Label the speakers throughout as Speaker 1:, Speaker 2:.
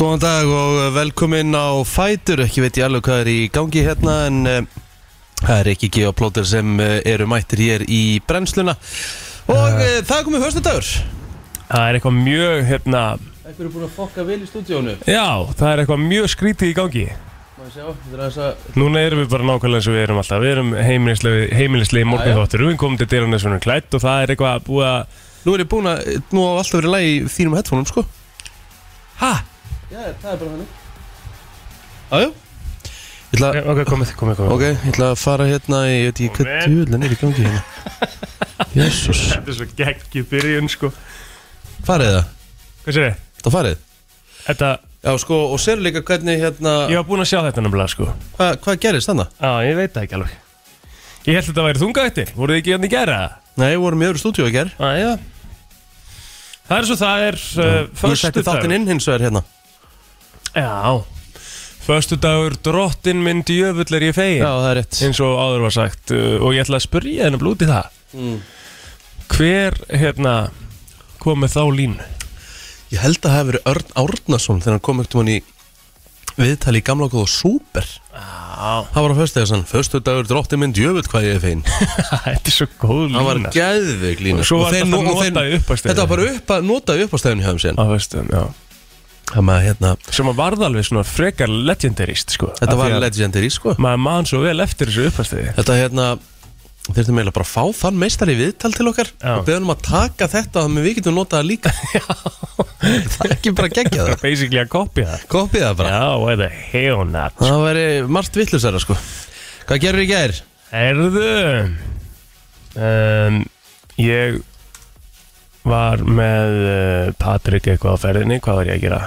Speaker 1: Góðan dag og velkomin á Fætur, ekki veit ég alveg hvað er í gangi hérna en eh, það er ekki G og Plóter sem eh, eru mættir hér í brennsluna og uh, það er komið höstudagur
Speaker 2: Það er eitthvað mjög, hérna,
Speaker 1: Ekkur er búin að fokka vel í stúdíónu
Speaker 2: já, það er eitthvað mjög skrítið í gangi.
Speaker 1: Þetta
Speaker 2: Núna erum við bara nákvæmlega eins og við erum alltaf. Við erum heimilislegi, heimilislegi morgunþóttir. Við komum til dyrana svona klætt og það er eitthvað búið að...
Speaker 1: Nú er ég búin að, nú á alltaf verið lægi þínum headphoneum sko
Speaker 2: Hæ?
Speaker 1: Já, það er bara hann Jájú Ég ætla,
Speaker 2: Ok, ok, komið, komið, komið.
Speaker 1: ok, ég ætla að fara hérna í, ég veit ekki hvað
Speaker 2: Komin.
Speaker 1: djúðlan er í gangi hérna Jésús
Speaker 2: Þetta er svo geggið byrjun, sko.
Speaker 1: Farið það,
Speaker 2: Hvað sér þið?
Speaker 1: það farið
Speaker 2: Þetta,
Speaker 1: Já sko, og sér líka hvernig hérna,
Speaker 2: ég var búinn að sjá þetta nefnilega, sko.
Speaker 1: hva, hvað gerist þannig?
Speaker 2: Já, ég veit það ekki alveg. Ég held að þetta væri þungaðettir. Voruð þið ekki hérna í gera?
Speaker 1: Nei, við vorum í öðru stúdíu í gerð
Speaker 2: Já, já. Það er svo það er uh,
Speaker 1: Ég setti þáttinn inn hins vegar hérna
Speaker 2: Já Föstu dagur, drottin minn djöfull er ég fegin
Speaker 1: Já, það er rétt
Speaker 2: eins og áður var sagt uh, og ég ætla að spyrja hennar blúti það Hver, hérna, kom með þá línu?
Speaker 1: Ég held að það hefur verið Örn Árnason þegar hann kom ekkert um hann í viðtali í gamla góða Súper
Speaker 2: Já
Speaker 1: Það var á föstu þessan Föstu dagur drótti minn djöfull hvað ég er fein
Speaker 2: Þetta er svo góð lína
Speaker 1: Það var geðveik lína
Speaker 2: Og svo var
Speaker 1: þeir
Speaker 2: þetta
Speaker 1: nú- og þeir-
Speaker 2: notað í uppastæðinu.
Speaker 1: Þetta var bara upp að, notað í uppastæðinu hjá þeim síðan
Speaker 2: Á veistum, já
Speaker 1: Þannig að hérna
Speaker 2: Sem að varð alveg svona frekar legendarist, sko Af
Speaker 1: Þetta
Speaker 2: því
Speaker 1: var
Speaker 2: að
Speaker 1: legendary sko
Speaker 2: Maður mann svo vel eftir þessu uppastæði
Speaker 1: Þetta hérna Þurftum eiginlega bara að fá þann meistari í viðtal til okkar
Speaker 2: Já.
Speaker 1: og beðum um að taka þetta þannig að við getum notað það líka Það er ekki bara geggja það
Speaker 2: Basically að kopja það
Speaker 1: Kopið það bara
Speaker 2: Já, eða heonat
Speaker 1: Það væri margt vittlusara sko Hvað gerir í gær?
Speaker 2: Erðu um, Ég var með uh, Patrik eitthvað á ferðinni, hvað var ég að gera?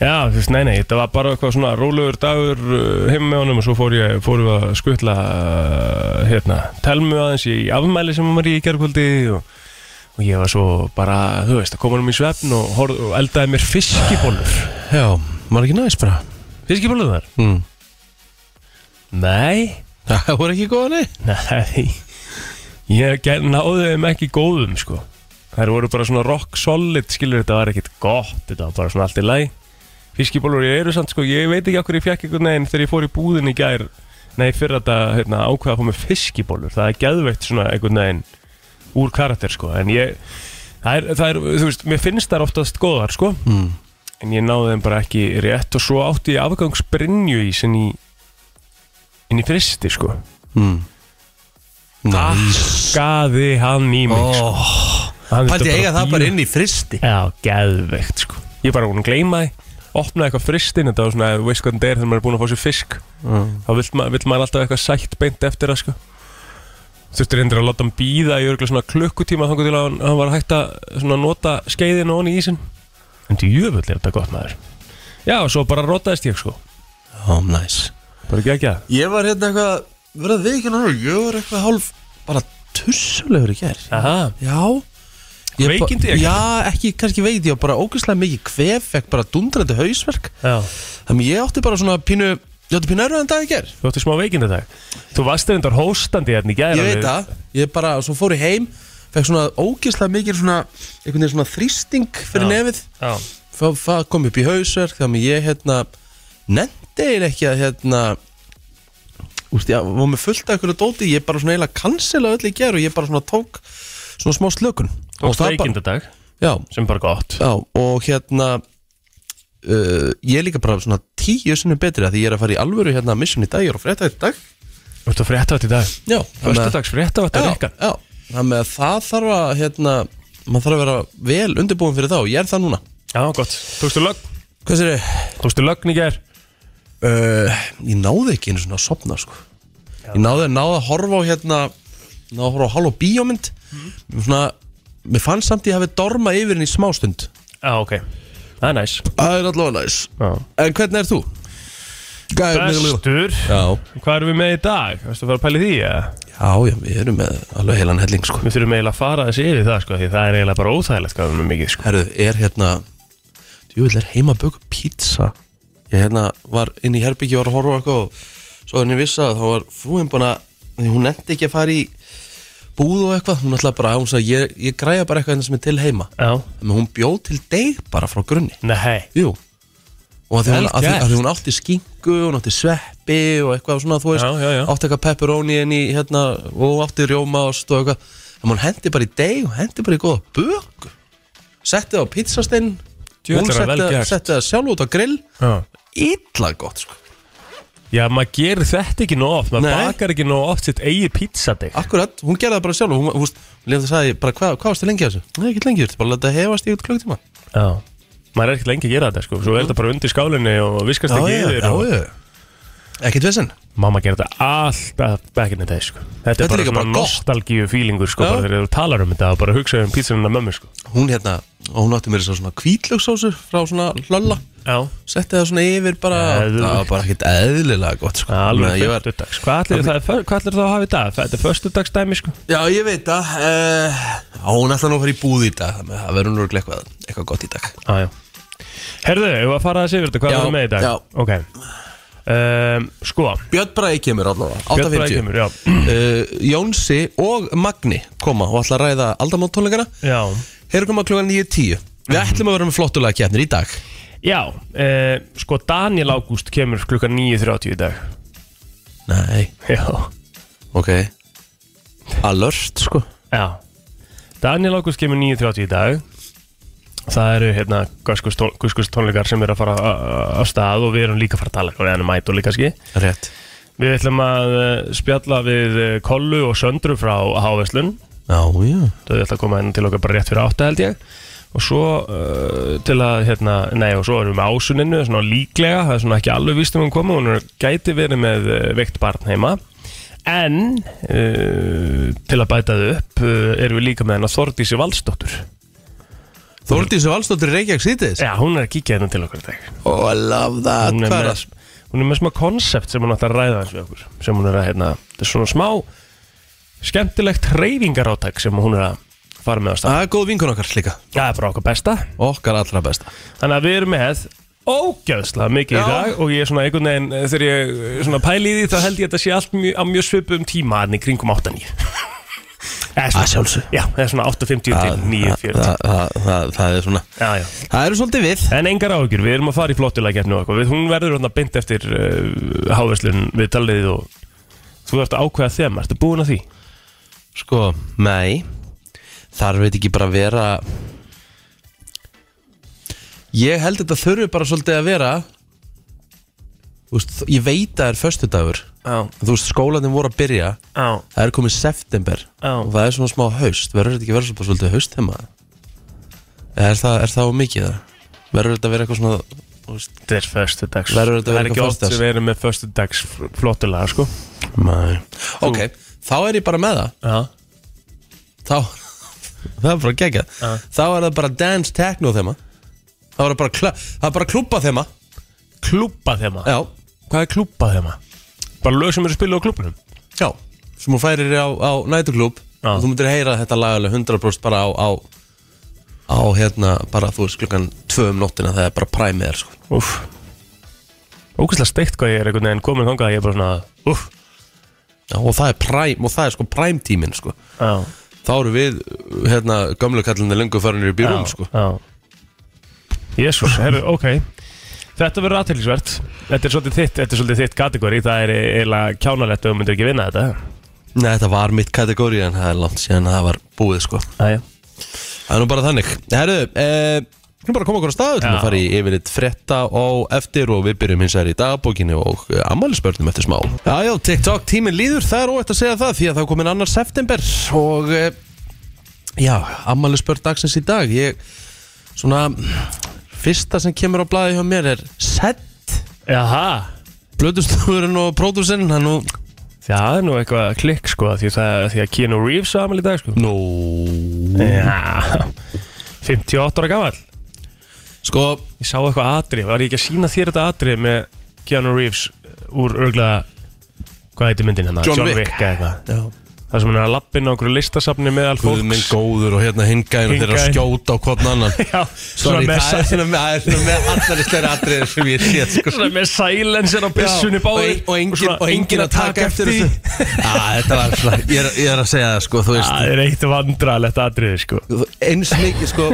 Speaker 2: Já, þú veist, nei, nei, þetta var bara eitthvað svona rólegur dagur uh, heim með honum og svo fór ég, fórum við að skutla uh, hérna, telmu aðeins í afmæli sem hún var í í gerkvöldi og, og ég var svo bara, þú veist, að koma honum í svefn og, horf, og eldaði mér fiskibólur
Speaker 1: Já, var ekki næst bara
Speaker 2: Fiskibólur þar?
Speaker 1: mm.
Speaker 2: Nei,
Speaker 1: Það voru ekki góða nei
Speaker 2: Nei, ég ger- náði þeim ekki góðum sko Þær voru bara svona rock solid, skilur þetta var ekkit gott, þetta var bara svona allt í læ Fiskibólur ég eru samt sko, ég veit ekki okkur ég fekk einhvern veginn þegar ég fór í búðin í gær Nei, fyrir þetta hérna, ákveða að fá með fiskibólur, það er geðveitt svona einhvern veginn úr karakter sko En ég, það er, það er þú veist, mér finnst þær oftast góðar sko
Speaker 1: mm.
Speaker 2: En ég náði þeim bara ekki rétt og svo átti ég afgangsbrinju í sinni inn í fristi sko
Speaker 1: Mm. Nice.
Speaker 2: Skaði hann í mig sko.
Speaker 1: oh.
Speaker 2: Hann
Speaker 1: Pældi
Speaker 2: þurfti
Speaker 1: ég eiga það bara inn í fristi
Speaker 2: Já, geðveikt sko Ég bara búin að gleyma því Opnaði eitthvað fristinn Þetta var svona, þú veist hvernig þetta er þegar maður er búin að fá sér fisk
Speaker 1: mm.
Speaker 2: Þá vill, ma vill maður alltaf eitthvað sætt beint eftir það sko Þurfti reyndir að láta hann býða í örgulega svona klukkutíma Þangu til að hann, hann var hægt að svona, nota skeiðin og hann í ísin En djöfull er þetta gott maður Já, og svo bara rotaðist ég sko
Speaker 1: oh, nice.
Speaker 2: Bara gegja
Speaker 1: Ég var hérna eitthvað Verða við ekki náttúrulega Ég var eitthvað hálf Bara tussulegur í gær
Speaker 2: Aha,
Speaker 1: Já Ég bara-
Speaker 2: Veikindi, ekki?
Speaker 1: Já, ekki, kannski veikindi Ég var bara ógeðslega mikið kvef Fekk bara dundrandi hausverk
Speaker 2: já
Speaker 1: Þannig ég átti bara svona pínu Ég átti pínu erfiðan dag í gær
Speaker 2: Þú áttu smá veikinda dag Þú varst reyndar hóstandi hérna í gæra
Speaker 1: Ég veit það, ég bara, svo fór ég heim Fekk svona ógeðslega mikil svona einhvern veginn svona þrýsting
Speaker 2: Já.
Speaker 1: fyrir nefið
Speaker 2: Já
Speaker 1: Fá- Það kom upp í hausverk Þannig ég hérna Nendi eiginlega ekki að hérna Úst, ég var með fullt af einhverju dóti Ég bara svona eiginlega cancela öll í ger Og ég bara svona tók svona smá slökun
Speaker 2: Tókst
Speaker 1: það bara-
Speaker 2: veikindadag
Speaker 1: Já,
Speaker 2: sem er bara gott
Speaker 1: já, og hérna uh, Ég er líka bara svona tíu sinni betri af Því ég er að fara í alvöru hérna mission í dag Ég er að frétta þetta í dag
Speaker 2: Þú ert að fréttavætt í dag
Speaker 1: Já, þannig að-
Speaker 2: Föstudags fréttavætt er
Speaker 1: já,
Speaker 2: ykkar
Speaker 1: já, þannig að það þarf að hérna, maður þarf að vera vel undirbúin fyrir þá, ég er það núna
Speaker 2: Já, gott Tókstu lögn
Speaker 1: Hvað sér þið?
Speaker 2: Tókstu lögn í ger
Speaker 1: Uh, ég náði ekki einu svona að sopna sko. ég náði, náði að horfa á hérna náði að horfa á hálf og bíómynd
Speaker 2: Mhm.
Speaker 1: svona, mér fannst samt ég hafi dormað yfir henni í smástund
Speaker 2: Já, ok Það er næs
Speaker 1: það er allavega næs
Speaker 2: Já
Speaker 1: en hvernig er þú? Gæði,
Speaker 2: Bestur
Speaker 1: já,
Speaker 2: Hvað erum við með í dag? Þú veist að fara að pæli því, ja?
Speaker 1: já, já, við erum með alveg heilan helling sko.
Speaker 2: Við þurfum eiginlega að fara þessi yfir það, sko Því það er eiginlega bara óþægilegt hvað við erum með mikið, sko
Speaker 1: Herðu, er hérna Þú vil er heima að böku pizza Ég hérna var inn í herbyggi var að horfa á eitthvað og svo þannig vissi að þá var frúin búin að því hún nefndi ekki að fara í búð og eitthvað hún ætlaði bara, hún sagði ég, ég græja bara eitthvað hérna sem er til heima
Speaker 2: Já
Speaker 1: en hún bjóð til deg bara frá grunni
Speaker 2: Nei
Speaker 1: Jú, og að því, hún,
Speaker 2: Vel
Speaker 1: að, því,
Speaker 2: gert.
Speaker 1: að því hún átti skinku, hún átti sveppi og eitthvað svona, þú veist,
Speaker 2: Já, já, já.
Speaker 1: átti eitthvað pepperoni inn í hérna og hún átti rjómaost og eitthvað, en hún hendi bara í deg og hendi bara í góða böku setti það á pizzastinn
Speaker 2: Djöfull
Speaker 1: hún
Speaker 2: er það vel
Speaker 1: setti
Speaker 2: gert.
Speaker 1: setti það sjálf út á grill
Speaker 2: Já.
Speaker 1: illa gott, sko,
Speaker 2: Já, maður gerir þetta ekki nóg oft, maður
Speaker 1: Nei.
Speaker 2: bakar ekki nóg oft sitt eigið pizzadig.
Speaker 1: akkurat hún gerði það bara sjálf, hún, hún, hún lefði það sagði bara, hvað, hvað varstu lengi að þessu? Nei, ekki lengi, þú ert bara að leta hefast í út klöktíma
Speaker 2: Já. Maður er ekkert lengi að gera þetta, sko. Svo er þetta bara undir skálinni og viskast
Speaker 1: Já,
Speaker 2: ekki
Speaker 1: já,
Speaker 2: yfir.
Speaker 1: já,
Speaker 2: og...
Speaker 1: já. Ekkert vesen
Speaker 2: Mamma gerir þetta alltaf back in the day, sko. Þetta,
Speaker 1: Þetta er
Speaker 2: er bara
Speaker 1: líka
Speaker 2: svona
Speaker 1: bara gott.
Speaker 2: nostalgíu fílingur, sko,
Speaker 1: Já.
Speaker 2: bara þegar þú talar um þetta og bara hugsaðu um pítsarinn af mömmu, sko.
Speaker 1: Hún hérna, og hún átti mér þess að svona kvítlöksósu frá svona hlölla
Speaker 2: Já.
Speaker 1: setti það svona yfir bara
Speaker 2: Eðlilegt.
Speaker 1: það var bara ekkert eðlilega gott sko. Þannig að
Speaker 2: Alveg
Speaker 1: ég var,
Speaker 2: föstudags. Hvað ætlir það, hvað ætlir það að hafa í dag? Þetta er föstudagsdæmi, sko.
Speaker 1: já ég veit það uh, hún ætla nú að fara í búð í dag þannig að það verður nú örugglega eitthvað, eitthvað gott í dag
Speaker 2: Já, Ah, já. Herðu, hefur að fara að segja þetta, hvað
Speaker 1: Já,
Speaker 2: er það með í dag?
Speaker 1: já.
Speaker 2: Ok. Um, sko,
Speaker 1: Björn Bræði kemur allavega
Speaker 2: Björn Bragi
Speaker 1: 8.50
Speaker 2: kemur, já.
Speaker 1: uh, Jónsi og Magni koma og ætla að ræða aldamóttónleikana
Speaker 2: Já,
Speaker 1: hefur koma klugan 9.10 við
Speaker 2: Mhm.
Speaker 1: ætlum að vera með flottulega kefnir í dag
Speaker 2: já uh, sko Daniel Ágúst kemur klukkan 9.30 í dag.
Speaker 1: nei,
Speaker 2: Já.
Speaker 1: ok alert sko
Speaker 2: Já. Daniel Ágúst kemur 9.30 í dag. Það eru hérna guðskust tónleikar sem eru að fara á- á á stað og við erum líka að fara að tala eitthvað við hann um ædoli kannski.
Speaker 1: rétt
Speaker 2: Við ætlum að eh, spjalla við eh, Kollu og Söndru frá Háveslun
Speaker 1: já, já
Speaker 2: þau ætla að koma inn til okkar bara rétt fyrir átta held ég og svo uh, til að hérna, nei og svo erum við ásuninu svona líklega, það er svona ekki alveg víst um hún komi, hún er, gæti verið með uh, veikt barn heima en uh, til að bæta þau upp uh, erum við líka með hennar Þordísi Valsdóttur
Speaker 1: Þórdís Valstóttir Reykjavík sýtis
Speaker 2: Já, hún er að kíkja hérna til okkar í dag
Speaker 1: Oh, I love that
Speaker 2: hún er,
Speaker 1: Hvað er
Speaker 2: með,
Speaker 1: það?
Speaker 2: hún er með smá konsept sem hún ætti að ræða eins við okkur sem hún er að, hérna, þetta er svona smá skemmtilegt reyfingarátak sem hún er að fara með á stað
Speaker 1: Það er góð vinkun okkar líka
Speaker 2: Það er bara okkar besta
Speaker 1: Okkar allra besta
Speaker 2: Þannig að við erum með ógjöðslega mikið
Speaker 1: Já.
Speaker 2: í dag og ég er svona einhvern veginn eh, þegar ég eh, svona pæli í því þá held ég að þetta sé allt mjö, á mjög svipum tíma en í kringum 8-9 Að
Speaker 1: Að sjálfsögðu.
Speaker 2: Já, það er svona 8.50
Speaker 1: Það-
Speaker 2: til 9.40
Speaker 1: það- það- það- Það er svona
Speaker 2: Já, já
Speaker 1: Það eru svolítið við
Speaker 2: En engar áhugjur, við erum að fara í flottulækjarni og eitthvað Við- Hún verður hérna beint eftir uh, háverslun við taliðið og þú ert að ákveða þeim, ertu búin að því?
Speaker 1: Sko, nei Þar veit ekki bara að vera Ég held þetta þurfi bara svolítið að vera Þú veist, ég veit að það er föstudagur
Speaker 2: Já,
Speaker 1: Þú veist, skólanum voru að byrja
Speaker 2: já,
Speaker 1: Það er komið september
Speaker 2: já
Speaker 1: og það er svona smá haust verður þetta ekki verður svona svolítið haust heima er það, er það á mikið það verður þetta að vera eitthvað svona þú veist,
Speaker 2: Þetta er föstudags
Speaker 1: Verður þetta að
Speaker 2: Það
Speaker 1: vera
Speaker 2: er ekki
Speaker 1: eitthvað
Speaker 2: oft sem
Speaker 1: föstudags?
Speaker 2: við erum með föstudags flottulega, sko
Speaker 1: ok, þá er ég bara með það
Speaker 2: Já,
Speaker 1: þá, það er bara gegja
Speaker 2: Já.
Speaker 1: þá er það bara dance techno þema það er bara, kla, það er bara klúpa þema
Speaker 2: klúpa þema
Speaker 1: já,
Speaker 2: Hvað er klúpa þema? Bara lög sem eru spilað á klúbnum
Speaker 1: já sem hún færir á, á nætuklúb
Speaker 2: Já.
Speaker 1: og þú myndir heyra þetta lagalega 100% bara á, á á hérna bara þú veist klukkan tvö um nóttina það er bara præmið er sko
Speaker 2: Úff Ógæslega steikt hvað ég er einhvern veginn komin þangað að ég er bara svona Úff
Speaker 1: já, og það er præm og það er sko præmtímin sko
Speaker 2: Já
Speaker 1: þá eru við hérna gamlu kallandi lengur farinir í byrjum
Speaker 2: Já,
Speaker 1: sko
Speaker 2: Já Jésús, herru, ok Þetta verður aðtælisvert Þetta er svolítið þitt, þetta er svolítið þitt kategóri Það er eiginlega kjánalegt ef þú myndir ekki vinna þetta
Speaker 1: Nei, þetta var mitt kategóri en það er langt síðan að það var búið sko
Speaker 2: Æja
Speaker 1: Það er nú bara þannig Herru, eh, við erum bara að koma okkur á staðu til
Speaker 2: Já.
Speaker 1: að fara í yfirleitt frétta og eftir og við byrjum hins vegar í dagbókinni og ammælisbörnum eftir smá Já, já, TikTok tíminn líður, það er óætt að segja það því að það er komin annar september og eh, já, ammælisbörn dagsins í dag ég, svona, fyrsta sem kemur á blaði hjá mér er Sett
Speaker 2: Jaha
Speaker 1: Blöðustúrun og pródúsinn hann og
Speaker 2: Það er nú eitthvað klikk sko Því, það, því að Keanu Reeves á amal í dag sko
Speaker 1: Nú
Speaker 2: Já 58 ára gamall
Speaker 1: Sko,
Speaker 2: Ég sá eitthvað atrið, var ég ekki að sína þér þetta atrið með eh, Keanu Reeves úr örglega, hvað heitir myndin hérna?
Speaker 1: John Wick.
Speaker 2: eða eitthvað.
Speaker 1: já.
Speaker 2: Það sem hann er að lappin á einhverju listasafni meðal
Speaker 1: Guð minn
Speaker 2: fólks
Speaker 1: góður og hérna hingæðin og þeir eru
Speaker 2: Hinn
Speaker 1: að
Speaker 2: gæinn.
Speaker 1: skjóta á hvern annan
Speaker 2: Já,
Speaker 1: Sorry,
Speaker 2: svona með
Speaker 1: það er svona með, það er svona með allar í stærri atriðir sem ég sé sko.
Speaker 2: Svona með silencer á byssunni
Speaker 1: Já,
Speaker 2: báðir
Speaker 1: og, og, engin,
Speaker 2: svona
Speaker 1: og engin að taka eftir
Speaker 2: því.
Speaker 1: þessu Já, þetta var svona, ég er, ég er að segja það sko, þú veist
Speaker 2: Það er eitt vandralegt atriði sko
Speaker 1: eins mikið sko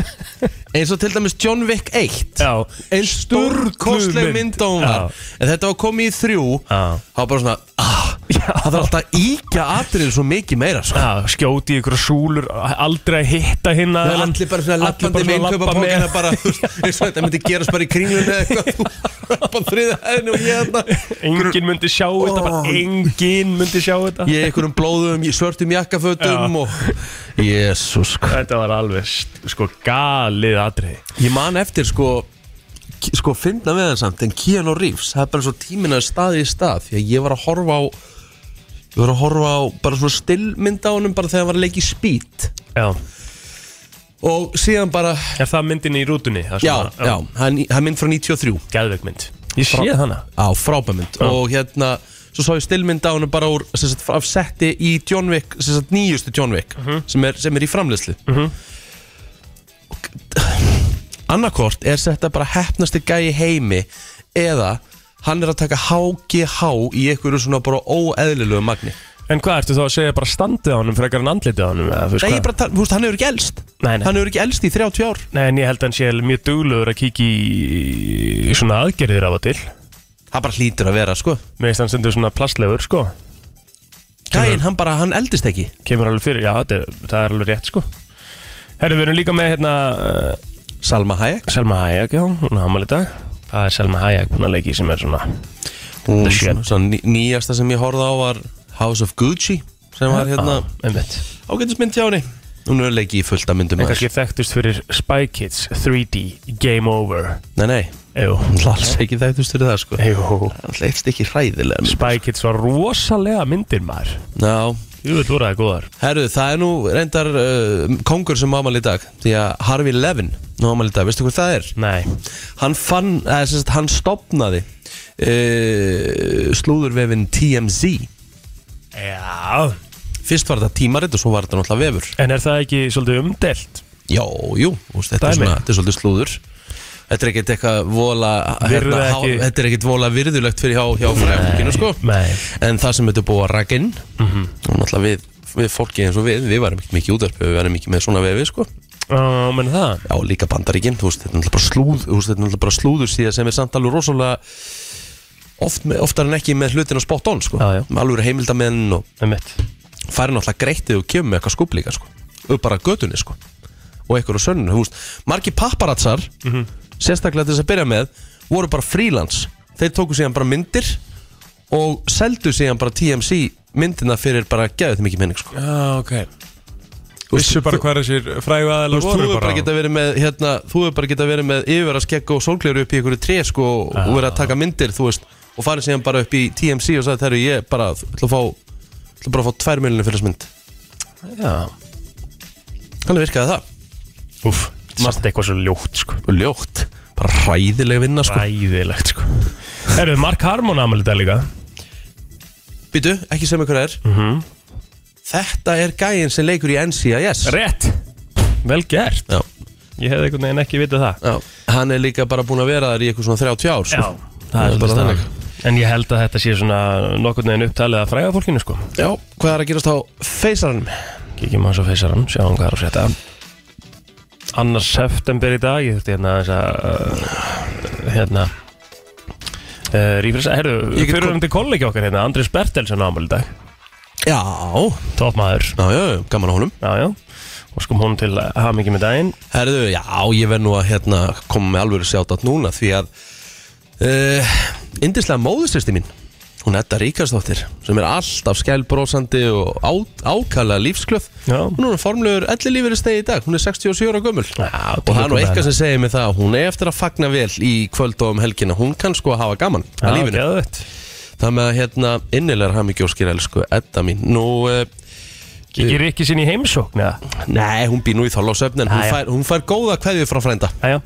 Speaker 1: eins og til dæmis John Wick 1
Speaker 2: Já,
Speaker 1: eins stórkostleg
Speaker 2: Stórkostleg mynd.
Speaker 1: mynd á hún var en þetta var komið í þrjú
Speaker 2: Já.
Speaker 1: það var bara svona ah, það þarf alltaf að íkja atriðin svo mikið meira sko.
Speaker 2: Já, skjóti í ykkur súlur Aldrei að hitta hinn
Speaker 1: Það er
Speaker 2: aðilann.
Speaker 1: allir bara svona
Speaker 2: Allir
Speaker 1: lappandi
Speaker 2: bara
Speaker 1: með
Speaker 2: svona
Speaker 1: innkaupa
Speaker 2: labba með.
Speaker 1: pókina bara, þú veist, eins og þetta myndi gerast bara í kringlunni eða eitthvað, þú rappa þriða hæðinu og ég hérna
Speaker 2: Engin myndi sjá þetta bara
Speaker 1: Ó.
Speaker 2: Engin myndi sjá þetta
Speaker 1: ég er einhverjum blóðum, ég svörtum jakkafötum og jésús
Speaker 2: Þetta var alveg st- sko galið atriði
Speaker 1: ég man eftir sko k- sko finna við hann samt en Keanu Reeves, það er bara svo tímina staði í stað því að ég var að horfa á ég var að horfa á bara svona stillmynd á honum bara þegar hann var að leika í speed
Speaker 2: Já,
Speaker 1: og síðan bara,
Speaker 2: er það myndin í rútunni? Það
Speaker 1: já,
Speaker 2: svona-
Speaker 1: já, hann, hann minn frá 93
Speaker 2: Geðveik mynd Ég sé hana
Speaker 1: á frábæmynd og hérna svo sá ég stillmynd á hennu bara úr sem sagt, af setti í John Wick sem sagt, nýjustu John Wick
Speaker 2: Mhm.
Speaker 1: sem, er, sem er í framleyslu uh -huh. annarkort er þetta bara hefnasti gæi í heimi eða hann er að taka HGH í einhverju svona bara óeðlilegu magni
Speaker 2: En hvað ertu þá að segja bara standið á honum frekar en andlitið á honum? Eða, þú veist
Speaker 1: Nei,
Speaker 2: hvað?
Speaker 1: ég bara, tala- þú veist, hann hefur ekki elst
Speaker 2: Nei, nei.
Speaker 1: hann hefur ekki elst í 30 ár
Speaker 2: Nei, en ég held að hann sé mjög duglegur að kíkja í svona aðgerðir af og til
Speaker 1: það bara hlýtur að vera sko
Speaker 2: Mér finnst hann sendur svona plastlegur sko
Speaker 1: gæin, hann bara, hann eldist ekki
Speaker 2: Kemur alveg fyrir, já, þetta, er- það er alveg rétt sko Herru, við erum líka með hérna uh,
Speaker 1: Salma Hayek
Speaker 2: Selma Hayek, já, hún er hamal í dag Það er Selma Hayek búin að leiki sem er svona
Speaker 1: hún,
Speaker 2: The shit.
Speaker 1: svona, svona ný, nýjasta sem ég horfði á var House of Gucci sem var hérna
Speaker 2: ah, einmitt
Speaker 1: ágættismynd hjá henni hún er leikið í fullt af myndum
Speaker 2: En
Speaker 1: maður.
Speaker 2: kannski þekktust fyrir Spy Kids 3D Game Over
Speaker 1: nei, nei,
Speaker 2: Jú,
Speaker 1: hún er alls ekki þægtust fyrir það sko
Speaker 2: jú
Speaker 1: hann leikst ekki hræðilega um. mynd.
Speaker 2: Spy Kids var rosalega myndir maður
Speaker 1: Ná,
Speaker 2: Jú, þetta voru það góðar
Speaker 1: herru, það er nú reyndar uh, kongur sem ámali í dag því að Harvey Levin ámali í dag, veistu hvað það er?
Speaker 2: Nei,
Speaker 1: hann fann, eða sem sagt hann stopnaði uh, slúðurvefin TMZ
Speaker 2: já
Speaker 1: fyrst var þetta tímarit og svo var þetta náttúrulega vefur
Speaker 2: En er það ekki svolítið umdelt?
Speaker 1: Jó, jú, úst, þetta, er
Speaker 2: Dæmi.
Speaker 1: svona, þetta er svolítið slúður Þetta er ekkert eitthvað vola hérna,
Speaker 2: Virða
Speaker 1: há-
Speaker 2: ekki.
Speaker 1: Þetta er ekkert vola virðulegt fyrir hjá, hjá frækinu sko
Speaker 2: Nei
Speaker 1: En það sem þetta er búið að raka inn og náttúrulega við, við fólki eins og við Við varum ekki mikið útverfi, við varum ekki með svona vefi sko
Speaker 2: Ó, menn það
Speaker 1: Já, líka bandaríkin, þú veist, þetta er náttúrulega bara slúð Þú veist, þetta er náttúrulega bara slúður síðan sem er samt alveg rosalega oft, með- Oftar en ekki með hlutin á spot on sko
Speaker 2: Já, já.
Speaker 1: Með alveg heimildamenn og
Speaker 2: Einmitt
Speaker 1: færi náttúrulega greitt ef þú kemur með eitthvað skúb líka sko. upp bara götunni sko. og eitthvað á sönnun þú veist. margir papparatsar
Speaker 2: Mhm.
Speaker 1: sérstaklega til þess að byrja með voru bara frílans þeir tóku síðan bara myndir og seldu síðan bara TMC myndina fyrir bara gæðið mikið minning sko.
Speaker 2: Já, ok
Speaker 1: Þú veist,
Speaker 2: Vissu bara hvað þessir frægu
Speaker 1: Þú
Speaker 2: aðeins
Speaker 1: veist, þú
Speaker 2: voru
Speaker 1: hefur bara
Speaker 2: bara
Speaker 1: geta verið með hérna, þú hefur bara geta verið með yfirvaraskegg og sólgleru upp í einhverju tre sko, og
Speaker 2: Já.
Speaker 1: verið að taka myndir þú veist, og farið síðan bara upp í TMC og sagði þegar ég bara ætla að fá, ætla bara að fá tvær miljonir fyrir þess mynd
Speaker 2: Já
Speaker 1: Hvernig virkaði það?
Speaker 2: Úff, samt eitthvað svo ljótt sko
Speaker 1: og ljótt bara hræðileg vinna sko
Speaker 2: Ræðilegt sko Herru, Mark Harmon amal þetta líka Mhm.
Speaker 1: Býtu, ekki sem ykkur er Þetta er gæinn sem leikur í NCIS
Speaker 2: Rétt Vel gert
Speaker 1: Já,
Speaker 2: Ég hefði einhvern veginn ekki vitað það
Speaker 1: já Hann er líka bara búin að vera þar í eitthvað svona 30 ár sko.
Speaker 2: það er
Speaker 1: bara
Speaker 2: bara þannig En ég held að þetta sé svona nokkurn veginn upptalið að fræga fólkinu sko
Speaker 1: Já, hvað er að gerast á feysaranum?
Speaker 2: Kíkjum hans á feysarann, sjáum hvað er að frétta Annars september í dag Ég þurfti hérna aðeins að uh, Hérna Uh, Rífrisa, herru,
Speaker 1: Ég get
Speaker 2: fyrir um til kollegi okkar hérna, Andris Bertelsen ámæl í dag
Speaker 1: Já,
Speaker 2: Topmaður,
Speaker 1: já, já, já, gaman á honum
Speaker 2: jájá Og skum hún til að hafa mikið með daginn
Speaker 1: Herðu, já, ég verð nú að hérna, koma með alvöru sjátt núna Því að uh, Indislega móðustisti mín Hún Edda Ríkarsdóttir Sem er alltaf skælbrósandi og á, ákala lífsklöð
Speaker 2: Já.
Speaker 1: Hún er orðin formlegur ellilífur í dag Hún er 67 ára gömul
Speaker 2: Já,
Speaker 1: Og það er nú eitthvað sem segir mig það að Hún er eftir að fagna vel í kvöld og um helgina Hún kann sko að hafa gaman
Speaker 2: Já,
Speaker 1: að lífinu
Speaker 2: geðveikt.
Speaker 1: Það með að hérna innilegar hamingjóskir elsku Edda mín Nú, uh,
Speaker 2: Kíkir ekki sinni í heimsókn eða?
Speaker 1: nei, hún býr nú í þála á söfnin hún,
Speaker 2: Jæja.
Speaker 1: fær- hún fær góða kveðju frá frænda
Speaker 2: Æja,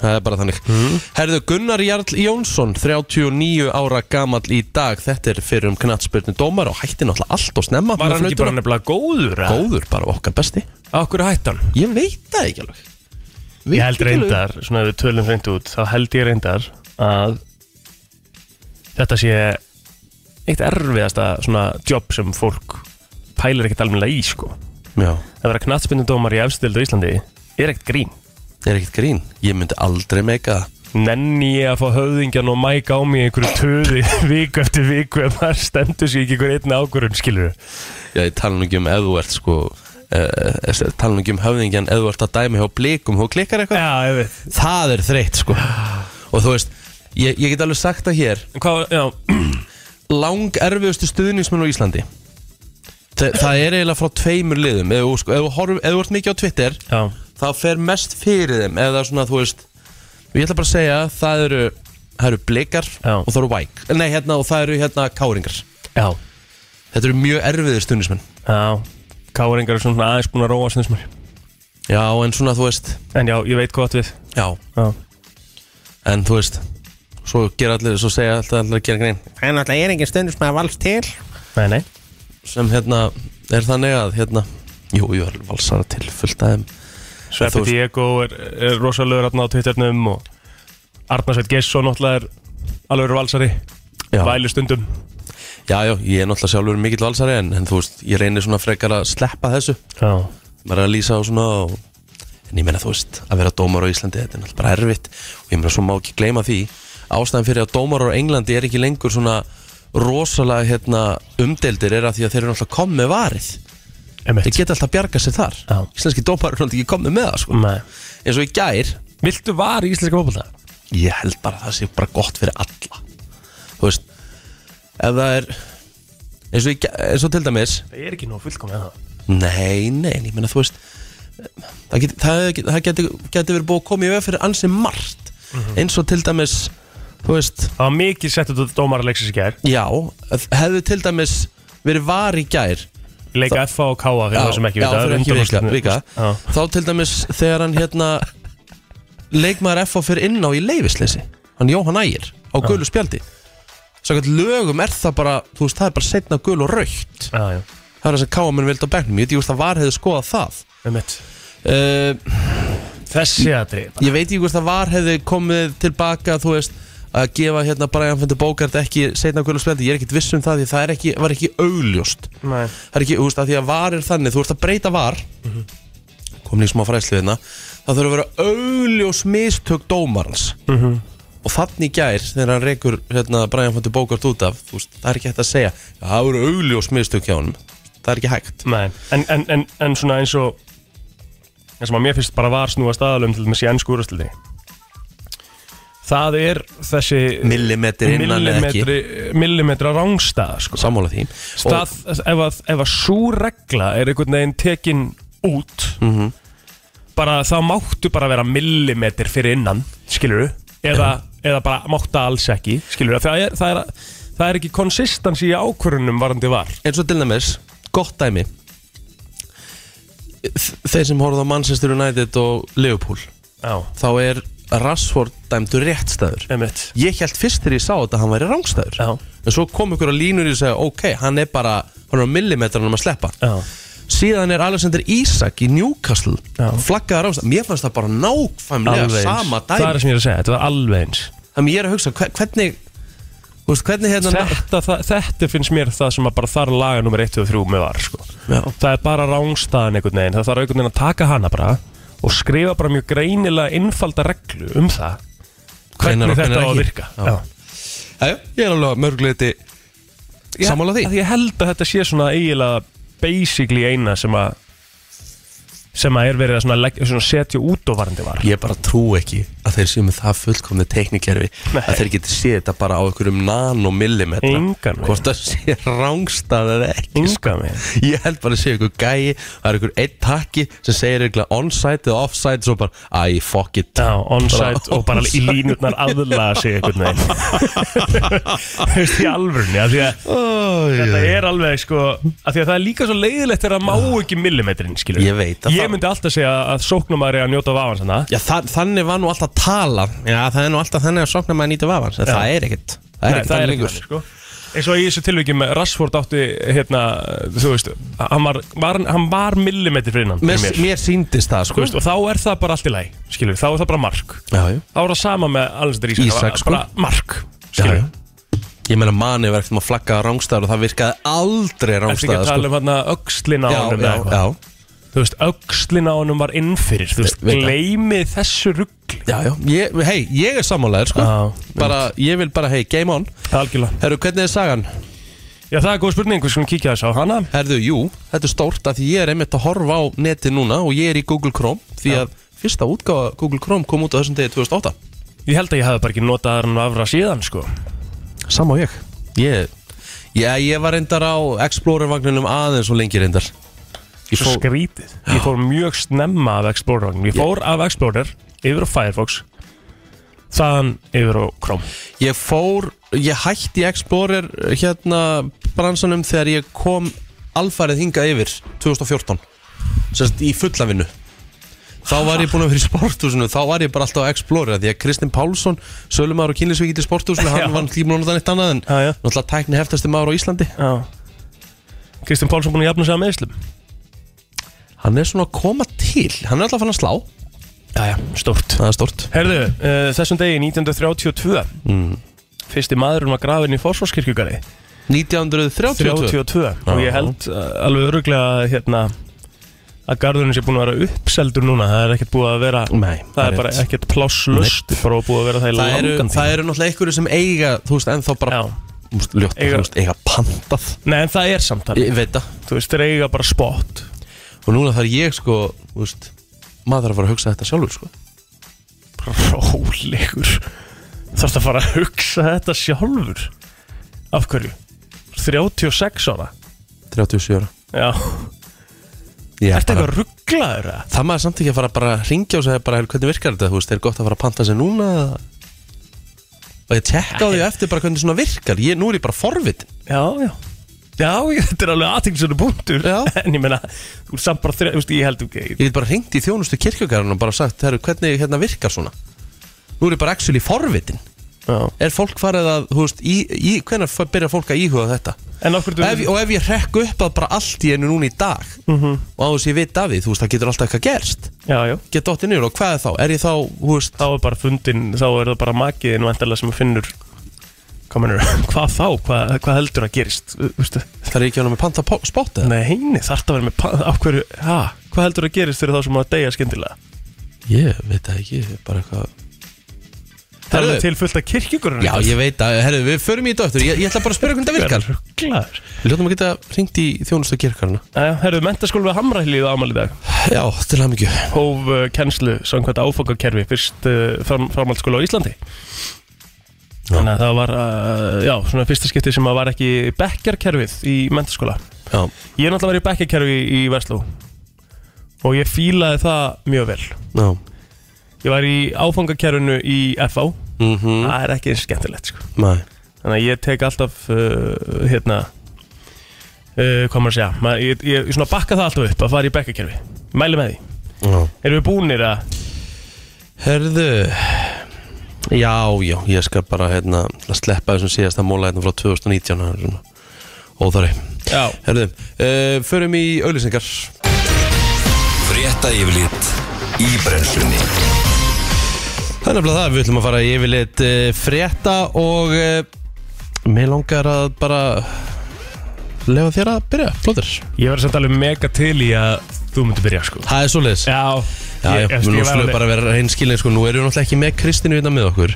Speaker 1: Það er bara þannig
Speaker 2: Mhm.
Speaker 1: Herðu Gunnar Jarl Jónsson 39 ára gamall í dag Þetta er fyrir um knatspyrnu dómar og hætti náttúrulega allt og snemma
Speaker 2: Var hann ekki bara
Speaker 1: Nautur-
Speaker 2: nefnilega góður? eða?
Speaker 1: Góður bara okkar besti
Speaker 2: Á hverju hætti hann?
Speaker 1: Ég veit það ekki alveg Veit
Speaker 2: Ég held
Speaker 1: ekki alveg.
Speaker 2: reyndar, svona ef við tölum reynd út þá held ég reyndar að þetta sé eitt erfiðasta svona jobb sem fólk pælir ekkert almennilega í sko
Speaker 1: Já,
Speaker 2: að vera knattspindundómar í efstildu Íslandi er ekkert grín
Speaker 1: er ekkert grín Ég myndi aldrei meika það
Speaker 2: Nenni ég að fá höfðingjan og mæk á mig í einhverju töði viku eftir viku ef maður stendur sér ekki einhver einn ákvörðum skilur
Speaker 1: Já, ég tala nú ekki um ef þú ert sko Uh, tala nú ekki um höfðingjan ef þú ert að dæmi hjá blikum þú klikkar eitthvað,
Speaker 2: Já, ég veit
Speaker 1: það er þreytt sko og þú veist, ég, ég get alveg sagt það hér
Speaker 2: En Hvað, var- já,
Speaker 1: lang erfiðustu stuðnismenn á Íslandi Þa, það er eiginlega frá tveimur liðum ef þú sko, ef þú horf- ef þú ert mikið á Twitter
Speaker 2: já,
Speaker 1: það fer mest fyrir þeim eða svona þú veist ég ætla bara að segja það eru það eru blikar
Speaker 2: Já.
Speaker 1: og það eru væk nei hérna og það eru hérna káringar
Speaker 2: já,
Speaker 1: þetta eru mjög erfiður stuðnismenn
Speaker 2: já Káringar er svona aðeins búin að róa sinni smur
Speaker 1: já en svona þú veist
Speaker 2: En já, ég veit hvað átt við
Speaker 1: já
Speaker 2: Já
Speaker 1: en þú veist svo gera allir svo segja alltaf allir að gera grein
Speaker 3: Það er náttúrulega er engin stundum sem að valst til
Speaker 2: Nei, nei
Speaker 1: sem hérna er þannig að hérna jú jú það eru valsara til fullt af þeim
Speaker 2: Sveppi
Speaker 1: Þú veist-
Speaker 2: Diego er, er rosalögur aðna á Twitternum og Arnarsveit Gesson náttúrulega er alveg valsari
Speaker 1: já
Speaker 2: væli stundum
Speaker 1: Já, já, ég er náttúrulega sjálfur mikill valsari en, en þú veist, ég reynir svona frekar að sleppa þessu
Speaker 2: Já,
Speaker 1: maður er að lýsa á svona og, en ég meina þú veist, að vera dómar á Íslandi þetta er náttúrulega bara erfitt og ég meina svo má ekki gleyma því ástæðan fyrir að dómar á Englandi er ekki lengur svona rosalega hérna, umdeldir er að því að þeir eru náttúrulega komið varið þeir
Speaker 2: emitt
Speaker 1: geta alltaf bjargað sér þar
Speaker 2: Já.
Speaker 1: íslenski dómar eru náttúrulega ekki komið með það sko.
Speaker 2: Nei.
Speaker 1: eins og í gær
Speaker 2: Viltu var í íslenska fólkvölda?
Speaker 1: ég held bara að það sé bara gott fyrir alla þú veist ef það er eins og, í gær- eins og til dæmis
Speaker 2: Það er ekki nú fullkomlega það
Speaker 1: Nei, nei, en ég meina þú veist það geti, það geti, það geti, geti verið búið að koma í veg fyrir ansi margt eins og til dæmis þú veist,
Speaker 2: Það var mikið sett út dómar að leiksins í gær
Speaker 1: já hefðu til dæmis verið var í gær
Speaker 2: Í Leika F.A. og K.A. fyrir það sem ekki
Speaker 1: já,
Speaker 2: vita
Speaker 1: fyrir ekki vika,
Speaker 2: undanúrslitin.
Speaker 1: vika.
Speaker 2: Já.
Speaker 1: þá til dæmis þegar hann hérna leikmaður F.A. fyrir inn á í leifisleysi hann Jóhann Ægir á gulu spjaldi Sannkvæmt lögum er það bara, þú veist, það er bara setna gul og raukt
Speaker 2: Já, já,
Speaker 1: Það er þess að káa menn vildi á begnum, ég veit, ég veist að var hefði skoðað það
Speaker 2: emitt
Speaker 1: uh,
Speaker 2: Þessi aðri
Speaker 1: Ég veit ekki hvort það var hefði komið tilbaka þú veist að gefa hérna Brian Fender Bogart ekki setna kvölu spjaldi, ég er ekkit viss um það því það er ekki, var ekki augljóst
Speaker 2: Nei
Speaker 1: það er ekki, þú veist, að því að var er þannig, þú ert að breyta var komin í smá fræslu hérna það þurfa að vera augljós mistök dómarans og þannig gær þegar hann rekur hérna Brian Fender Bogart út af, þú veist, það er ekki hægt að segja "Já, það voru augljós mistök hjá honum það er ekki hægt,
Speaker 2: Nei, en, en, en, en svona eins og eins og maður mér finnst bara var snúa staðalum til þessi ennsku úrastildi Það er þessi
Speaker 1: millimetri innan eða ekki
Speaker 2: millimetri, millimetra rángstað sko.
Speaker 1: sammála því Og-
Speaker 2: Stað, ef, að, ef að sú regla er einhvern veginn tekin út
Speaker 1: Mhm.
Speaker 2: bara þá máttu bara vera millimetr fyrir innan skilur eða, eða bara máttu alls ekki skilur það er, það er, það er ekki konsistans í ákvörunum varandi var
Speaker 1: eins og til dæmis, gott dæmi Þ- þeir sem horfðu á Manchester United og Liverpool
Speaker 2: Já,
Speaker 1: þá er Rashford dæmdur réttstæður
Speaker 2: emitt
Speaker 1: ég held fyrst þegar ég sá þetta að hann væri rángstæður
Speaker 2: Já.
Speaker 1: en svo kom ykkur á línur í að segja ok, hann er bara, hann er á millimetranum að sleppa
Speaker 2: Já,
Speaker 1: síðan er Alexander Isak í Newcastle
Speaker 2: Já.
Speaker 1: flaggaða rángstæður, mér fannst það bara nákvæmlega
Speaker 2: alveg
Speaker 1: sama
Speaker 2: eins Það er
Speaker 1: dæmi
Speaker 2: sem ég er að segja, þetta var alveg eins
Speaker 1: þannig ég er að hugsa, hve- hvernig þú veist, hvernig hérna
Speaker 2: þetta, það, þetta finnst mér það sem að bara þar laga nummer 1 og 3 með var sko.
Speaker 1: Já.
Speaker 2: það er bara rángstaðan einhvern veginn það þarf einhvern veginn að taka hana bara og skrifa bara mjög greinilega innfalda reglu um það hvernig
Speaker 1: Hvenær og
Speaker 2: þetta
Speaker 1: hvenær
Speaker 2: á að
Speaker 1: ekki.
Speaker 2: virka
Speaker 1: Já. Jæja, ég er alveg mörgleiti sammála því
Speaker 2: Ég, ég held að þetta sé svona eiginlega basically eina sem að sem að er verið að svona, legg, svona setja út og varandi var
Speaker 1: Ég bara trú ekki að þeir séu með það fullkomni teknikerfi
Speaker 2: Nei.
Speaker 1: að þeir geti séð þetta bara á einhverjum nanomillimetra
Speaker 2: Engan veginn.
Speaker 1: hvort það sé rángstað eða ekki sko.
Speaker 2: Enga mig
Speaker 1: Ég held bara að sé einhver gæi það er einhver einn takki sem segir eitthvað onside eða offside svo bara æ, fuck it
Speaker 2: Já, onside
Speaker 1: Bara
Speaker 2: og bara í
Speaker 1: onside.
Speaker 2: línutnar aðlaða sig einhvern veginn Þú veist, í alvörunni af því að
Speaker 1: oh,
Speaker 2: Þetta er alveg sko að Því að það er líka svo leiðilegt þegar það má ekki millimetrin skilur
Speaker 1: Ég veit að
Speaker 2: Ég ég myndi alltaf segja að sóknumar er að njóta vafan svona
Speaker 1: Já, þa þannig var nú alltaf tala Já, það er nú alltaf þannig að sokna maður nýta vafans en Það er ekkert Það er
Speaker 2: Nei,
Speaker 1: ekkert þannig lengur
Speaker 2: þannig, sko. eins og í þessu tilviki með Rashford átti hérna, þú veist hann var, var, hann var millimetri fyrir innan
Speaker 1: Mér,
Speaker 2: fyrir mér,
Speaker 1: mér síndist það,
Speaker 2: þú
Speaker 1: sko
Speaker 2: veist, og þá er það bara allt í læg skilur, þá er það bara mark
Speaker 1: Já, já
Speaker 2: þá er það sama með Alexander Ísak,
Speaker 1: Isak,
Speaker 2: það var bara mark
Speaker 1: Já,
Speaker 2: skilur,
Speaker 1: já. Ég meina manið var ekkert um að flagga á rángstæður og það virkaði
Speaker 2: eftir
Speaker 1: aldrei
Speaker 2: ekki
Speaker 1: rángstæður
Speaker 2: að
Speaker 1: sko.
Speaker 2: tala um hérna öxlin á
Speaker 1: Já,
Speaker 2: honum
Speaker 1: já,
Speaker 2: eða eitthvað.
Speaker 1: já,
Speaker 2: þú veist, öxlin á honum var innfyrir þú veist,
Speaker 1: Veit það.
Speaker 2: gleymið þessu rugg
Speaker 1: já, já. Ég, Hei, ég er sammálaður sko.
Speaker 2: Já,
Speaker 1: bara, Ég vil bara, hei, game on
Speaker 2: algjörlega
Speaker 1: Herru, hvernig er sagan?
Speaker 2: já, það er góð spurning, við skulum kíkja þessu á hana
Speaker 1: Herðu, jú, þetta er stórt að því ég er einmitt að horfa á neti núna og ég er í Google Chrome því að fyrsta útgáfa Google Chrome kom út á þessum degi 2008
Speaker 2: ég held að ég hafði bara ekki notað hann afra síðan sko.
Speaker 1: Samma og ég Ég, já, ég var reyndar á Explorer-vagninum aðeins og lengi reyndar Ég
Speaker 2: svo
Speaker 1: fó,
Speaker 2: skrítið Ég fór mjög snemma af Explorer Ég fór af Explorer yfir á Firefox Þaðan yfir á Chrome
Speaker 1: ég fór, ég hætti Explorer hérna bransanum þegar ég kom alfarið hingað yfir 2014 Sérst í fullafinu Þá var ég búinn að vera í sporthúsinu Þá var ég bara alltaf á Explorer af Því að Kristinn Pálsson, sölumar og kynlisvíkitt í sporthúsinu
Speaker 2: Já.
Speaker 1: Hann var náttúrulega búinn að nota neitt annað en
Speaker 2: Já, já.
Speaker 1: Náttúrulega tækni heftasti maður á Íslandi
Speaker 2: Já Kristján Pálsson búin að jafna sig að meðslum
Speaker 1: Hann er svona að koma til Hann er alltaf fann að slá
Speaker 2: Jæja, stórt
Speaker 1: Það er stort
Speaker 2: Herðu, uh, þessum degi 1932
Speaker 1: Mm.
Speaker 2: Fyrsti maðurinn var grafinn í Forsvarskirkjugari
Speaker 1: 1932
Speaker 2: 32 Og ég held uh, alveg öruglega hérna að garðurinn sé búin að vera uppseldur núna það er ekkert búið að vera
Speaker 1: Nei,
Speaker 2: það er bara
Speaker 1: rétt.
Speaker 2: ekkert plásslust bara búið að vera það í
Speaker 1: Það eru,
Speaker 2: langan
Speaker 1: það eru náttúrulega einhverju sem eiga Þú veist, ennþá bara
Speaker 2: Já.
Speaker 1: Þú veist, ljótt,
Speaker 2: Eiga-
Speaker 1: þú veist, eiga pantað
Speaker 2: Nei, en það er samt alveg
Speaker 1: Ég veit það
Speaker 2: Þú veist, þeir eiga bara spot
Speaker 1: Og núna þarf ég sko, þú veist Maður þarf að fara að hugsa þetta sjálfur sko
Speaker 2: Bara Rólegur Þarfst að fara að hugsa þetta sjálfur Af hverju? 36 ára
Speaker 1: 37 ára
Speaker 2: Já,
Speaker 1: Ég er
Speaker 2: ertu
Speaker 1: bara-
Speaker 2: eitthvað rugglaður eða?
Speaker 1: Það maður samt ekki að fara bara að ringja og segja bara "Hey, hvernig virkar þetta, þú veist, er gott að fara að panta sér núna eða?" og ég tekka á því á eftir bara hvernig svona virkar, ég, nú er ég bara forvit
Speaker 2: Já, já Já, ég- þetta er alveg aðtingsunni punktur
Speaker 1: Já.
Speaker 2: En ég meina, þú er samt bara þrjá Þú veist, ég held ekki
Speaker 1: ég get bara ringt í þjónustu kirkjögarinn og bara sagt, herru, hvernig hérna virkar svona nú er ég bara actually forvitin
Speaker 2: Já.
Speaker 1: er fólk farið að, þú veist, í, í, hvenær f- byrjar fólk að íhuga þetta
Speaker 2: En af hverju
Speaker 1: ef, og ef ég hrekk upp að bara allt í einu núna í dag -hmm. og á þess ég veit af því, þú veist, það getur alltaf eitthvað gerst
Speaker 2: Mhm. Já, já
Speaker 1: get dottið niður og hvað er þá, er ég þá, þú veist
Speaker 2: Þá er bara fundin, þá er það bara makiðin Væntalega sem finnur Hvað mennur, hvað þá, hvað, hvað heldur að gerist Þú veistu
Speaker 1: þar er ég ekki ánum með panta po- spott eða?
Speaker 2: Nei, heini, þarf það að vera með pan- Af hverju, ha, hvað heldur að gerist fyrir þá sem að deyja skyndilega?
Speaker 1: ég veit það ekki, bara eitthvað
Speaker 2: Það er
Speaker 1: Herðu.
Speaker 2: alveg til fullt af kirkjugurinn
Speaker 1: Já, ég veit að, herru, við förum í þetta aftur ég, ég ætla bara að spyrja um hvernig þetta virkar
Speaker 2: Rugglaður
Speaker 1: Við ljótum að geta ringt í þjónustu kirkarna
Speaker 2: Æja, herðu, mentaskólu við Hamrahilið ámæli dag
Speaker 1: Já, til hann ekki
Speaker 2: Hóf uh, kennslu, samkvæmt áfangakerfi Fyrst uh, fram, framhaldsskóla á Íslandi Þannig að það var, uh, já, svona fyrsta skipti sem að var ekki Bekkarkerfið í mentaskóla
Speaker 1: Já,
Speaker 2: Ég er náttúrulega verið í bekkarkerfi í, í Vestló Og ég fílaði það mjög vel
Speaker 1: já
Speaker 2: Ég var í áfangakerfinu í FH
Speaker 1: Mhm,
Speaker 2: Það er ekki eins skemmtilegt, sko
Speaker 1: næ
Speaker 2: Þannig að ég tek alltaf uh, hérna uh, hvað maður að segja Ma, ég, ég, ég svona bakka það alltaf upp að fara í bekkakerfi Mæli með því
Speaker 1: Já.
Speaker 2: Erum við búnir að
Speaker 1: Herðu Já, já, ég skal bara, hérna ætla að sleppa þessum síðasta móla hérna frá 2019 það er svona Óþari
Speaker 2: Já
Speaker 1: Herðu, uh, förum í auðlýsingar
Speaker 4: Frétta yfirlit í brennslunni
Speaker 1: Það er nefnilega það, við ætlum að fara í yfirleitt uh, frétta og uh, mér langar að bara lefa þér að byrja, flóttir
Speaker 2: Ég verður samt alveg mega til í að þú myndir byrja sko
Speaker 1: Það er svoleiðis
Speaker 2: Já
Speaker 1: Já, já,
Speaker 2: ég, ég,
Speaker 1: við nú
Speaker 2: ég,
Speaker 1: slúum
Speaker 2: ég,
Speaker 1: bara
Speaker 2: bara...
Speaker 1: að vera reynskilin sko, nú erum við náttúrulega ekki með Kristinu innan með okkur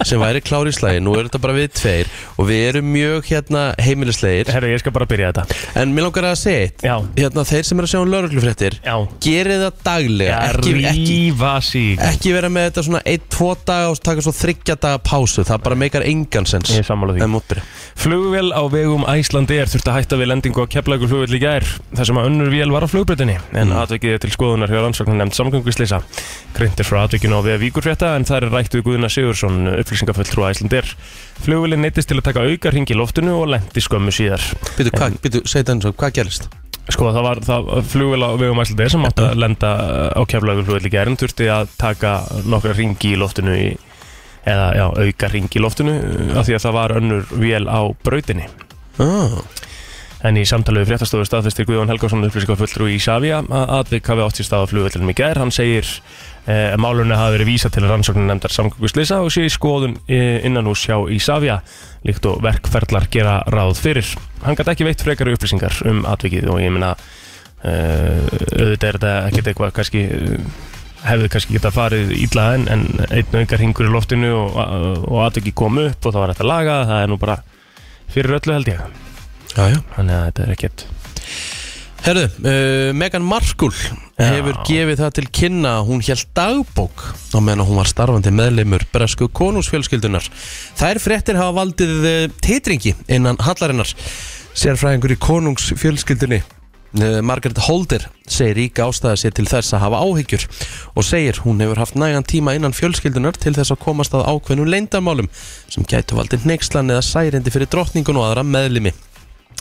Speaker 1: sem væri klár í slagi, nú er þetta bara við tveir og við erum mjög hérna heimilislegir
Speaker 2: Herra, ég skal bara byrja þetta
Speaker 1: en mér langar að segja eitt
Speaker 2: Já.
Speaker 1: hérna, þeir sem eru að sjá um lauruglufréttir
Speaker 2: Já.
Speaker 1: gerið það daglega ekki, ekki,
Speaker 2: Rífa sig
Speaker 1: ekki vera með þetta svona 1-2 daga og taka svo 3 daga pásu það bara meikar engan sens
Speaker 2: Ég er sammála því.
Speaker 1: En mátt byrja.
Speaker 2: Flugvél á vegum Æslandi er þurft að hætta við lendingu á keflagur flugvél í gær þar sem að önnur vél var á flugbreytinni en
Speaker 1: Mm.
Speaker 2: atvikið er til skoðunar hjá rannsóknar nefnd samgönguslýsa. Greint er frá atvikinu á vega víkurfrétta en það er rætt við Guðuna Sigursson upplýsingafulltrú Æslandi er. Flugvélin neittist til að taka aukar hring í loftinu og lendi skömmu síðar.
Speaker 1: Býtu, hvað, býtu, segja þetta eins og hvað gerist?
Speaker 2: Eh, Sko það var það flugvél á vegum æslandið sem átti að lenda á keflagur flugvél í gerum þurfti að taka nokkra ringi í loftinu í, eða já, auka ringi í loftinu uh, af því að það var önnur vél á brautinni
Speaker 1: ah.
Speaker 2: En í samtalið við fréttastofu staðfestir Guðjón Helgarsson upplýsingafulltrú í Savia að atvik hafi átt sér stað á flugvöllunum í gær. Hann segir eh, að málunni hafi verið vísað til rannsóknir nefndar samgönguslisa og sé í skoðun eh, innan hús hjá í Savia líkt og verkferðlar gera ráð fyrir. Hann gæti ekki veitt frekari upplýsingar um atvikið og ég minna eh, auðvitað er þetta ekkert eitthvað kannski eh, hefði kannski geta farið illa en, en einn auðgar hingur í loftinu og, og atvikið kom upp og það var hægt að laga það er nú bara fyrir öllu held ég
Speaker 1: Já, já
Speaker 2: þannig að þetta er ekkert
Speaker 1: Herðu, uh, Megan Markle
Speaker 2: Já.
Speaker 1: hefur gefið það til kynna að hún held dagbók á meðan að hún var starfandi meðleimur bresku konungsfjölskyldunar. Þær fréttir hafa valdið uh, titringi innan hallarinnar. Sérfræðingur í konungsfjölskyldunni uh, Margaret Holder segir ríka ástæða sér til þess að hafa áhyggjur og segir hún hefur haft nægan tíma innan fjölskyldunar til þess að komast að ákveðnum leindarmálum sem gætu valdið neykslan eða særendi fyrir drottningun og aðra meðlimi.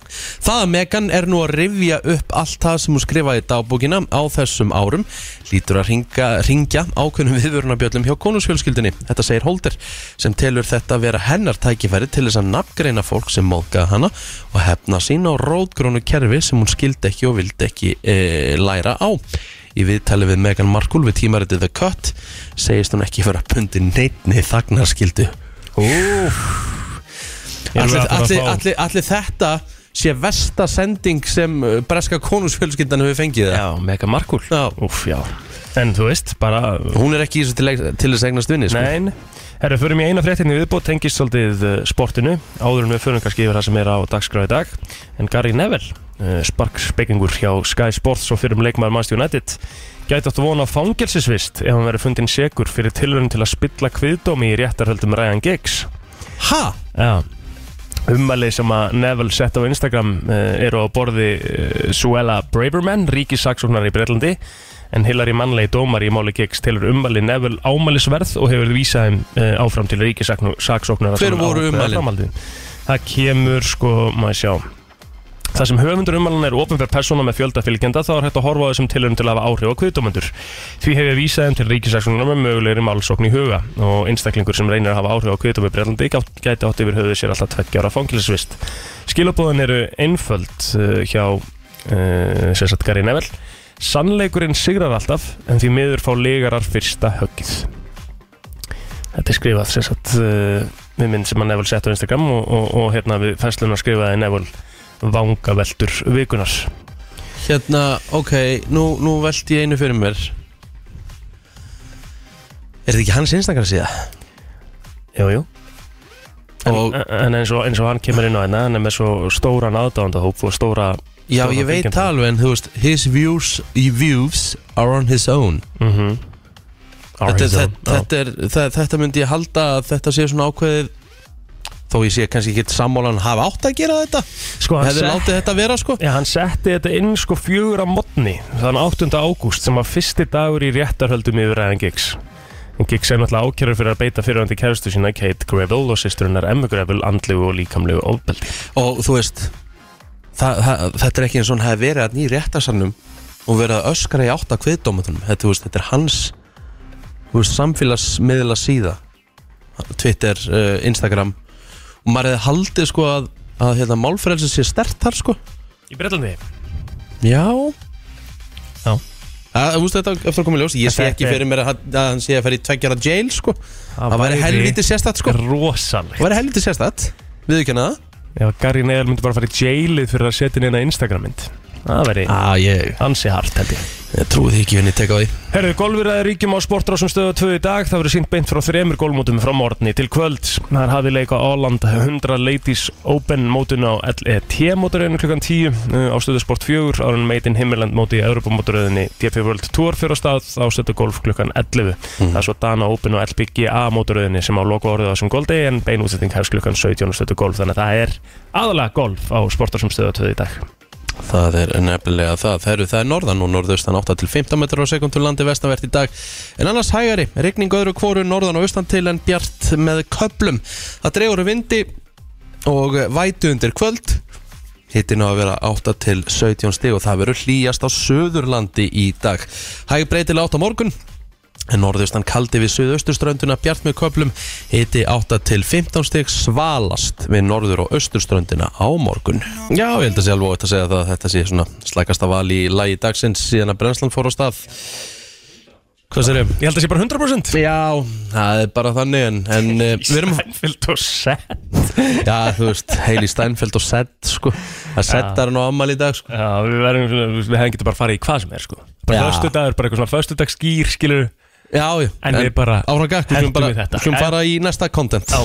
Speaker 1: Það að Megan er nú að rifja upp allt það sem hún skrifaði í dagbókina á þessum árum lítur að ringa, ringja ákveðnum viðvörunabjöllum hjá konusfjölskyldinni þetta segir Holder sem telur þetta vera hennar tækifæri til þess að nafngreina fólk sem móðgaði hana og hefna sín á rótgrónu kerfi sem hún skildi ekki og vildi ekki e, læra á Í viðtali við Megan Markle við tímaritið The Cut segist hún ekki vera bundin neittni þagnarskyldu Allir, allir, allir, allir þetta sé versta sending sem uh, breska konungsfjölskyldan hefur fengið það.
Speaker 2: Já, mega markul
Speaker 1: Já.
Speaker 2: Úf, já En þú veist, bara
Speaker 1: Hún er ekki í þessu til, til þess að eignast vinni sko.
Speaker 2: Nein Herra, förum í eina fréttinni viðbót Tengist svolítið eh, sportinu Áður en við förum kannski yfir það sem er á dagskrá í dag En Gary Neville eh, Sparkspekingur hjá Sky Sports Og fyrir um leikmaður Manchester United Gæti átt að vona fangelsisvist Ef hann verið fundin segur fyrir tilröðin til að spilla kviðdómi Í réttarhöldum Ryan Giggs
Speaker 1: Ha?
Speaker 2: Já Ummælið sem að Neville sett á Instagram uh, eru á borði uh, Suella Braverman, ríkissaksóknar í Breitlandi en Hillary Manley dómar í máli Giggs telur ummælið Neville ámælisverð og hefur vísað þeim uh, áfram til ríkissaksóknar
Speaker 1: Hver voru ummælin?
Speaker 2: Það kemur sko, maður sjá Það sem höfundur ummælan er ofinferð persóna með fjölda fylgjenda þá er hægt að horfa á þessum tilhörum til að hafa áhrif á kviðdómendur. Því hef ég vísað þeim til ríkisaksjónar með mögulegri málsókn í huga og einstaklingur sem reynir að hafa áhrif á kviðdómi brellandi gæti átt yfir höfuð sér alltaf tveggjára fangilsvist. Skilabóðan eru einföld uh, hjá uh, sérsagt Gary Neville. Sannleikurinn sigrar alltaf en því miður fá legarar fyrsta höggið. Þetta er skrifað sérsagt uh, við minn sem að Neville sett á Instagram og, og, og hérna við fæsluna skrifaði Neville vangaveldur vikunar
Speaker 1: Hérna, ok, nú, nú velti ég einu fyrir mér Er þetta ekki hans einstakar síða?
Speaker 2: Jú, jú
Speaker 1: Og-
Speaker 2: En, en eins, og, eins og hann kemur inn á hérna hann er með svo stóran aðdándahóp og stóra
Speaker 1: Já,
Speaker 2: Stóra
Speaker 1: ég veit
Speaker 2: fylgjenda.
Speaker 1: það alveg en þú veist His views, his views are on his own
Speaker 2: mm -hmm,
Speaker 1: Þetta, þetta, þetta, er, þe- þetta myndi ég halda að þetta sé svona ákveðið Þó ég sé kannski ekki sammálan hafa átt að gera þetta
Speaker 2: Sko, hann,
Speaker 1: Hefði
Speaker 2: set,
Speaker 1: látið þetta vera sko
Speaker 2: já, hann setti þetta inn sko fjögur á modni þann 8. ágúst sem var fyrsti dagur í réttarhöldum yfir ræðan Giggs En Giggs er náttúrulega ákjörður fyrir að beita fyrirhandi kærustu sína Kate Greville og sýsturinnar Emma Greville andlegu og líkamlegu ofbeldi
Speaker 1: Og þú veist það, það, Þetta er ekki eins og hann hefði verið að nýja réttarsalnum og verið að öskra í átta kviðdómatunum þetta, þú veist, þetta er hans þú veist, samfélagsmiðla síða Twitter, uh, Instagram og maður hefði haldið sko að, að hérna, málfrelsi sé stert þar sko
Speaker 2: Í Breitlandi
Speaker 1: Já
Speaker 2: Já.
Speaker 1: Það, þú veist þetta eftir að koma í ljós Ég sé
Speaker 2: Þetta
Speaker 1: ekki
Speaker 2: er-
Speaker 1: fyrir mér að, að hann sé að fara í tveggjara jail sko Það væri helvítið sérstætt sko
Speaker 2: Rosalegt
Speaker 1: Það væri helvítið sérstætt Viðurkenna það
Speaker 2: Ef Gary Neil myndi bara fara í jailið fyrir að setja inn eina Instagram mynd Það veri
Speaker 1: ah, ég,
Speaker 2: hansi hart held ég
Speaker 1: ég trúi því ekki henni teka á því
Speaker 2: Herðu, golfurraði ríkjum á sportrásum stöðu 2 í dag Það verður sínt beint frá þremur golfmótum frá morgni til kvölds Það hafi leika Áland 100 Ladies Open mótun á LET móturöðinu klukkan 10 uh, á stöðu sport 4 árun Made in Himmerland móti í Europamóturöðinni DP World Tour fyrir á stað á stöðu golf klukkan 11 Það er svo Dana Open og LPGA móturöðinni sem á loku orðið á þessum goldi en bein útsetting hefst klukkan 17 á stöðu golf þannig að það er aðalega golf á sportrásum stöðu 2 í dag
Speaker 1: Það er nefnilega það. Það eru það er norðan og norðaustan 8 til 15 metrar á sekundu landi vestanvert í dag. En annars hægari, rigning öðru kvoru norðan og austan til en bjart með köplum. Það dregur úr vindi og vætu undir kvöld Hittin á að vera 8 til 17 stig og það verður hlýjast á Suðurlandi í dag. Hæg breytilega 8 á morgun en norðustan kaldi við suðausturströnduna bjart með köplum hiti 8 til 15 stig svalast við norður og austurströndina á morgun Já, ég held að sé alveg ótt að segja það að þetta sé svona slækasta val í lagi dagsins síðan að brennslan fór á stað Hvað sér ég?
Speaker 2: Ég held að sé bara 100%
Speaker 1: Já, það er bara þannig en, en eh, við erum,
Speaker 2: Sænfjöld og set
Speaker 1: já þú veist, Heili Steinfeld og Sett sko, að Sett er nú ammali í dag sko
Speaker 2: Já, við verðum svona, við hefum getið bara farið í hvað sem er sko Bara
Speaker 1: Já.
Speaker 2: föstudagur, bara eitthvað svona föstudagsgýr, skilur
Speaker 1: Já, já,
Speaker 2: En við bara
Speaker 1: Áfram gakk, við skulum
Speaker 2: hendum
Speaker 1: bara,
Speaker 2: við þetta.
Speaker 1: við skulum
Speaker 2: En-
Speaker 1: fara í næsta content
Speaker 2: Já.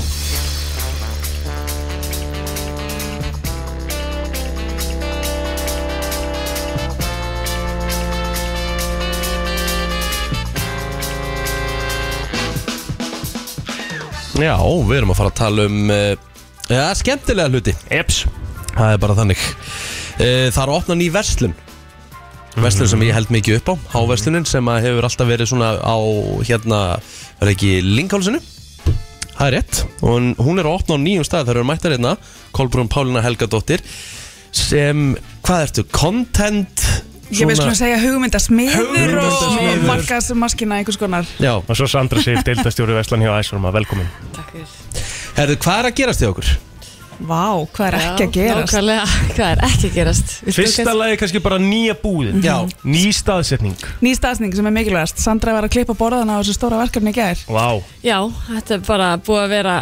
Speaker 1: Já, við erum að fara að tala um uh, ja, skemmtilega hluti
Speaker 2: Eps
Speaker 1: Það er bara þannig Eh, Það er að opna ný verslun Verslun sem ég held mikið upp á Háverslunin sem að hefur alltaf verið svona á hérna, er ekki Linghálsinu Það er rétt og hún- hún er að opna á nýjum stað þegar við mættar hérna Kolbrún Pálina Helgadóttir sem, hvað ertu, content
Speaker 5: Ég veist svona að segja hugmyndasmiður og
Speaker 1: Hugmyndasmiður.
Speaker 5: markaðsmaskina einhvers konar
Speaker 1: Já,
Speaker 2: Og svo Sandra Sif, deildastjóri Veslan hjá Æsorma, velkomin
Speaker 1: herðu, hvað er að gerast í okkur?
Speaker 5: Vá, hvað er ekki að gerast
Speaker 6: Nákvæmlega, hvað er ekki að gerast? Viltu
Speaker 2: Fyrsta
Speaker 6: kannski-
Speaker 2: lagi kannski bara nýja búðin
Speaker 1: Já.
Speaker 2: Ný staðsetning
Speaker 5: Ný staðsning sem er mikilvægast Sandra var að klippa borðana á þessu stóra verkefni í gær
Speaker 2: Vá
Speaker 6: Já, þetta er bara búið að vera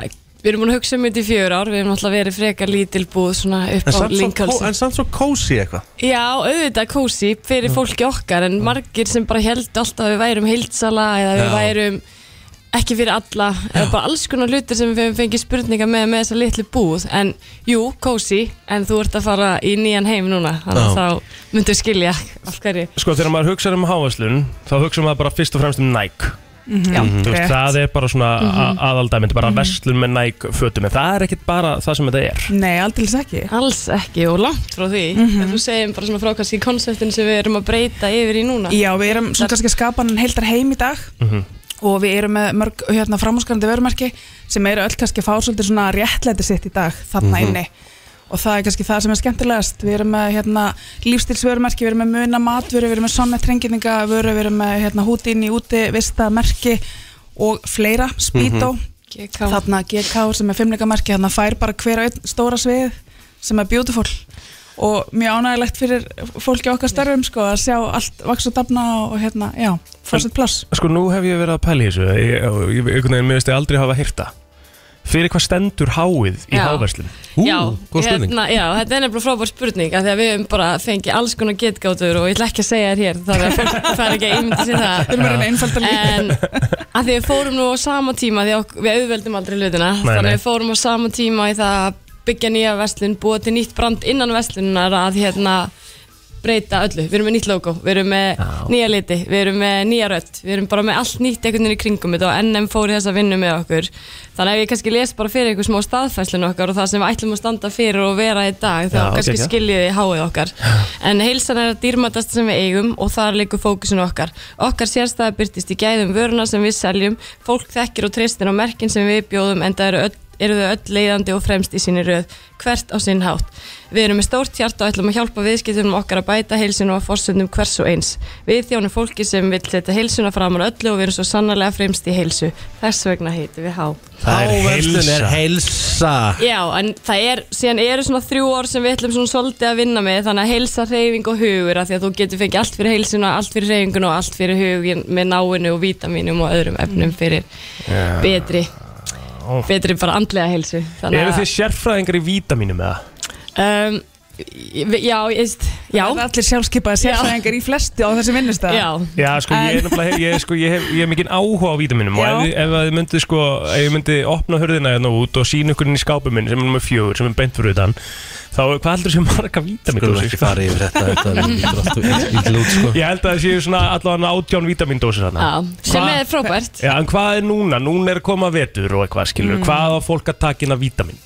Speaker 6: Við erum búin að hugsa um þetta í fjör ár Við erum alltaf verið frekar lítil búð svona upp á
Speaker 1: En samt, svo,
Speaker 6: Lincoln
Speaker 1: kó- en samt svo kósi eitthvað
Speaker 6: Já, auðvitað kósi fyrir fólki okkar En margir sem bara held alltaf að við værum heildsala Eða við
Speaker 1: Já.
Speaker 6: værum ekki fyrir alla Eða bara alls konar hlutir sem við höfum fengið spurningar með Með þessa litlu búð En jú, kósi, en þú ert að fara í nýjan heim núna Þannig að þá myndu skilja af hverju
Speaker 2: Sko þegar maður hugsaður um hávæslun Þá hugsaðum maður bara fyrst og fremst um Nike
Speaker 5: Já,
Speaker 2: Mhm. Þú veist,
Speaker 5: rétt.
Speaker 2: Það er bara svona mm
Speaker 6: Mhm.
Speaker 2: -hmm. aðaldæmynd Bara verslun með Nike fötum En það er ekkit bara það sem þetta er
Speaker 5: Nei, aldils ekki Mhm.
Speaker 6: Alls ekki og langt frá því en þú segir bara svona frá kannski konseptin sem við erum að breyta yfir í núna
Speaker 5: Já, við erum svona kannski að skapa hann heildar heim í dag og við erum með mörg hérna, framhúsgrandi vörumerki sem eru öll kannski að fá svolítið svona réttlæti sitt í dag þarna inni og það er kannski það sem er skemmtilegast við erum með hérna, lífstilsvörumerki við erum með muna matvöru, við erum með sonnetrenginninga vöru, við erum með hérna, húti inn í úti vista merki og fleira spító,
Speaker 6: GK
Speaker 5: þarna GK sem er fimmleikamerki, þarna fær bara hver og einn stóra svið sem er beautiful og mjög ánægilegt fyrir fólki á okkar störfum sko að sjá allt vaks og dafna og hérna, já, fórsett pláss
Speaker 2: Sko nú hef ég verið að pæla í þessu Ég- og ég- Einhvern veginn miðurst ég aldrei hafa hýrta Fyrir hvað stendur háið í
Speaker 6: Já.
Speaker 2: háverslun?
Speaker 1: Ú,
Speaker 6: já,
Speaker 1: góð spurning
Speaker 6: hérna, já, þetta er nefnilega frábær spurning af því að við hefum bara fengið alls konar getgátur og ég ætla ekki að segja þér hér þannig að fólk fær ekki að ímynda sér það
Speaker 5: Við erum að reyna einfaldan líka
Speaker 6: en að því við fórum nú á sama tíma því að við auðveldum aldrei hlutina
Speaker 2: Nei,
Speaker 6: þannig
Speaker 2: nei.
Speaker 6: að við fórum á sama tíma í það að byggja nýja verslun, búa til nýtt brand innan verslunar að hérna breyta öllu, við erum með nýtt logo, við erum með nýja liti, við erum með nýja rött við erum bara með allt nýtt einhvern veginn í kringum þetta og NM fór í þessa vinnu með okkur þannig að ef ég kannski les bara fyrir einhver smá staðfæslun okkar og það sem við ætlum að standa fyrir og vera í dag, þá
Speaker 2: Já,
Speaker 6: kannski
Speaker 2: geggjað.
Speaker 6: skil skiljiði háið okkar en heilsan er að dýrmatast sem við eigum og þar leikur fókusun okkar okkar sérstæða byrtist í gæðum vöruna sem við seljum fólk þekkir og treystin á merkin sem við bjóðum en það eru öll eru þau öll leiðandi og fremst í sinni röð, hvert á sinn hátt. Við erum með stórt hjart og ætlum að hjálpa viðskiptunum okkar að bæta heilsuna og fórsöndum hvers og eins. Við þjónum fólki sem vil setja heilsuna framar öllu og við erum svo sannarlega fremst í heilsu. Þess vegna heitum við há.
Speaker 1: Áverslun er heilsa
Speaker 6: Já, en það er, síðan eru svona þrjú ár sem við ætlum svona svolítið að vinna með þannig að heilsa, reyfing og hugur af því að þú getur fengið allt fyrir heilsuna, allt fyrir reyfingun og allt fyrir hugin með náinu og vítaminum og öðrum efnum fyrir betri betri bara andlega heilsu þannig
Speaker 2: Eru
Speaker 6: að
Speaker 2: þið sérfræðingar í vítamínum eða?
Speaker 6: um, ég- Já, ég veist, já,
Speaker 5: Það er allir sjálfskeipaði sérfræðingar í flestu á þessi vinnustæð
Speaker 6: já
Speaker 2: Já, sko, ég er
Speaker 5: En-
Speaker 2: nefnilega, ég, sko, ég hef, ég hef mikinn áhuga á vítaminum og
Speaker 5: Já.
Speaker 2: ef, þið- ef að þið myndi, sko, ef ég myndi opna hurðina hérna út og sína ykkur inn í skápum minn sem er nummer fjögur, sem er beint fyrir utan þá, hvað heldur þessi marga
Speaker 1: Skulum
Speaker 2: vítamindósir?
Speaker 1: ekki fara yfir þetta Þetta er lítur allt í- í lút sko
Speaker 2: Ég held að það séu svona allavega átján vítamindósir þarna
Speaker 6: Já, sem
Speaker 2: Hva-
Speaker 6: er frábært
Speaker 2: Já, en hvað er núna? Núna er að koma vetur og eitthvað, skilur
Speaker 5: Mm.
Speaker 2: Hvað á fólk að taka inn að vítamin?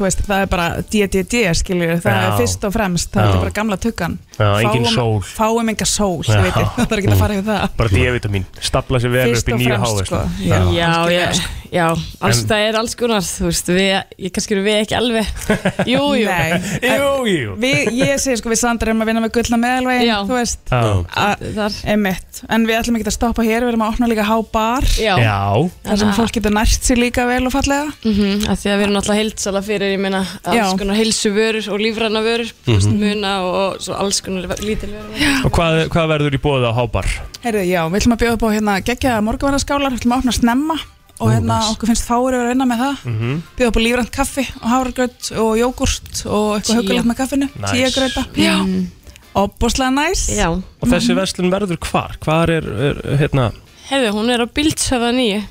Speaker 5: Þú veist, það er bara DDD skilur við, það
Speaker 2: Já.
Speaker 5: er fyrst og fremst það
Speaker 2: Já.
Speaker 5: er bara gamla tuggan
Speaker 2: Já, engin
Speaker 5: Fáum-
Speaker 2: sól.
Speaker 5: Fáum enga sól,
Speaker 2: Já.
Speaker 5: þú veit, það er ekki að fara yfir það
Speaker 2: Bara D-vitamin, stapla sér vel
Speaker 5: Fyrst
Speaker 2: upp í
Speaker 5: og
Speaker 2: nýja
Speaker 5: fremst
Speaker 2: háveist
Speaker 5: sko
Speaker 6: Já, ég, já, alls, það er alls konar þú veist, við, ég kannski eru við ekki alveg jú, jú,
Speaker 5: Nei,
Speaker 2: Jú, jú
Speaker 5: við, ég segi sko við Sandra erum að vinna með gullna meðalvegin,
Speaker 6: Já.
Speaker 5: þú veist
Speaker 2: Já,
Speaker 5: að-
Speaker 6: þar
Speaker 5: einmitt, en við ætlum ekki að stoppa hér við erum að opna líka hábar
Speaker 6: já, já.
Speaker 2: já.
Speaker 5: þar sem fólk getur nært sér líka vel og fallega
Speaker 6: Mm að því að við erum alltaf heilsala fyrir ég meina alls
Speaker 5: Já.
Speaker 6: konar heilsu vörur og lífræna vörur mm
Speaker 2: Mhm.
Speaker 6: -hmm. muna og, og svo alls konar lítil vörur
Speaker 2: Og hvað, hvað verður í bóða á hábar?
Speaker 5: Heyrðu, já, við ætlum að bjóða upp á hérna geggja morgunvannaskálar, við ætlum að opna snemma og hérna okkur finnst fáur að vera að vinna með það
Speaker 1: Mhm.
Speaker 5: bjóða upp á lífrænt kaffi og háragraut og jógurt og eitthvað
Speaker 6: Tía.
Speaker 5: hugulegt með kaffinu
Speaker 2: Nice.
Speaker 5: tíagrauta, já, opbúslega næs
Speaker 6: já,
Speaker 2: Og þessi verslun verður hvar? Hvar er, er hérna,
Speaker 6: heyrðu, hún er á bíldshöfða nýju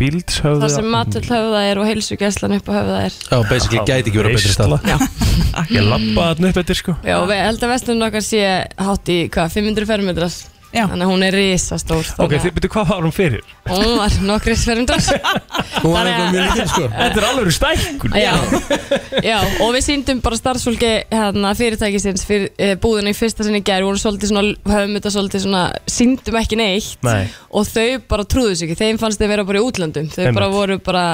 Speaker 2: bíldshöfða?
Speaker 6: þar sem matöld höfða er og heilsugæslan upp á höfða er
Speaker 1: Já, basically gæti ekki verið betri stað
Speaker 2: Ég labba þarna upp eftir sko
Speaker 6: já, og við held að vestunum okkar sé hátt í hvað, 500 fermetrar
Speaker 5: Já.
Speaker 6: þannig að hún er risastór
Speaker 2: Ok,
Speaker 6: þannig
Speaker 2: þið byrju hvað var hún fyrir?
Speaker 6: að hún var nokkris fermetrar
Speaker 1: Hún var
Speaker 6: Þannig að-
Speaker 1: eitthvað mjög lítil sko
Speaker 2: Þetta er alveg stækkun
Speaker 6: já, já, og við síndum bara starfsfólki hérna, fyrirtækisins fyrir, e, búðinu í fyrsta sinni í gær voru svolítið svona, höfum þetta svolítið svona síndum ekki neitt
Speaker 2: Nei.
Speaker 6: og þau bara trúðu sig ekki, þeim fannst þau vera bara í útlöndum þau
Speaker 2: Einmitt.
Speaker 6: bara voru bara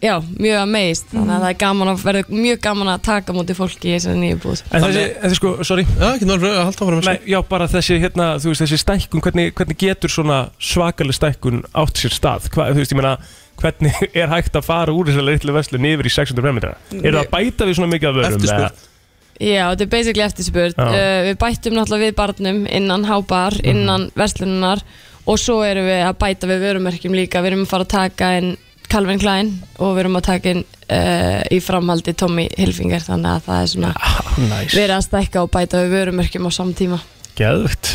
Speaker 6: já, mjög amazed, þannig að það er gaman að verður mjög gaman að taka á móti fólki í þessari nýju búð
Speaker 2: En þessi, þessi sko, sorry
Speaker 1: Já, ekki náttúrulega, halda áfram
Speaker 2: Nei, já, bara þessi, hérna, þú veist, þessi stækkun hvernig, hvernig getur svona svakaleg stækkun átt sér stað? Hva, þú veist, ég meina hvernig er hægt að fara úr þessari litlu verslun yfir í 600 fermetra? Er það að bæta við svona mikið af vörum?
Speaker 1: Eftirspurn.
Speaker 2: eða?
Speaker 6: Já, þetta er basically eftirspurn
Speaker 2: Já. Mhm.
Speaker 6: uh, Við bættum náttúrulega við barnum innan hábar, innan verslunar og svo erum við að bæta við vörumerkjum líka Við erum að fara að taka inn Calvin Klein og við erum að taka inn uh, í framhaldi Tommy Hilfinger þannig að það er svona
Speaker 2: Ah, Næs,
Speaker 6: verið að stækka og bæta við vörumerkjum á Mhm. samtíma
Speaker 2: geðvögt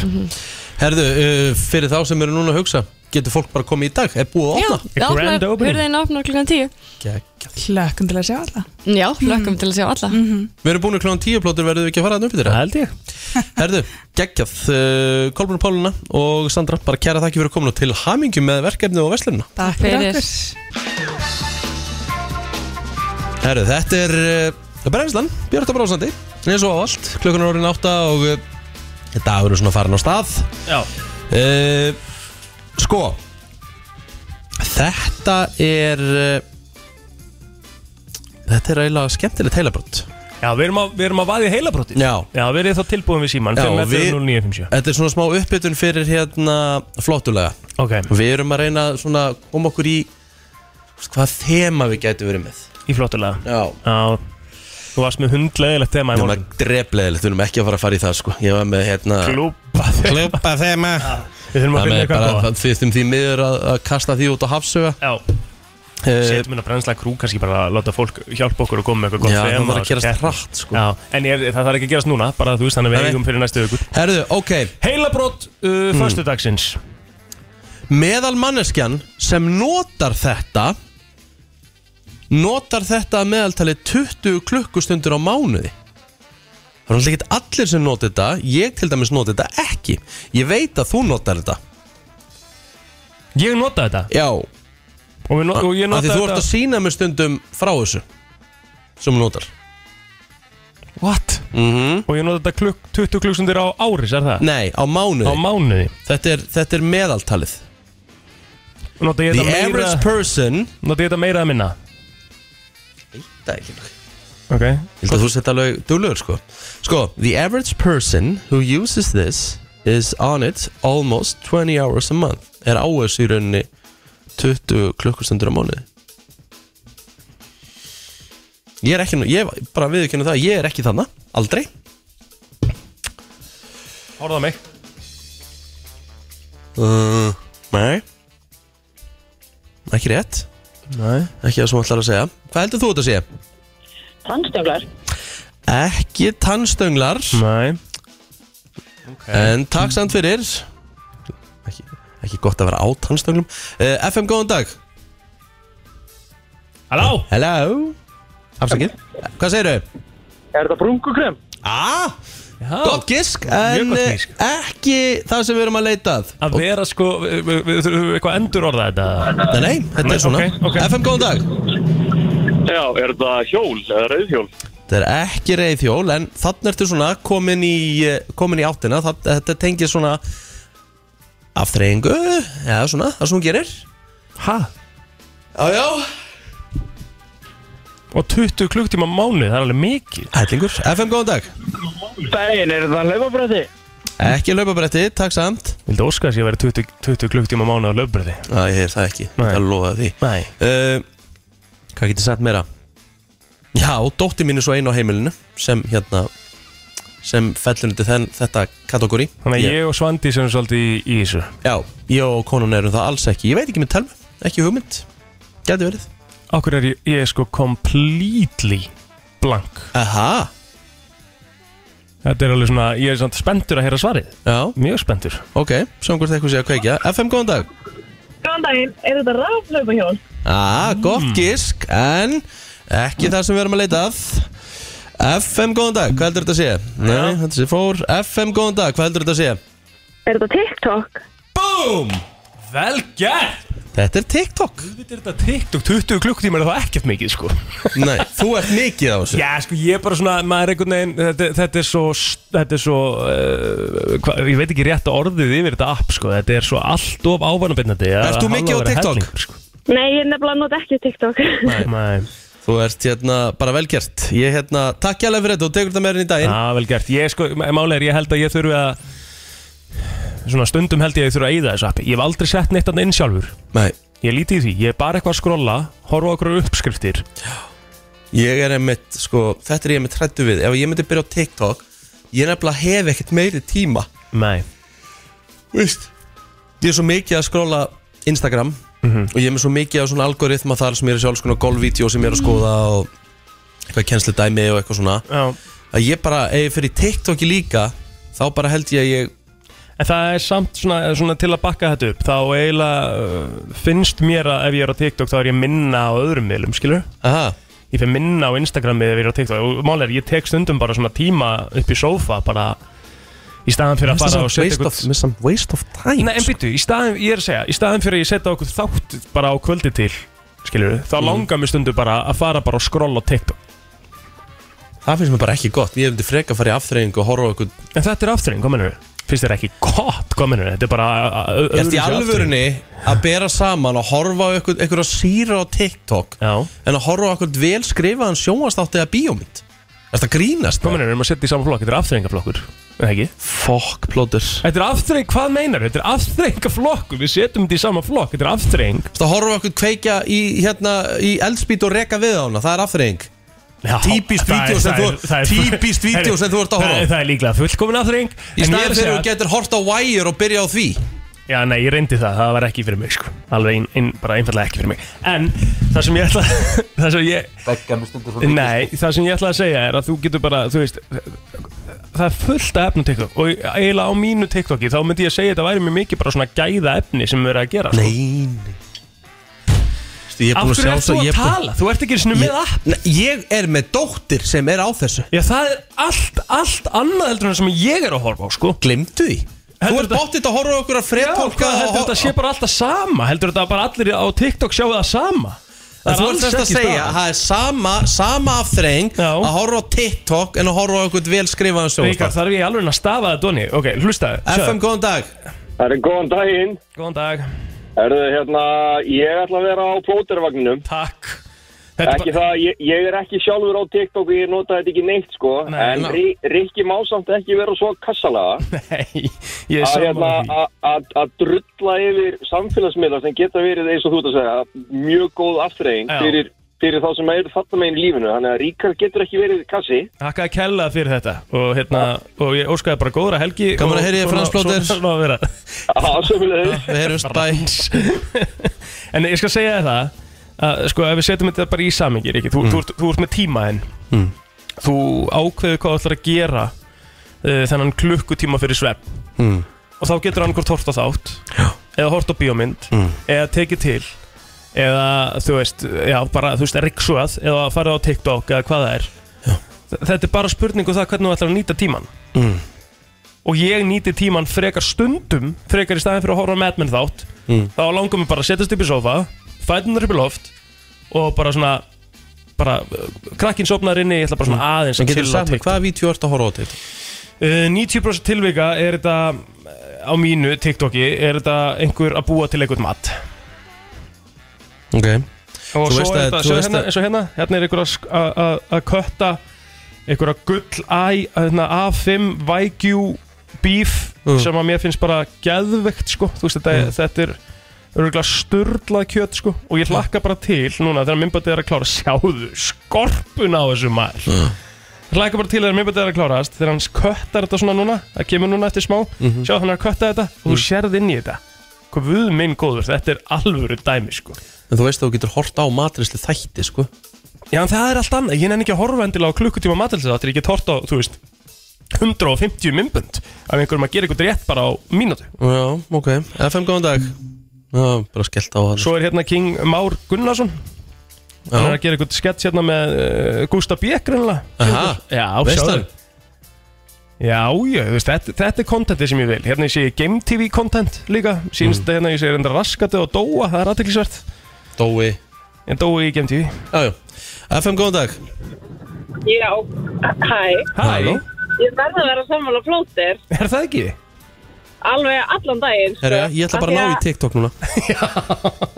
Speaker 1: Herðu, uh, fyrir þá sem eru núna að hugsa Getur fólk bara komið í dag, er búið að opna
Speaker 2: A grand opening.
Speaker 6: hurðin opnar klukkan 10
Speaker 1: Gekk.
Speaker 5: hlökkum til að sjá alla Mhm.
Speaker 6: Já, hlökkum til að sjá alla
Speaker 1: Við erum búin að kláðan tíu plótur, verðum við ekki að fara þarna upp fyrir
Speaker 2: Það
Speaker 1: það
Speaker 2: held ég
Speaker 1: Herðu, geggjað, uh, Kolbrun Páluna og Sandra Bara kæra þakki fyrir að koma og til hamingjum með verkefni og verslunna
Speaker 5: Takk fyrir
Speaker 6: Fyrir.
Speaker 5: okkur
Speaker 1: Herðu, þetta er uh, Brennslan, Björn Brósandi eins og allt, klukkan er orðin átta og uh, dagur er svona farin á stað
Speaker 2: Já,
Speaker 1: uh, Sko Þetta er uh, Þetta er eiginlega skemmtilegt heilabrönd
Speaker 2: já við, erum að, við erum að vaðið heilabrótið
Speaker 1: Já.
Speaker 2: já við erum þá tilbúin við síman
Speaker 1: Já,
Speaker 2: 5.09.50
Speaker 1: Þetta er svona smá uppbytun fyrir hérna flottulega
Speaker 2: Ok,
Speaker 1: Við erum að reyna svona að koma okkur í þú veist, hvaða þema við gætum verið með
Speaker 2: í flottulega
Speaker 1: Já
Speaker 2: Já, þú varst með hundlegilegt tema í
Speaker 1: Við erum
Speaker 2: morgun
Speaker 1: að drefleðilegt, við erum ekki að fara að fara í það sko Ég var með hérna
Speaker 2: Klúpa þeim
Speaker 1: Klúpa þema
Speaker 2: Við þurfum að finna
Speaker 1: Það með
Speaker 2: eitthvað
Speaker 1: eh. bara
Speaker 2: góða
Speaker 1: það þýttum því miður að, að kasta því út á hafsöga
Speaker 2: Já,
Speaker 1: Eh,
Speaker 2: setjum inn að brennsla krú kannski bara að láta fólk hjálpa okkur og koma með eitthvað
Speaker 1: Já,
Speaker 2: gott
Speaker 1: það
Speaker 2: þema
Speaker 1: var
Speaker 2: og
Speaker 1: að gerast
Speaker 2: keppni.
Speaker 1: hratt sko
Speaker 2: Já, en ég, það þarf ekki að gerast núna, bara þú veist þannig að
Speaker 1: Nei,
Speaker 2: við
Speaker 1: nei.
Speaker 2: eigum fyrir næstu vikur
Speaker 1: Herðu, ok,
Speaker 2: Heilabrót uh, mm. föstudagsins
Speaker 1: meðal manneskjan sem notar þetta notar þetta að meðaltali 20 klukkustundur á mánuði það er alltaf ekki allir sem notar þetta ég til dæmis notar þetta ekki ég veit að þú notar þetta
Speaker 2: Ég nota þetta
Speaker 1: já,
Speaker 2: og, við, no- og ég
Speaker 1: af því
Speaker 2: nota
Speaker 1: þú ert að
Speaker 2: þetta
Speaker 1: sína með stundum frá þessu sem þú notar
Speaker 2: What? Og ég nota þetta klukk, 20 klukkstundir á áris, er það?
Speaker 1: Mhm. nei, á mánuði
Speaker 2: Á mánuði
Speaker 1: þetta, er, þetta er meðaltalið
Speaker 2: Nota ég
Speaker 1: the
Speaker 2: þetta meira,
Speaker 1: average person
Speaker 2: nota ég þetta meira að minna
Speaker 1: það er ekki nokkuð
Speaker 2: Ok
Speaker 1: Ég held að þú setja alveg duglegur sko Sko, the average person who uses this is on it almost 20 hours a month er á þessu í rauninni 20 klukkustundur á mánuði Ég er ekki, nú- ég bara viðurkennu það ég er ekki þarna, aldrei
Speaker 2: Horfðu á mig
Speaker 1: uh, Nei Ekki rétt,
Speaker 2: Nei
Speaker 1: ekki það sem ætlar að segja Hvað heldur þú þetta að segja?
Speaker 7: Tannstöflar?
Speaker 1: Ekki tannstönglar
Speaker 2: Nei
Speaker 1: En takk samt fyrir ekki, ekki gott að vera á tannstöngum uh, FM, góðan dag
Speaker 2: Halló
Speaker 1: Hello Afsakið Hvað segirðu?
Speaker 8: Er þetta brungukrem?
Speaker 1: Ah,
Speaker 2: Já.
Speaker 1: gott gisk En
Speaker 2: gott
Speaker 1: eh,
Speaker 2: gisk.
Speaker 1: ekki það sem við erum að leita að
Speaker 2: Að vera sko, við við- við þurfum eitthvað endur orða þetta
Speaker 1: Nei, nei, þetta
Speaker 2: Nei,
Speaker 1: er svona
Speaker 2: ok, ok.
Speaker 1: FM, góðan dag
Speaker 8: Já, er þetta hjól eða rauðhjól?
Speaker 1: Þetta er ekki reyðhjól En þannig ertu svona komin í, eh, komin í áttina það, Þetta tengir svona Aftreyingu Já, svona, það sem hún gerir
Speaker 2: Hæ?
Speaker 1: Já, já
Speaker 2: Og 20 klukktíma á mánuð, það er alveg mikið
Speaker 1: Hellingur, FM góðan dag
Speaker 9: Dæin, er það leifabrætti?
Speaker 1: Ekki laupabretti, takk samt
Speaker 2: Vildu óska þess að ég væri 20, 20 klukktíma á mánuð á löfbröði
Speaker 1: Æ, ég er það ekki,
Speaker 2: Nei.
Speaker 1: það er lofaði því
Speaker 2: Nei
Speaker 1: uh, Hvað getið sagt meira? Já, dóttir mín er svo einu á heimilinu sem hérna sem fellur undir þenn, þetta kategóri
Speaker 2: Þannig að ég og Svandi sem svolítið í, í þessu
Speaker 1: Já, ég og konan erum það alls ekki Ég veit ekki með telmu, ekki hugmynd Gæti verið
Speaker 2: Akkur er ég, ég er sko completely blank
Speaker 1: Aha,
Speaker 2: Þetta er alveg svona, ég er svona spenntur að heyra svarið
Speaker 1: já,
Speaker 2: Mjög spenntur
Speaker 1: ok, sem hvort eitthvað sé að kveikja FM, góðan dag
Speaker 7: Góðan daginn, er þetta raflaupahjól?
Speaker 1: Ah,
Speaker 2: Hmm.
Speaker 1: gott gísk, en ekki það sem við erum að leita að FM, góðan dag, hvað heldur þetta að sé? Nei, þetta sé fór FM, góðan dag, hvað heldur þetta að sé?
Speaker 7: Er þetta TikTok?
Speaker 1: Búm!
Speaker 2: Vel gert!
Speaker 1: Þetta er TikTok
Speaker 2: Þetta er þetta TikTok 20 klukktíma er það ekkert mikið sko
Speaker 1: Nei, þú ert mikið á þessu
Speaker 2: Já sko ég er bara svona, maður er einhvern veginn Þetta, þetta er svo, þetta er svo uh, hva, Ég veit ekki rétt orðið yfir þetta app sko Þetta er svo allt of ávanabindandi
Speaker 1: Ert þú mikið á TikTok?
Speaker 2: sko.
Speaker 7: Nei, ég er nefnilega nota ekki TikTok.
Speaker 2: Nei,
Speaker 1: Þú ert hérna bara velgjert Ég hérna, takk hjá fyrir þetta og tekur þetta með hérna í daginn
Speaker 2: Já, vel gert. Ég sko, málega er ég held að ég þurfi að Svona stundum held ég að ég þurfi að eyða þessu appi Ég hef aldrei sett neitt annað inn sjálfur
Speaker 1: Nei,
Speaker 2: Ég er lítið í því, ég er bara eitthvað að skrolla Horfa okkur uppskriftir
Speaker 1: ég er einmitt, sko, þetta er ég einmitt hrættu við Ef ég myndi byrja á TikTok Ég nefnilega hef ekkert meiri tíma
Speaker 2: Nei,
Speaker 1: Vist Ég er svo mikið að skróla Instagram
Speaker 2: Mhm.
Speaker 1: Og ég er með svo mikið á svona algoritma þar sem ég er sjálf svona golfvídeó sem ég er að skoða og eitthvað kjenslu dæmi og eitthvað svona
Speaker 2: já
Speaker 1: að ég bara, ef ég fyrir TikToki líka þá bara held ég að ég
Speaker 2: En það er samt svona, svona til að bakka þetta upp Þá eiginlega uh, finnst mér að ef ég er á TikTok Þá er ég minna á öðrum miðlum, skilur
Speaker 1: Aha,
Speaker 2: Ég finn minna á Instagrami ef ég er á TikTok Og mál er, ég tek stundum bara svona tíma upp í sófa Bara í staðan fyrir að
Speaker 1: Mér
Speaker 2: fara og
Speaker 1: finnst
Speaker 2: setja
Speaker 1: það samt waste of- mér finnst það waste of time
Speaker 2: Nei, en
Speaker 1: sko.
Speaker 2: býttu, í staðan, ég er að segja Í staðan fyrir að ég setja okkur þátt bara á kvöldi til Skilur Þá
Speaker 1: Mhm.
Speaker 2: langar mér stundum bara að fara bara og skrolla á TikTok
Speaker 1: Það finnst mér bara ekki gott Ég hefndi freka að fara í afþreyingu og horfa á okkur
Speaker 2: En þetta er afturinn, hvað mennur við? Finnst þér ekki gott, hvað mennur við? Þetta er bara ö- ö-
Speaker 1: Ertu í
Speaker 2: öðruvísi afþreying.
Speaker 1: alvörunni að bera saman og horfa á ykkur, ykkur að síra á TikTok
Speaker 2: Já,
Speaker 1: en að horfa á ykkur vel skrifaðan sjónvastátt eða bíómynd Ertu að grínast?
Speaker 2: hvað mennur við? Erum að setja í saman flokk, þetta er afturringaflokkur Nei, ekki?
Speaker 1: Fuck plóters
Speaker 2: Þetta er afturring, hvað meinar við? Þetta er afturringaflokkur, við setjum þetta í saman flokk Þetta er afturring
Speaker 1: Ertu að horfa á ykkur kveikja í, hérna, í eldspýt og reka við á hana Það er afþreying Típist vídeó sem þú- típist vídeó sem þú ert að horfa á.
Speaker 2: Það það er líklega fullkomin afturring
Speaker 1: Í staðin fyrir þú getur hort á Wire og byrja á því
Speaker 2: Já, nei, ég reyndi það, það var ekki fyrir mig sko. Alveg ein, ein, bara einfallega ekki fyrir mig En það sem ég ætla Það sem ég Nei,
Speaker 1: sko.
Speaker 2: það sem ég ætla að segja er að þú getur bara Þú veist Það er fullt af efnum TikTok Og eiginlega á mínu TikToki Þá myndi ég að segja að þetta væri mjög mikið bara svona gæða efni sem verið að gera sko.
Speaker 1: Nei Ég er
Speaker 2: Af
Speaker 1: búin
Speaker 2: hverju
Speaker 1: að sjá
Speaker 2: ert þú
Speaker 1: svo
Speaker 2: að
Speaker 1: ég er búin-
Speaker 2: tala? Þú ert ekki svona með app
Speaker 1: Nei, Ég er með dóttir sem er á þessu
Speaker 2: Já, það er allt, allt annað heldur en það sem ég er að horfa á sko.
Speaker 1: Glimtu því Þú
Speaker 2: Heldur
Speaker 1: ert
Speaker 2: þetta-
Speaker 1: bóttið að horfa á okkur að
Speaker 2: Já,
Speaker 1: fredtólka
Speaker 2: hvað heldur þetta sé bara alltaf sama Heldur þetta bara allir á TikTok sjáu það sama Það
Speaker 1: En
Speaker 2: er
Speaker 1: þú ert
Speaker 2: alls
Speaker 1: þess að
Speaker 2: ekki
Speaker 1: segja
Speaker 2: staðan.
Speaker 1: að það er sama, sama afþreng
Speaker 2: Já.
Speaker 1: að horfa á TikTok en að horfa á eitthvað vel skrifaðan
Speaker 2: Ríkar,
Speaker 1: sjónvastað
Speaker 2: þarf ég alveg að stafa þetta donni Ok, hlusta
Speaker 1: FM, góðan dag
Speaker 9: Það er góðan daginn.
Speaker 2: Góðan dag
Speaker 9: Erðu hérna, ég ætla að vera á plótervagninum.
Speaker 2: Takk
Speaker 9: Ekki það, ég, ég er ekki sjálfur á TikTok og ég nota þetta ekki neitt sko,
Speaker 2: Nei,
Speaker 9: en
Speaker 2: ná.
Speaker 9: Ri- Rikki má samt ekki vera svo kassalaga
Speaker 2: Nei, ég er
Speaker 9: að hérna,
Speaker 2: saman því
Speaker 9: að- að- að drulla yfir samfélagsmiðla sem geta verið eins og þú ert að segja, mjög góð aftreying
Speaker 2: Já.
Speaker 9: fyrir, fyrir þá sem eru þarna meginn í lífinu, þannig að Ríkar getur ekki verið kassi.
Speaker 2: Takk að kella fyrir þetta Og hérna, og ég óskaði bara góðra helgi
Speaker 1: Gaman að
Speaker 2: og
Speaker 1: heyra í þér,
Speaker 2: svona-
Speaker 1: Frans Plóter.
Speaker 2: Svona svona að vera
Speaker 9: Það er sömulegðið.
Speaker 1: Við heyrjumst bæ
Speaker 2: En ég skal segja þér það að, Sko, ef við setjum þetta bara í samingi, Ríkir Þú, þú, ert, þú ert með tíma henn Þú ákveður hvað þú ætlar að gera uh, Þennan klukkutíma fyrir svepp
Speaker 1: Mm.
Speaker 2: Og þá getur hann hvort hort á þátt já. Eða hort á bíómynd
Speaker 1: Mm.
Speaker 2: Eða tekið til Eða, þú veist, já, bara, þú veist, riksuað Eða farið á TikTok eða hvað það er Þ- Þetta er bara spurning um það hvernig þú ætlar að nýta tíman
Speaker 1: Mm.
Speaker 2: Og ég nýti tíman frekar stundum Frekar í staðin fyrir að horfa á Mad Men þátt
Speaker 1: Mm.
Speaker 2: Þá langar mér bara að setjast upp í sofa Fætunar upp í loft Og bara svona bara, uh, Krakkin sopnar inni, ég ætla bara svona aðeins
Speaker 1: Sem
Speaker 2: að
Speaker 1: Mm. getur
Speaker 2: chilla á
Speaker 1: sagt
Speaker 2: TikTok.
Speaker 1: mig, hvaða vídeo ert að horfa á TikTok?
Speaker 2: Uh, 90% tilvika er þetta uh, á mínu TikToki er þetta einhver að búa til einhvern mat
Speaker 1: Ok
Speaker 2: og
Speaker 1: Þú
Speaker 2: svo er
Speaker 1: veist að-
Speaker 2: þetta,
Speaker 1: þú
Speaker 2: svo
Speaker 1: veist
Speaker 2: hérna,
Speaker 1: að-
Speaker 2: eins og hérna hérna er ykkur að sk- að- að að kötta ykkur að gull æ, hérna, A5 Vægjú bíf
Speaker 1: Mm.
Speaker 2: sem að mér finnst bara geðvegt sko, þú veist þetta, þetta er örgulega sturdlað kjöt sko og ég hlakka bara til núna þegar minnbætið er að klára sjáðu skorpun á þessu maður Ég hlakka bara til þegar minnbætið er að klárast þegar hans köttar þetta svona núna það kemur núna eftir smá,
Speaker 1: Mhm.
Speaker 2: sjáðu hann er að kötta þetta og þú sérð inn í þetta Guð minn góður, þetta er alvöru dæmi sko
Speaker 1: En þú veist að þú getur hort á matrisli þætti sko
Speaker 2: Já, en það er allt annað, ég nenni ekki að horfa endilega á klukkutíma matalins þáttir, ég get hort á, þú veist 150 minnbönd af einhverjum að gera eitthvað rétt bara á mínútu
Speaker 1: Já, ok, FM góðan dag Já, bara skellt á hann
Speaker 2: Svo er hérna King Már Gunnarsson hann er að gera eitthvað skets hérna með uh, Gústa B. grunlega
Speaker 1: Aha,
Speaker 2: Já,
Speaker 1: veist
Speaker 2: sjáðu.
Speaker 1: það
Speaker 2: Já, já, þú veist, þetta, þetta er kontentið sem ég vil Hérna ég sé Game TV kontent líka Sýnst mm. hérna ég sé hérna raskatið og dóa Það er aðteklisvert
Speaker 1: Dói
Speaker 2: En dói í Game TV
Speaker 1: Já, já FM góðan dag
Speaker 7: Já, hæ.
Speaker 2: Halló
Speaker 7: Ég verði að vera sammála plótir
Speaker 2: Er það ekki?
Speaker 7: alveg allan daginn. sko.
Speaker 1: Herra, ég ætla bara að ná í TikTok núna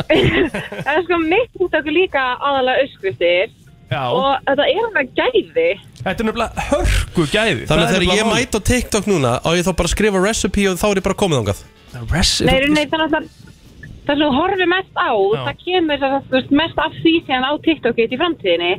Speaker 7: Það er sko mitt út okkur líka aðalega öskvistir
Speaker 2: Já,
Speaker 7: og þetta er hann að gæði.
Speaker 2: þetta er nefnilega hörku gæði
Speaker 1: Þannig að þegar ég mæt á TikTok núna á ég þá bara að skrifa recipe og þá er ég bara komið ángað
Speaker 7: Nei, nei, þannig að það það sem þú horfir mest á,
Speaker 2: Já.
Speaker 7: það kemur það, þú veist, mest af því sem á TikTokið í framtíðinni.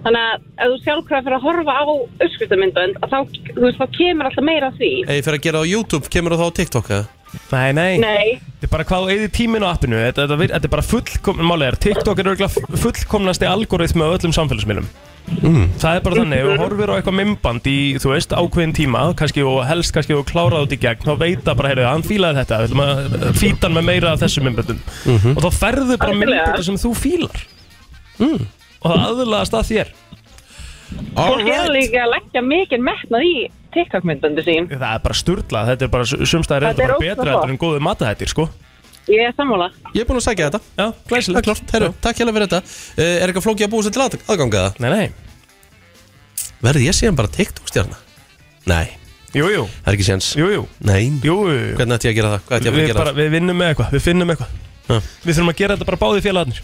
Speaker 7: Þannig að ef þú sjálfkrafa fyrir að horfa á öskvistamindbönd, þá, þú veist, þá kemur alltaf meira af því.
Speaker 1: Ef ég fer að gera á YouTube, kemur þú þá á TikTok eða?
Speaker 2: Nei, nei,
Speaker 7: Nei,
Speaker 2: Þetta er bara hvað þú eigðir tíminn á appinu Þetta, þetta, vir- þetta er bara fullkomn Málið er, TikTok er örgulega fullkomnasti algoritmi á öllum samfélagsmiðlum
Speaker 1: Mm.
Speaker 2: Það er bara þannig, ef þú horfir á eitthvað mymband í, þú veist, ákveðin tíma kannski og helst kannski og klárað út í gegn þá veit það bara, heyrðu, hann fílaði þetta við ætlum að fýta hann með meira af þessum mymbandum og þá ferðu bara
Speaker 7: Algjörlega.
Speaker 2: mymbandi sem þú fílar og það aðlaðast að þér
Speaker 7: fólk er líka að leggja mikið metnað í TikTok-myndböndi sín.
Speaker 2: Það er bara sturla, þetta er bara sumstæðir
Speaker 7: Þetta
Speaker 2: þetta
Speaker 7: er
Speaker 2: bara
Speaker 7: ógeðslega
Speaker 2: betra
Speaker 7: gott.
Speaker 2: heldur en góðu matahættir, sko
Speaker 7: Ég er sammála.
Speaker 1: Ég er búin að sækja þetta
Speaker 2: Já,
Speaker 1: Það er
Speaker 2: glæsilegt
Speaker 1: klart, herru, takk hérna fyrir þetta uh, Er eitthvað flókið að búa sér til að- aðganga það?
Speaker 2: Nei, nei,
Speaker 1: Verði ég síðan bara TikTok stjarna? Nei,
Speaker 2: jú, jú,
Speaker 1: það er ekki séns
Speaker 2: jú, jú,
Speaker 1: Nei,
Speaker 2: jú, jú.
Speaker 1: hvernig ætti ég að gera það? Hvað ætti ég að fara
Speaker 2: við,
Speaker 1: að gera
Speaker 2: bara, við vinnum með eitthvað, við finnum eitthvað
Speaker 1: Já.
Speaker 2: Við þurfum að gera þetta bara báði félagarnir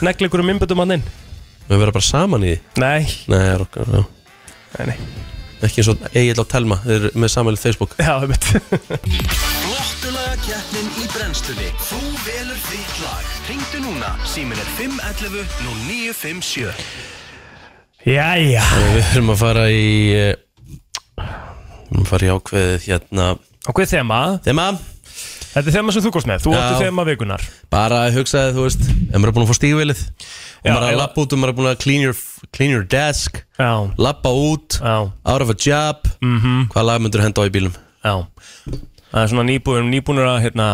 Speaker 2: Negla ykkur um innbyttum hann inn
Speaker 1: það? Við verðum bara saman í því
Speaker 2: Nei,
Speaker 1: Nei, það er okkar, já
Speaker 2: nei, nei
Speaker 1: ekki eins og Egil og Telma þeir eru með samanlega Facebook
Speaker 2: Já, við veit
Speaker 9: Flottulaga keppnin í brennslunni Þú velur þitt lag Ringdu núna, símin er 511 0957
Speaker 2: Jæja
Speaker 1: við erum að fara í eh, við erum að fara í ákveðið hérna
Speaker 2: Og hvað er þema?
Speaker 1: þema,
Speaker 2: Þetta er þema sem þú komst með, þú
Speaker 1: Já.
Speaker 2: átti þema vikunar
Speaker 1: bara hugsaði þú veist ef maður er búin að fá stígvelið og
Speaker 2: Já,
Speaker 1: maður er að
Speaker 2: eða-
Speaker 1: lappa út og maður er búin að clean your, clean your desk
Speaker 2: Já,
Speaker 1: lappa út,
Speaker 2: já,
Speaker 1: out of a job mm -hmm. hvað lag myndur henda á í bílum?
Speaker 2: Mhm. já Það er svona nýbúin, nýbúnir að hérna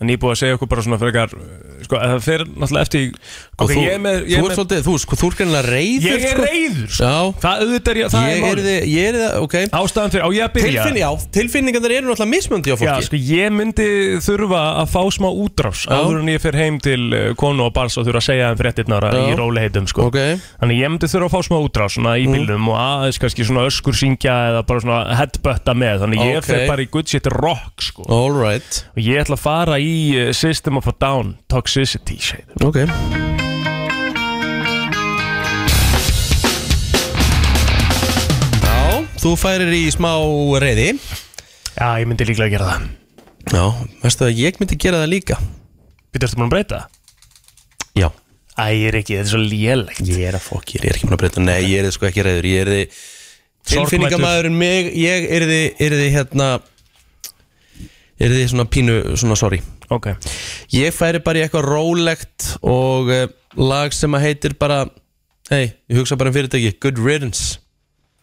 Speaker 2: Nýbúið að segja okkur bara svona frekar eh, Sko, það fer náttúrulega eftir í-
Speaker 1: Og
Speaker 2: Ok,
Speaker 1: þú,
Speaker 2: ég er með, ég er
Speaker 1: þú ert
Speaker 2: með
Speaker 1: svolítið, þú, sko, þú ert greinlega reyður
Speaker 2: Ég er
Speaker 1: sko.
Speaker 2: reyður sko.
Speaker 1: Já,
Speaker 2: Það auðvitað er ég, það
Speaker 1: ég
Speaker 2: er
Speaker 1: er
Speaker 2: málið
Speaker 1: þið, ég er þið, ok
Speaker 2: Ástæðan fyrir, á ég að byrja
Speaker 1: Tilfinn, já, tilfinningarnir eru náttúrulega mismöndi á fólki
Speaker 2: Já, sko, ég myndi þurfa að fá smá útrás áður en ég fer heim til eh, konu og bals og þurfa að segja þeim fréttirnar að-
Speaker 1: Já.
Speaker 2: í róliheitum sko.
Speaker 1: Ok, Mm.
Speaker 2: Þannig ég myndi þurfa að fá smá útrás svona í bílnum og aðeins kannski svona öskur syngja eða bara svona headbutta með þannig ég
Speaker 1: Ok.
Speaker 2: fer bara í good shit rock sko.
Speaker 1: alright
Speaker 2: og ég ætla að fara í eh, System of a Down Toxicity shade.
Speaker 1: Ok Já, þú færir í smá reyði
Speaker 2: Já, ég myndi líklega að gera það
Speaker 1: Já, veistu að ég myndi gera það líka
Speaker 2: Við þurftum að breyta það?
Speaker 1: Já
Speaker 2: Æ, ég er ekki, þetta er svo lélegt
Speaker 1: Ég er að fokk, ég er ekki mér að breyta Nei, ég er þið sko ekki reyður Ég er þið
Speaker 2: Sorgmæddur.
Speaker 1: Tilfinningamæðurinn mig Ég er þið, er þið hérna Er þið svona pínu, svona sorry
Speaker 2: Ok,
Speaker 1: Ég færi bara í eitthvað rólegt Og uh, lag sem að heitir bara Hei, ég hugsa bara um fyrirtæki Good riddance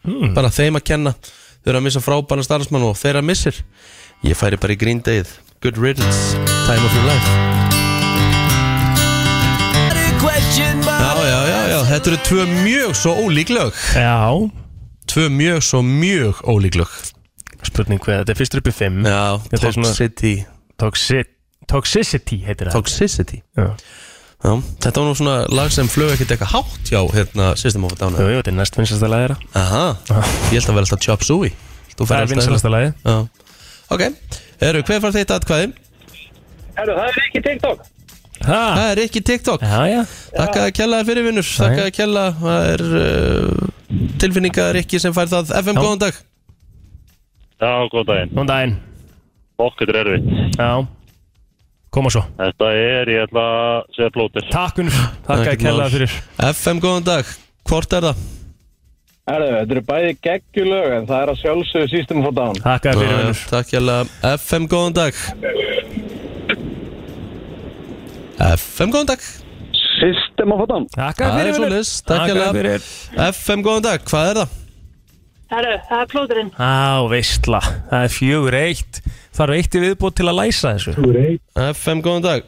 Speaker 2: Hmm.
Speaker 1: bara þeim að kenna þau eru að missa frábæna starfsmann og þeirra missir ég færi bara í Green Dayð Good Riddance, Time of Your Life Já, já, já, já, þetta eru tvö mjög svo ólík lög
Speaker 2: já
Speaker 1: Tvö mjög svo mjög ólík lög
Speaker 2: Spurning hvað, þetta er fyrst upp í 5
Speaker 1: Já,
Speaker 2: Þetta er svona-
Speaker 1: Toxicity
Speaker 2: Toxicity heitir það
Speaker 1: Toxicity
Speaker 2: Já.
Speaker 1: Já, þetta var nú svona lag sem flög ekkert eitthvað hátt hjá hérna System of a Down
Speaker 2: Jú, jú, þetta er næst vinsasta lagið þeirra
Speaker 1: Aha, ég held að vera alltaf Chop Suey
Speaker 2: Það
Speaker 1: Þú færi
Speaker 2: er
Speaker 1: alltaf
Speaker 2: vinsalasta lagið
Speaker 1: Já, ok Eru, hver fær þetta atkvæði?
Speaker 10: Herru, það er ekki TikTok
Speaker 2: Ha,
Speaker 1: Það er ekki TikTok
Speaker 2: já, já
Speaker 1: Þakka að kella fyrir vinnur Þakka að kella Það er uh, tilfinninga Rikki sem fær það
Speaker 2: Já.
Speaker 1: FM góðan dag
Speaker 9: Já, góð daginn.
Speaker 2: Góðan daginn
Speaker 9: Okkur er erfitt.
Speaker 2: Já Koma svo
Speaker 9: Þetta er, ég ætla að segja plótir.
Speaker 2: Takk unnur Takk að
Speaker 1: Ekkert
Speaker 2: kella
Speaker 1: mál.
Speaker 2: fyrir
Speaker 1: FM góðan dag Hvort er það?
Speaker 9: Herðu, þetta eru bæði geggjulög en það er að sjálfsögðu System of a Down.
Speaker 2: Takk að fyrir unnur
Speaker 1: Takk kella FM góðan dag FM góðan dag
Speaker 9: System of a Down.
Speaker 2: Takk að
Speaker 1: Það
Speaker 2: fyrir
Speaker 1: er svo
Speaker 2: unnur
Speaker 1: list Takk kella
Speaker 2: fyrir
Speaker 1: FM góðan dag Hvað er það?
Speaker 7: Herru, það er plóturinn.
Speaker 2: Á, veistla Það er fjögur eitt Þarf eitt í viðbútt til að læsa þessu
Speaker 1: FM góðan dag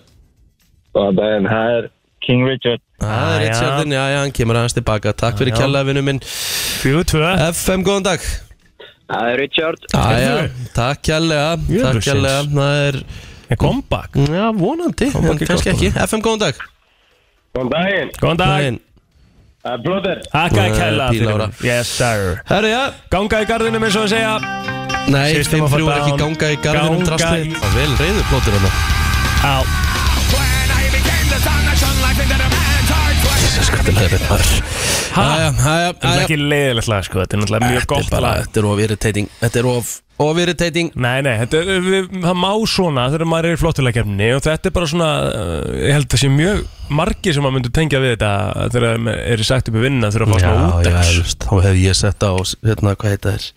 Speaker 9: Góðan daginn, það er King Richard.
Speaker 1: Það er
Speaker 2: Ah, já.
Speaker 1: Richardin Já, já, hann kemur aðeins tilbaka Takk fyrir kella vinnu minn
Speaker 2: Fjögur tvö
Speaker 1: FM góðan dag
Speaker 9: Það er Richard.
Speaker 1: Æja,
Speaker 2: Heyrðu.
Speaker 1: takk kjallega Takk
Speaker 2: Jöfusins.
Speaker 1: kjallega, það er Mm.
Speaker 2: Ég kom back
Speaker 1: Já, vonandi, en
Speaker 2: ekki
Speaker 1: kannski
Speaker 2: gott,
Speaker 1: ekki FM, góðan dag
Speaker 9: Góðan daginn,
Speaker 2: Góðan dag
Speaker 1: Daginn.
Speaker 9: það er plótir.
Speaker 2: Takk að kella
Speaker 1: Nei,
Speaker 2: fyrir
Speaker 1: pílára.
Speaker 2: unnur Yes sir
Speaker 1: Herru, já
Speaker 2: Ganga í gardinum eins og að segja
Speaker 1: Nei,
Speaker 2: System
Speaker 1: þeim
Speaker 2: of a
Speaker 1: þrjú er ekki
Speaker 2: Down.
Speaker 1: ganga í garðinum
Speaker 2: Ganga
Speaker 1: drastli
Speaker 2: í-
Speaker 1: Það er Vel reyðu plótur hann
Speaker 2: Á Ha?
Speaker 1: Æja, æja,
Speaker 2: Þetta er
Speaker 1: æja
Speaker 2: ekki leiðilegt lag sko Þetta er náttúrulega mjög gott lag
Speaker 1: Þetta er of irritating Þetta er of, of irritating
Speaker 2: Nei, nei, þetta, er- við, það má svona þegar maður er í flottuleikefni og þetta er bara svona, uh, ég held að sé mjög margi sem maður myndur tengja við þetta þegar maður er sagt upp í vinna þegar að fá svona
Speaker 1: já,
Speaker 2: útdags.
Speaker 1: veist, þá hef ég sett á Hérna, hvað heita þér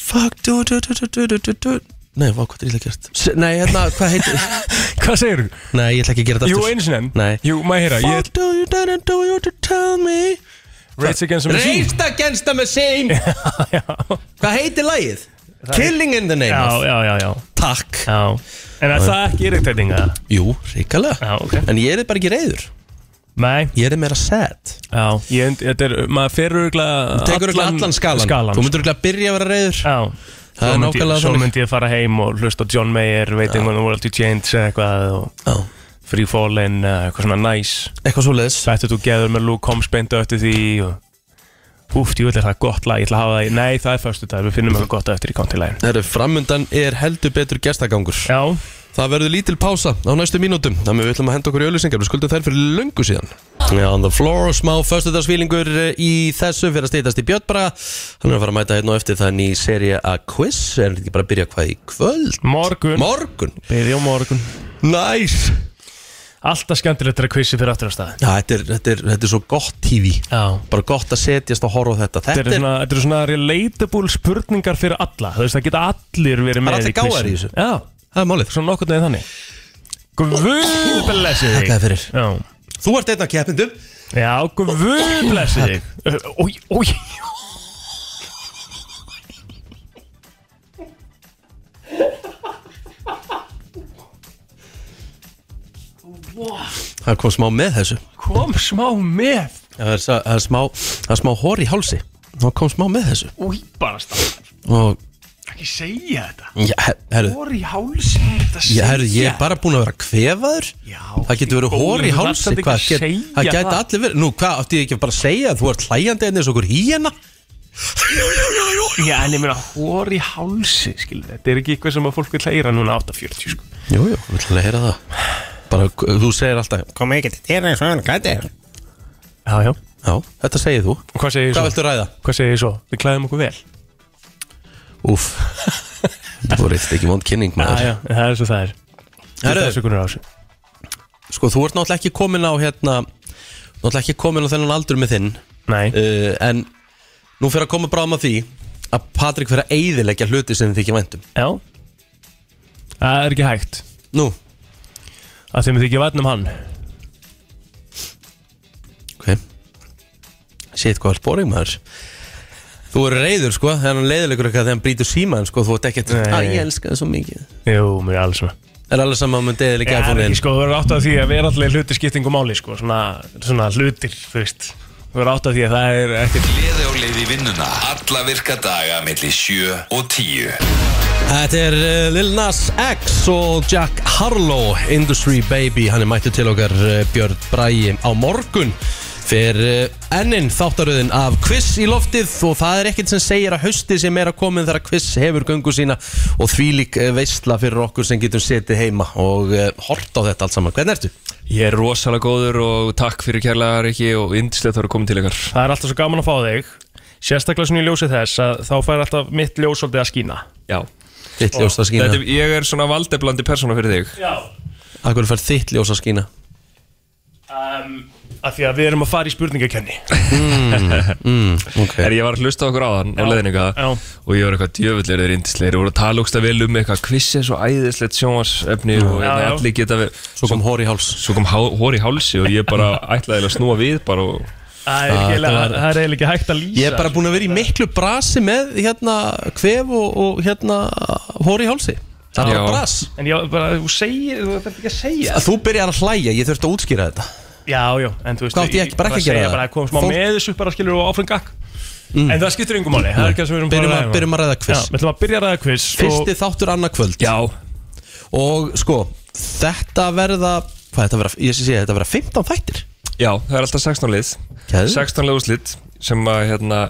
Speaker 1: Fuck, du, du, du, du, du, du, du Nei, vá, hvað er illa gert S- Nei, hérna, hvað heitir
Speaker 2: Hvað segir þú?
Speaker 1: Nei, ég ætla ekki að gera þetta
Speaker 2: Jú,
Speaker 1: aftur
Speaker 2: eins og enn.
Speaker 1: Nei.
Speaker 2: Jú, maður heyra, ég
Speaker 1: What do you dare do you to tell me
Speaker 2: Rage Against the Machine.
Speaker 1: Raised Against the Machine
Speaker 2: já,
Speaker 1: Hvað heitir lagið? Killing in the name
Speaker 2: já,
Speaker 1: of
Speaker 2: já, já, já,
Speaker 1: Takk
Speaker 2: já. En er það ekki irritating að?
Speaker 1: Jú, ríkalega
Speaker 2: Já, ok.
Speaker 1: En ég er bara ekki reyður
Speaker 2: Nei,
Speaker 1: Ég er meira sad
Speaker 2: já, ég, þetta er, maður ferur örugglega
Speaker 1: Tekur allan, allan skalan Þú myndur ekki að byrja að vera reyður
Speaker 2: Já
Speaker 1: Það
Speaker 2: Svo myndi
Speaker 1: er
Speaker 2: ég-
Speaker 1: nákvæmlega
Speaker 2: Svo
Speaker 1: þannig.
Speaker 2: myndi ég fara heim og hlusta á John Mayer Waiting on the um World to Change eða eitthvað og
Speaker 1: Já
Speaker 2: Free Fallin, eða eitthvað svona nice
Speaker 1: Eitthvað svo leiðis
Speaker 2: Sættu þú geður með Luke Combs beintu eftir því og Úf, ég vil er það gott lag, ég ætla að hafa það í Nei, það er förstu dag, við finnum eitthvað gott eftir í kontilægin
Speaker 1: Herru, framundan er heldur betur gestagangur
Speaker 2: Já,
Speaker 1: Það verður lítil pása á næstu mínútum Þannig við ætlum að henda okkur í auðlýsingar Við skuldum þær fyrir löngu síðan Já, on the floor, smá föstudagsfílingur eh, í þessu fyrir að stýtast í Björnbra Hann er að fara að mæta hérna og eftir þannig í serie A quiz Er þetta ekki bara að byrja hvað í kvöld?
Speaker 2: morgun
Speaker 1: Morgun
Speaker 2: Byrði á morgun
Speaker 1: Næs nice.
Speaker 2: Alltaf skemmtilegt að kvissi fyrir aftur á stað
Speaker 1: Já, þetta er, þetta, er, þetta er svo gott TV
Speaker 2: Já
Speaker 1: Bara gott að setjast og horfa á þetta Þetta
Speaker 2: Þetta eru
Speaker 1: er,
Speaker 2: svona, þetta eru svona relatable spurningar fyrir alla Þú veist, það geta allir verið
Speaker 1: Það
Speaker 2: með
Speaker 1: eru allir gáfaðir í
Speaker 2: quizinu.
Speaker 1: þessu.
Speaker 2: Já,
Speaker 1: það er málið
Speaker 2: svona nokkurn veginn þannig Guð blessi þig
Speaker 1: Þakkaði fyrir.
Speaker 2: Já,
Speaker 1: Þú ert einn af keppindum
Speaker 2: Já guð blessi þig Ö, Ói, ói
Speaker 1: Það kom smá með þessu
Speaker 2: Kom smá með
Speaker 1: Það er, það er smá, það er smá hor í hálsi Það kom smá með þessu
Speaker 2: Új, bara stað
Speaker 1: Og,
Speaker 2: Ekki segja þetta
Speaker 1: já, her- herru
Speaker 2: Hór í hálsi Þetta
Speaker 1: Já, herru, ég er bara búin að vera kvefaður
Speaker 2: Já,
Speaker 1: Það getur verið
Speaker 2: góður, þú
Speaker 1: hór í
Speaker 2: þarft
Speaker 1: hálsi
Speaker 2: ekki
Speaker 1: hvað
Speaker 2: að
Speaker 1: get-
Speaker 2: segja
Speaker 1: Það gæti
Speaker 2: það.
Speaker 1: allir verið Nú, hvað átti ég ekki bara að segja Þú ert hlæjandi en þessu okkur hérna? híjana
Speaker 2: Já, en ég meina hór í hálsi Skilur þetta er ekki eitthvað sem að fólk vil hlæra núna 8.40 sko
Speaker 1: Jú, jú, við ætlum að heyra það Bara, k- þú segir alltaf Kom ekki til þér eins og hann gæti Já,
Speaker 2: Já, já
Speaker 1: þetta segir þú
Speaker 2: Og hvað segir ég
Speaker 1: Hvað
Speaker 2: svo?
Speaker 1: viltu ræða?
Speaker 2: Hvað segir ég svo? Við klæðum okkur vel
Speaker 1: Úf Það voru eitthvað ekki vond kynning
Speaker 2: Já,
Speaker 1: maður
Speaker 2: já, en það er svo það er
Speaker 1: Herru.
Speaker 2: Þessu kunnar á þessu
Speaker 1: Sko, þú ert náttúrulega ekki komin á hérna Náttúrulega ekki komin á þennan aldur með þinn
Speaker 2: Nei
Speaker 1: uh, En nú fyrir að koma bráðum að því Að Patrik fyrir að eyðileggja hluti sem um. þið ekki væntum
Speaker 2: Já Það er ekki hægt
Speaker 1: Nú,
Speaker 2: að þeim þykja vatn um hann
Speaker 1: Ok Sitt hvað er boring maður Þú eru reyður sko Þegar hann leiðilegur eitthvað Þegar hann brýtur síman sko Þú ert ekkert
Speaker 2: Nei.
Speaker 1: Æ, ég elska það svo mikið
Speaker 2: Jú, mér er alls svona
Speaker 1: Er alveg um saman með
Speaker 2: Ég
Speaker 1: deiðilega
Speaker 2: er
Speaker 1: iPhone-in
Speaker 2: ekki sko, þú verður átt að því að vera alltaf hlutir skiptingu máli sko, svona, svona hlutir, þú veist Þú verður átt að því að það er ekkert
Speaker 4: Gleði og leiði vinnuna Alla virka daga millir 7 og 10
Speaker 1: Þetta er uh, Lil Nas X og Jack eh, Harlow Industry Baby Hann er mættu til okkar uh, Björn Bræi á morgun Fer eh, enn inn þáttaröðin af quiz í loftið og það er ekkert sem segir að hausti sem er að komin þegar quiz hefur göngu sína og þvílík eh, veisla fyrir okkur sem getum setið heima og eh, hort á þetta allt saman. Hvernig ertu?
Speaker 11: Ég er rosalega góður og takk fyrir kærlega Riki og yndislegt að vera komin til ykkar
Speaker 2: Það er alltaf svo gaman að fá þig Sérstaklega svona í ljósi þess að þá fær alltaf mitt ljós svolítið að skína
Speaker 11: Já
Speaker 1: Þitt ljós að skína.
Speaker 11: Þetta, er- Ég er svona valdeblandi persóna fyrir þig
Speaker 2: Já
Speaker 1: Akkur fær þitt ljós að skína.
Speaker 2: um, Af því að við erum að fara í spurningakenni
Speaker 1: Mm. Okay.
Speaker 11: Er ég var að hlusta á okkur áðan á
Speaker 2: Já.
Speaker 11: leðinu
Speaker 2: Já.
Speaker 11: eitthvað og ég var eitthvað djöfullir þeir indisleir og voru að tala ógsta vel um eitthvað kvissið svo æðislegt sjónvarsefni og
Speaker 2: Mm.
Speaker 11: hérna
Speaker 2: Já, já.
Speaker 11: allir geta við
Speaker 1: Svo kom hóri í háls.
Speaker 11: svo kom há, hór í hálsi og ég bara ætlaði eiginlega að snúa við bara og
Speaker 2: Það er ekki-
Speaker 1: Ah, þetta var-
Speaker 2: það er eiginlega ekki hægt að lýsa
Speaker 1: Ég er bara búin að vera í miklu brasi með hérna kvef og, og hérna hóri í hálsi. Það er
Speaker 11: Já.
Speaker 1: bara bras.
Speaker 2: En ég bara, þú segir, þú þarf ekki að segja
Speaker 1: Að Þú byrjar að hlæja, ég þurfti að útskýra þetta.
Speaker 2: Já, já, en þú veist
Speaker 1: Hvað átti ég ekki- bara ekki að gera
Speaker 2: segja
Speaker 1: það?
Speaker 2: bara að koma smá
Speaker 1: Fólk- Mm.
Speaker 2: með þessu bara skilur og áfram gakk En það skiptir yngum máli, það er ekki það sem við erum
Speaker 1: Byrjum
Speaker 2: bara
Speaker 1: að, byrjum að ræða
Speaker 2: Já,
Speaker 1: quiz.
Speaker 2: við ætlum að byrja að ræða quiz
Speaker 1: Fyrsti þáttur annað kvöld.
Speaker 11: Já
Speaker 1: Og sko, þetta verða Hvað þetta verða, ég sé sé, þetta verða 15 þættir
Speaker 11: Já, það er alltaf 16 lið
Speaker 1: Geðvikt.
Speaker 11: 16 lið úrslit sem að hérna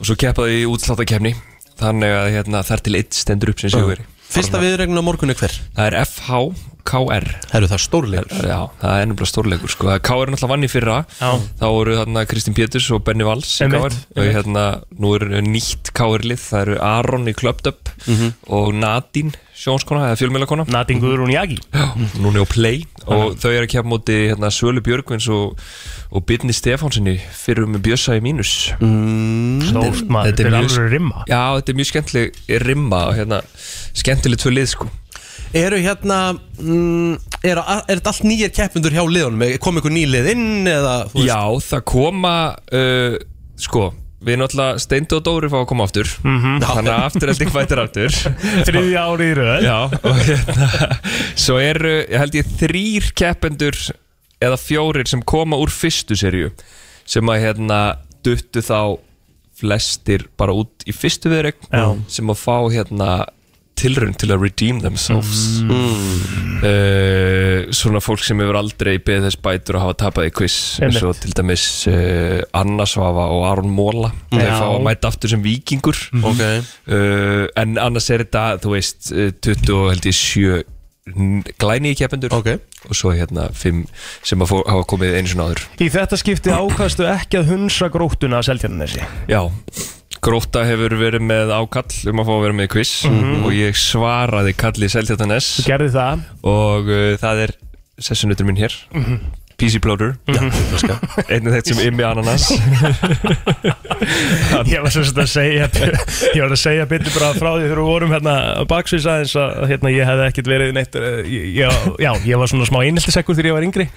Speaker 11: og svo keppaði í útslátakefni þannig að hérna þar til eitt stendur upp sem sigur
Speaker 1: Fyrsta viðregnum á morgun er hver
Speaker 11: Það er FHKR
Speaker 1: Herru það er stórleikur
Speaker 11: Já, það er nefnilega stórleikur sko. K.R. er náttúrulega vann í fyrra
Speaker 2: Já.
Speaker 11: Þá voru þarna Kristinn Péturs og Benny Valls í
Speaker 2: Einmitt,
Speaker 11: K.R. Og hérna, nú er nýtt K.R. lið Það eru Aron í Klöptöp
Speaker 1: Mhm.
Speaker 11: Og Nadine Sjónskona, eða fjölmjölakona
Speaker 2: Nadine Guðrún Jagi
Speaker 11: Núna á Play Og þau eru að kemja móti hérna, Sölu Björgvins og, og Byrni Stefánsinni Fyrir um Bjössa í mínus
Speaker 1: Mm.
Speaker 2: Stórt maður,
Speaker 11: þetta er
Speaker 2: þetta er
Speaker 11: mjög-
Speaker 2: alveg rimma
Speaker 11: Já, þetta er mjög skemmtileg rimma og, hérna, Skemmtileg tvö lið sko
Speaker 1: Eru hérna mm, Er, er þetta allt nýjir keppundur hjá liðunum Er- Kom ykkur ný lið inn eða þú veist?
Speaker 11: Já, það koma uh, Sko, við náttúrulega Steind og Dóri fá að koma aftur
Speaker 2: Mhm.
Speaker 11: -hmm. Þannig að afturhelding fættir aftur
Speaker 2: Þriðja ári í röð
Speaker 11: Já, og hérna Svo eru, ég held ég, þrýr keppendur Eða fjórir sem koma úr fyrstu serju Sem að hérna duttu þá flestir bara út í fyrstu viðreik
Speaker 2: Já.
Speaker 11: Sem að fá hérna tilraun til að redeem themselves mm. Eh, Svona fólk sem hefur aldrei beðið þess bætur að hafa tapað í quiz eins og til dæmis uh, Anna Svafa og Aron Móla Mm. þeir
Speaker 2: Já. Mhm.
Speaker 11: fá að mæta aftur sem vikingur
Speaker 1: Ok
Speaker 11: uh, Mhm. en annars er þetta, þú veist uh, 20 og held ég 7 glæni í keppendur
Speaker 1: Ok
Speaker 11: og svo hérna 5 sem að fó, hafa komið einu svona áður
Speaker 2: Í þetta skipti ákastu ekki að hunsa gróttuna að seltjarnanesi
Speaker 11: já, Gróta hefur verið með ákall um að fá að vera með í quiz
Speaker 1: Mhm.
Speaker 11: Mhm. og ég svaraði kalli Seltjartanes
Speaker 2: Gerði það
Speaker 11: og uh, það er sessunutur minn hér
Speaker 1: Mhm.
Speaker 11: PC Plóter einu þeitt sem Immi Ananas
Speaker 2: Ég var sem sagt að segja Ég var að segja betur bara frá því þegar við vorum hérna baksvís aðeins að hérna, ég hefði ekkert verið neitt eh, ég- ég- Já, ég var svona smá einheltisekkur þegar ég var yngri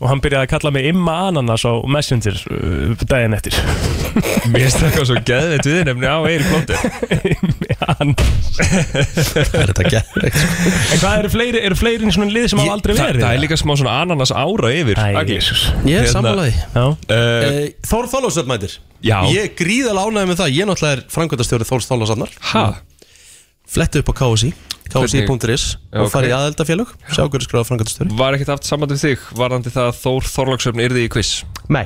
Speaker 2: og hann byrjaði að kalla mig Imma Ananas á Messenger uh, daginn eftir
Speaker 11: mér stakka svo geðveitt við nefni á Eir Plóter
Speaker 2: Immi Ananas
Speaker 1: Er þetta gerðvegt sko?
Speaker 2: En hvað eru fleiri, eru fleiri í svona lið sem hafa aldrei
Speaker 11: það,
Speaker 2: verið?
Speaker 11: það er líka smá svona ananas ára yfir
Speaker 2: Æ,
Speaker 11: allir.
Speaker 2: Jesus.
Speaker 1: Ég er
Speaker 11: Hérna,
Speaker 1: sammálaði
Speaker 2: Já,
Speaker 11: uh,
Speaker 1: uh, Þór Þólasöfn mætir
Speaker 11: Já.
Speaker 1: Ég er gríðalega ánægði með það Ég náttúrulega er frangöndastjóri Þórs Þólasöfnar
Speaker 11: Ha?
Speaker 1: Flettu upp á KSI KSI.is
Speaker 11: Já,
Speaker 1: Og farið í
Speaker 11: ok.
Speaker 1: aðeldafélög Sjá hverju skráða frangöndastjóri
Speaker 11: Var ekkert haft samband við þig varðandi það að Þór Þorlóksöfn yrði í quiz
Speaker 1: Nei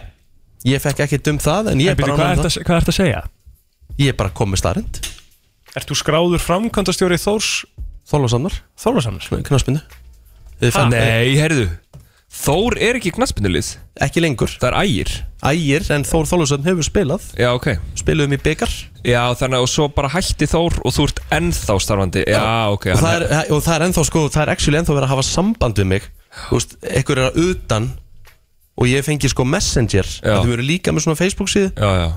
Speaker 1: Ég fekk ekkert um það En
Speaker 2: en
Speaker 1: ég er
Speaker 2: byrju,
Speaker 1: bara
Speaker 2: hvað
Speaker 1: ánægður
Speaker 2: ert
Speaker 1: með
Speaker 2: að, hvað ert að segja?
Speaker 1: það Ég er bara komið starrend
Speaker 2: Ert þú skráður framkvæmdastjóri Þórs
Speaker 1: Þólasöfnar
Speaker 2: Þórlarsamnars?
Speaker 1: knaspinu
Speaker 11: Nei, heyrðu Þór er ekki knaspinulið,
Speaker 1: ekki lengur
Speaker 11: það er ægir
Speaker 1: ægir en Þór Þólusson hefur spilað
Speaker 11: Já, ok
Speaker 1: spiluðum í byggar
Speaker 11: Já, þannig og svo bara hætti Þór og þú ert ennþá starfandi Já, ok
Speaker 1: og,
Speaker 11: hann
Speaker 1: það er- og það er ennþá sko það er actually ennþá verið að hafa samband við mig þú veist, ekkur er að utan og ég fengi sko messenger
Speaker 11: Já.
Speaker 1: þau eru líka með svona Facebook síðu
Speaker 11: Já, já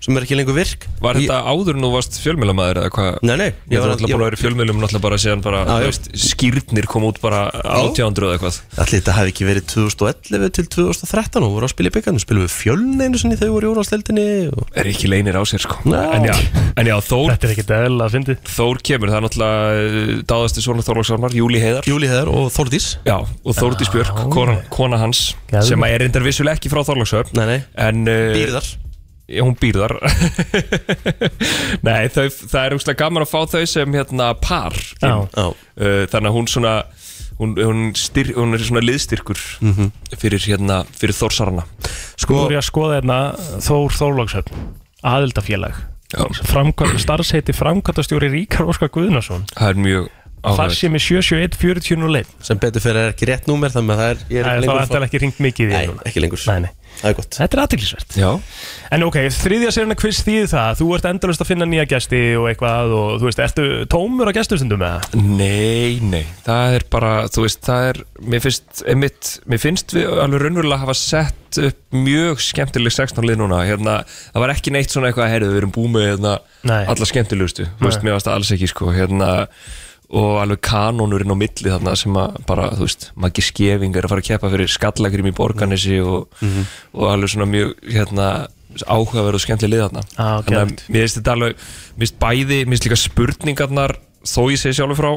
Speaker 1: sem er ekki lengur virk
Speaker 11: Var
Speaker 1: ég,
Speaker 11: þetta áður en þú varst fjölmjölamæður eða hvað?
Speaker 1: Nei, nei,
Speaker 11: Ég
Speaker 1: ég
Speaker 11: var
Speaker 1: var-
Speaker 11: náttúrulega búin
Speaker 1: ég-
Speaker 11: að vera í fjölmjölum náttúrulega bara síðan bara,
Speaker 1: Já,
Speaker 11: þú
Speaker 1: já.
Speaker 11: veist, skýrnir kom út bara 1800 eða eitthvað
Speaker 1: allir þetta hafi ekki verið 2011 til 2013 og voru að spila í byggarnu spilum við fjölneinu sinni þau voru í úrvarsleildinni og...
Speaker 11: Er ekki leinir á sér sko
Speaker 1: Nei.
Speaker 11: en, já, en já, Þór,
Speaker 2: Þetta er ekki dæla að fyndi
Speaker 11: Þór kemur, það er náttúrulega uh, dáðasti svona Þorlóksarmar, Júli Heiðar
Speaker 1: Júli Heðar og Þórdís
Speaker 11: Já, og Þórdís Björk, kona, kona hans
Speaker 2: Geðveikt.
Speaker 11: sem er reyndar vissulega ekki frá Þorlóksöfn
Speaker 1: Nei, nei.
Speaker 11: En uh,
Speaker 1: Býrðar
Speaker 11: já, Hún býrðar Nei, þau, það er umslega gaman að fá þau sem hérna par inn.
Speaker 2: Já.
Speaker 1: Já.
Speaker 11: Uh, Þannig að hún svona hún, hún, styr, hún er svona liðstyrkur
Speaker 1: Mhm.
Speaker 11: fyrir, hérna, fyrir þórsarana Sko-
Speaker 1: Sko,
Speaker 2: Nú er ég að skoða hérna Þór Þórlóksöfn, aðildafélag
Speaker 11: Já.
Speaker 2: Framkvæm, starfsheiti framkvæmtastjóri Ríkar Óskar Guðnason
Speaker 11: það er mjög
Speaker 2: Far
Speaker 11: áhverð
Speaker 2: sem er 771-4001
Speaker 3: sem betur fyrir er ekki rétt númer þannig að það er, ég er
Speaker 2: Það er
Speaker 3: ekki
Speaker 2: þá
Speaker 3: lengur
Speaker 2: eftir ekki ringt mikið í því
Speaker 3: Nei,
Speaker 2: núna.
Speaker 3: ekki lengur
Speaker 2: Nei, nei.
Speaker 3: Það er gott
Speaker 2: Þetta er aðtillisvert
Speaker 11: Já,
Speaker 2: En ok, þriðja sérna quiz þýði það Þú ert endalust að finna nýja gesti og eitthvað og þú veist, ertu tómur á gestustundum með það?
Speaker 11: nei, nei Það er bara, þú veist, það er Mér finnst, einmitt, mér finnst við alveg raunverulega hafa sett upp mjög skemmtileg 16 lið núna hérna, Það var ekki neitt svona eitthvað, heyrðu, við erum búið með hérna,
Speaker 2: Nei.
Speaker 11: alla skemmtilegustu Þú veist, mér varst það alls ekki, sko hérna, og alveg kanónurinn á milli þarna sem að bara, þú veist, Maggi Skeving er að fara að keppa fyrir skallakrim í Borgarnesi og, og alveg svona mjög hérna, áhugaverð og skemmtileg lið þarna
Speaker 2: Á,
Speaker 3: Ah,
Speaker 11: Þannig að
Speaker 2: geðvægt.
Speaker 11: mér finnst þetta alveg, mér finnst bæði, mér finnst líka spurningarnar þó ég segi sjálfur frá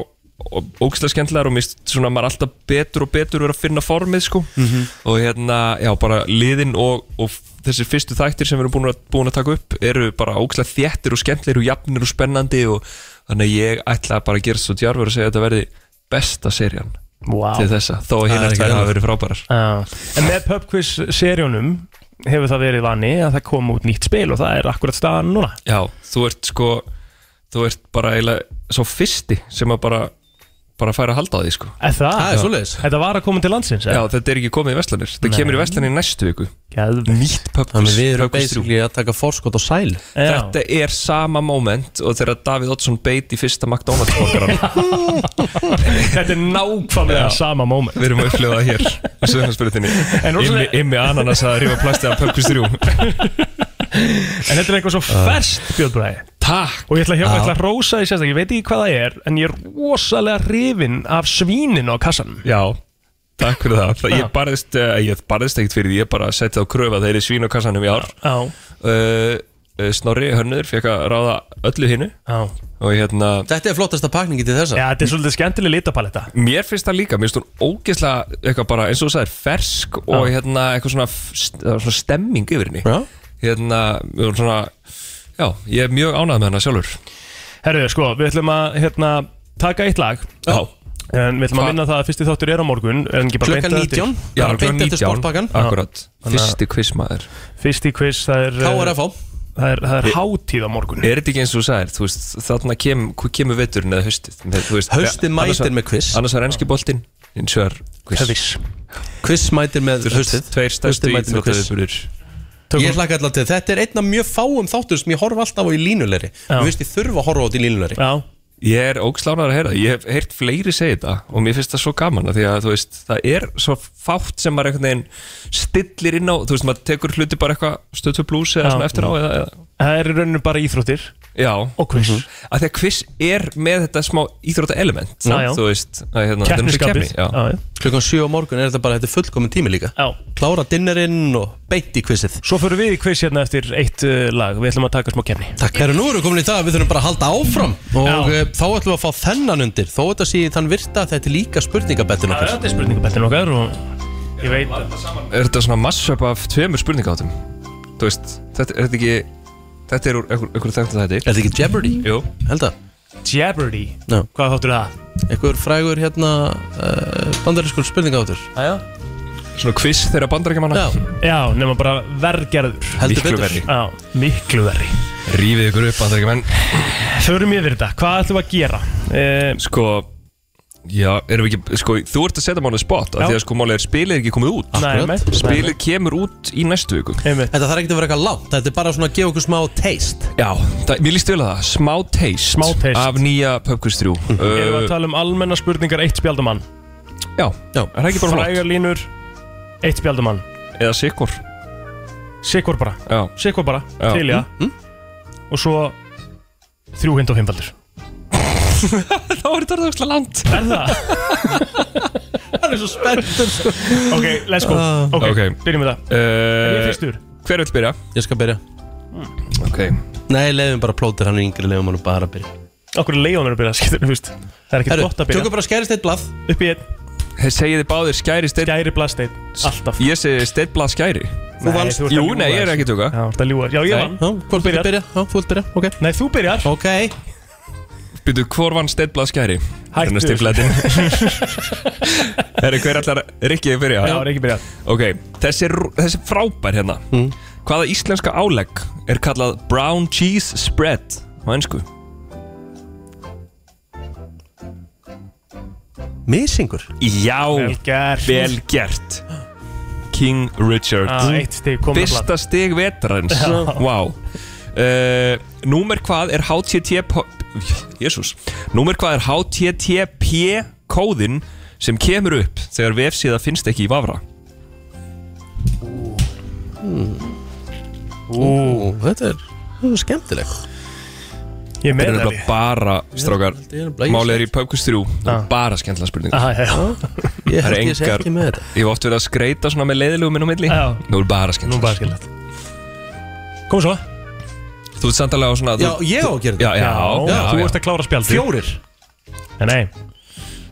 Speaker 11: og ógislega skemmtilegar og mér finnst svona maður alltaf betur og betur verið að finna formið sko
Speaker 3: Mhm.
Speaker 11: og hérna, já bara liðin og, og þessir fyrstu þættir sem við erum búin að, búin að taka upp eru bara ógislega þéttir og skemmtilegir og jafnir og spennandi og þannig að ég ætla bara að gera svo djarfur og segja að þetta verði besta serían
Speaker 2: Vá
Speaker 11: til þessa, þó að
Speaker 3: Það
Speaker 11: hérna
Speaker 3: er ekki
Speaker 11: tvær hafa
Speaker 3: annað.
Speaker 11: verið frábærar
Speaker 2: Já. En með pubquiz seríunum hefur það verið vani að það kom út nýtt spil og það er akkurat staðan núna
Speaker 11: Já, þú ert sko þú ert bara eiginlega svo fyrsti sem að bara, bara færa að halda á því sko.
Speaker 2: Er það?
Speaker 3: Það er svoleiðis.
Speaker 2: Þetta var að koma til landsins
Speaker 11: Já, þetta er ekki komið í Vestlanir Þetta kemur í Vestlanir næstu viku
Speaker 2: Nýtt
Speaker 3: Þannig
Speaker 11: Pökkus,
Speaker 3: við erum basically að taka forskot á sæl
Speaker 11: Þetta er sama moment og þegar Davíð Oddsson beit í fyrsta McDonalds borgaran
Speaker 2: Þetta er nákvæmlega sama moment
Speaker 11: Við erum að upplifa það hér á söðunarspyrutinni
Speaker 2: En rosalega-
Speaker 11: Ymmi, ymmi ananas að rífa plastið af Pökkus 3
Speaker 2: En þetta er eitthvað svo
Speaker 3: Ah.
Speaker 2: ferskt Björn Bræði
Speaker 11: Takk
Speaker 2: Og ég ætla að hjá- ætla að rósa því sérstaklega Ég veit ekki hvað það er En ég er rosalega rifinn af svíninu á kassanum
Speaker 11: Já, takk fyrir það, það ég, barðist, eh, ég barðist ekkert fyrir því Ég bara setti á kröfu að þeir eru svín á kassanum í ár
Speaker 2: Já,
Speaker 11: uh, uh, Snorri Hörnur fekk að ráða öllu hinnu
Speaker 2: já
Speaker 11: og hérna
Speaker 3: Þetta er flottasta pakningi til þessa
Speaker 2: Já, þetta er svolítið skemmtileg litapaletta
Speaker 11: Mér finnst það líka, mér finnst hún ógeðslega eitthvað bara eins og þú sagðir fersk og hérna eitthvað svona, f- st- það var svona stemming yfir henni
Speaker 3: Já.
Speaker 11: hérna, mér finnst svona já, ég er mjög ánægð með hennar sjálfur
Speaker 2: Herru, sko, við ætlum að hérna, taka eitt lag
Speaker 11: Já,
Speaker 2: En við ætlum
Speaker 11: Hva-
Speaker 2: að minna það að fyrsti þáttur er á morgun en ekki bara
Speaker 3: Klukkan
Speaker 2: beint á eftir.
Speaker 3: 19
Speaker 11: já,
Speaker 3: Bara
Speaker 11: klukkan
Speaker 3: beint eftir
Speaker 11: 19,
Speaker 3: sportpakkan
Speaker 11: Akkurat, fyrsti quizmaður
Speaker 2: Fyrsti quiz, það er eh,
Speaker 3: KRF á
Speaker 2: Það er, það er hátíð á morgun
Speaker 11: Er þetta ekki eins og þú sagðir, þú veist, þarna kem, hva- kemur veturinn eða haustið með, þú veist,
Speaker 3: Haustið
Speaker 11: annars var-
Speaker 3: mætir með quiz.
Speaker 11: Annars er ennski boltinn, eins og er quiz
Speaker 3: Quiz mætir með haustið
Speaker 11: Tveir stærstu
Speaker 3: Haustið
Speaker 11: í
Speaker 3: mætir með quiz Ég hlakka alltaf til Þetta er einn af mjög fáum þáttur sem ég horfa alltaf á í línulegri
Speaker 2: Já.
Speaker 3: Þú veist ég þurfa að horfa á þetta í línulegri
Speaker 2: Já,
Speaker 11: Ég er ógslánar að heyra, það. ég hef heyrt fleiri segja þetta og mér finnst það svo gaman að því að þú veist, það er svo fátt sem maður einhvern veginn stillir inn á, þú veist, maður tekur hluti bara eitthvað stötu blúsi eða
Speaker 2: Já.
Speaker 11: svona eftir á eða, eða,
Speaker 2: það er í rauninu bara íþróttir
Speaker 11: já,
Speaker 2: og quiz
Speaker 11: að því að quiz er með þetta smá íþróta element,
Speaker 2: Já, já.
Speaker 11: þú veist, að hérna, þetta er náttúrulega
Speaker 2: Keppnisskapið
Speaker 11: keppni, já.
Speaker 2: já.
Speaker 3: Klukkan 7 á morgun er þetta bara Þetta er fullkomin tími líka
Speaker 2: Já.
Speaker 3: Klára dinnerinn og beint í quizið
Speaker 2: Svo fyrir við í quiz hérna eftir eitt uh, lag Við ætlum að taka smá kemni
Speaker 3: Takk herru, nú erum við komin í það að við þurfum bara að halda áfram og Já. þá ætlum við að fá þennan undir þó þetta sé í þann virta að þetta er líka spurningabettin okkar
Speaker 2: Þetta er spurningabettin okkar og ég veit að
Speaker 11: Er þetta svona mashup af tveimur spurningáttum, þú veist, þetta er þetta ekki, þetta er úr einhver- einhverju þengtum
Speaker 3: Er
Speaker 11: þetta,
Speaker 3: þetta ekki Jeopardy?
Speaker 11: jú,
Speaker 3: Held að
Speaker 2: Jeopardy,
Speaker 3: Já.
Speaker 2: hvað þáttur það?
Speaker 3: Einhver frægur hérna uh, bandarískur spurningáttur
Speaker 2: Aja.
Speaker 11: svona quiz þeirra bandarækjumanna,
Speaker 3: Já,
Speaker 2: Já, nema bara vergerður
Speaker 3: heldur
Speaker 11: miklu
Speaker 3: betur
Speaker 11: verri,
Speaker 2: Já, miklu verri
Speaker 11: rífið ykkur upp bandarækjumenn.
Speaker 2: Förum yfir þetta, hvað ætlum við að gera? Eh,
Speaker 11: Sko Já, erum við ekki, sko, þú ert að setja mánu spot af
Speaker 2: Já.
Speaker 11: því að sko málið er spilið er ekki komið út
Speaker 2: nei, nei,
Speaker 11: Spilið kemur út í næstu viku
Speaker 2: Einmitt.
Speaker 3: Þetta þarf ekki að vera eitthvað langt, þetta er bara svona að gefa okkur smá taste
Speaker 11: Já, það, mér líst vel að það, smá taste
Speaker 2: Smá taste.
Speaker 11: Af nýja Pöpkus 3
Speaker 2: Erum við að
Speaker 11: uh,
Speaker 2: tala um almenna spurningar eitt spjaldamann
Speaker 11: Já, Eh, er það ekki bara flott?
Speaker 2: Frægarlínur, eitt spjaldamann
Speaker 11: Eða sikkur
Speaker 2: Sikkur bara,
Speaker 11: Já,
Speaker 2: sikkur bara,
Speaker 11: Já. Mm.
Speaker 2: til já Og svo þrjú hind og fimmfaldur
Speaker 11: þá er þetta orðaðslega land
Speaker 2: Er það? það er svo spenntur Ok, let's go Sko,
Speaker 3: Ah.
Speaker 2: Ok,
Speaker 11: Ok.
Speaker 2: byrjum við það Ég er
Speaker 11: uh,
Speaker 2: fyrstur Hmm.
Speaker 11: Hver vil byrja?
Speaker 3: Ég skal byrja
Speaker 11: Ok,
Speaker 3: Nei, leiðum bara plótir, hann er yngri, leiðum hann bara að byrja
Speaker 2: Okkur er leiðanur að byrja, skilur þú veist Það er ekki
Speaker 3: Herru,
Speaker 2: gott að byrja
Speaker 3: tökum bara skærist eitt blað
Speaker 2: Upp í einn,
Speaker 11: Hey, segið þið báðir skæri stein
Speaker 2: gæri blasteinn Alltaf
Speaker 11: Ég segi steinblað skæri
Speaker 2: Þú
Speaker 3: vannst.
Speaker 11: Jú, nei, ég er ekki tuga
Speaker 2: Já, þú ert að ljúa Já, ég
Speaker 11: Nei.
Speaker 2: vann
Speaker 3: Já, hvort
Speaker 2: byrjar.
Speaker 3: byrja, já, þú vilt byrja, ok
Speaker 2: Nei, þú byrjar
Speaker 3: Ok,
Speaker 11: Býtu, hvor vann steinblað skæri?
Speaker 2: Hættu.
Speaker 11: Þannig að steinblaðin Herri, hver allar Rikki að byrja?
Speaker 2: Já, Rikki Mm. byrja
Speaker 11: Ok, þessi, er- þessi er frábær hérna Hvaða íslenska álegg er kallað brown cheese spread á ennsku?
Speaker 3: Misingur
Speaker 11: Já,
Speaker 2: Vel gert
Speaker 11: vel gert King Richard
Speaker 2: ah, Eitt stig komið blad
Speaker 11: Fyrsta stig vetrarins Vá Uh, númer hvað er HTTP Jésús Númer hvað er HTTP kóðin sem kemur upp þegar vefsíða finnst ekki í vafra
Speaker 3: Ú, þetta er þetta er skemmtileg
Speaker 2: Ég
Speaker 11: Það er
Speaker 2: meina því
Speaker 11: nefnilega bara, strákar Málið er í Pöpkus 3 ah.
Speaker 2: Ah.
Speaker 11: Bara skemmtilega spurningar
Speaker 2: Ah, já, já.
Speaker 3: Ég
Speaker 11: Það
Speaker 3: held
Speaker 11: er
Speaker 3: ég sé
Speaker 11: engar-
Speaker 3: ekki með þetta
Speaker 11: Ég hef oft verið að skreita svona með leiðilegu minn á milli
Speaker 2: Já.
Speaker 11: Nú er bara
Speaker 2: Nú
Speaker 11: skemmtilega
Speaker 2: bara skilðat Kom svo
Speaker 11: Þú ert samtalega á svona
Speaker 3: Já,
Speaker 11: þú,
Speaker 3: ég á að gera
Speaker 11: Já,
Speaker 3: þetta
Speaker 11: já, já,
Speaker 2: Þú
Speaker 11: já,
Speaker 2: ert að klára spjaldi
Speaker 3: Fjórir
Speaker 2: Nei, nei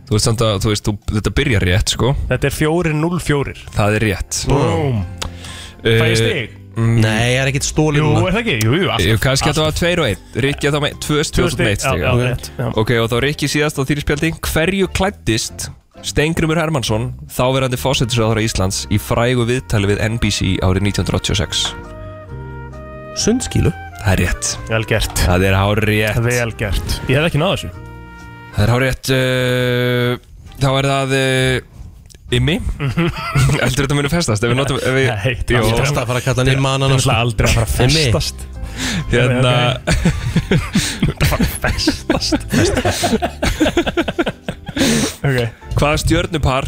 Speaker 11: Þú ert samt að, þú veist, þú, þetta byrjar rétt, sko
Speaker 2: Þetta er 4-0-4
Speaker 11: Það er rétt Eh,
Speaker 2: Búm Fæ ég stig?
Speaker 3: Nei, ég er ekkert stólið
Speaker 2: Jú,
Speaker 3: núna.
Speaker 2: er það ekki? Jú, jú,
Speaker 11: Ég
Speaker 2: alltaf
Speaker 11: kannski að það var tveir og einn Rikki að það með tvö
Speaker 2: Tvö
Speaker 11: stjóð og
Speaker 2: stig,
Speaker 11: meitt stig
Speaker 2: já, já, rétt, já.
Speaker 11: Ok, og þá Rikki síðast á þýri spjaldi Hverju klættist Steingrimur Hermansson Þáverandi fósettisráður á Íslands Í frægu viðtali við NBC árið 1986
Speaker 3: Sundskílu
Speaker 11: Það er rétt
Speaker 2: Vel gert
Speaker 11: Það er hár rétt
Speaker 2: Vel gert Ég hef ekki náð þessu
Speaker 11: Það er hár rétt uh, Þá er það uh, Immi Heldur þetta muni festast Ef við notum ef við,
Speaker 2: Mhm. Nei,
Speaker 11: Jó,
Speaker 2: það er
Speaker 3: Þetta að fara að kalla hann í
Speaker 2: Það er
Speaker 3: manan
Speaker 2: náttúrulega aldrei að fara að
Speaker 3: Nei, mig.
Speaker 2: festast
Speaker 11: Hérna
Speaker 2: Festast Ok
Speaker 11: Hvaða stjörnupar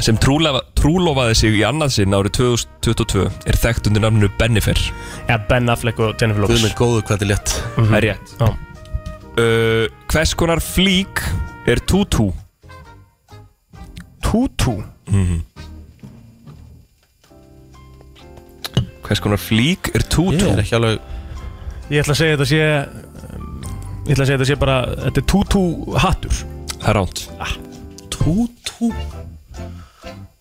Speaker 11: sem trúlefa, trúlofaði sig í annað sinn árið 2022 er þekkt undir namnu Bennifer
Speaker 2: Já, Ben Affleck og Jennifer
Speaker 3: Guð
Speaker 2: Lopez Mhm.
Speaker 3: með góðu hvað þetta er létt
Speaker 11: Það er rétt
Speaker 2: Já.
Speaker 11: uh, Hvers konar flík er tútú?
Speaker 2: Tutu
Speaker 11: Mhm. Hvers konar flík er tútú?
Speaker 3: Ég er ekki alveg
Speaker 2: Ég ætla að segja þetta sé Ég ætla að segja þetta sé bara Þetta er tutu hattur
Speaker 11: Það er ránt
Speaker 3: Tútú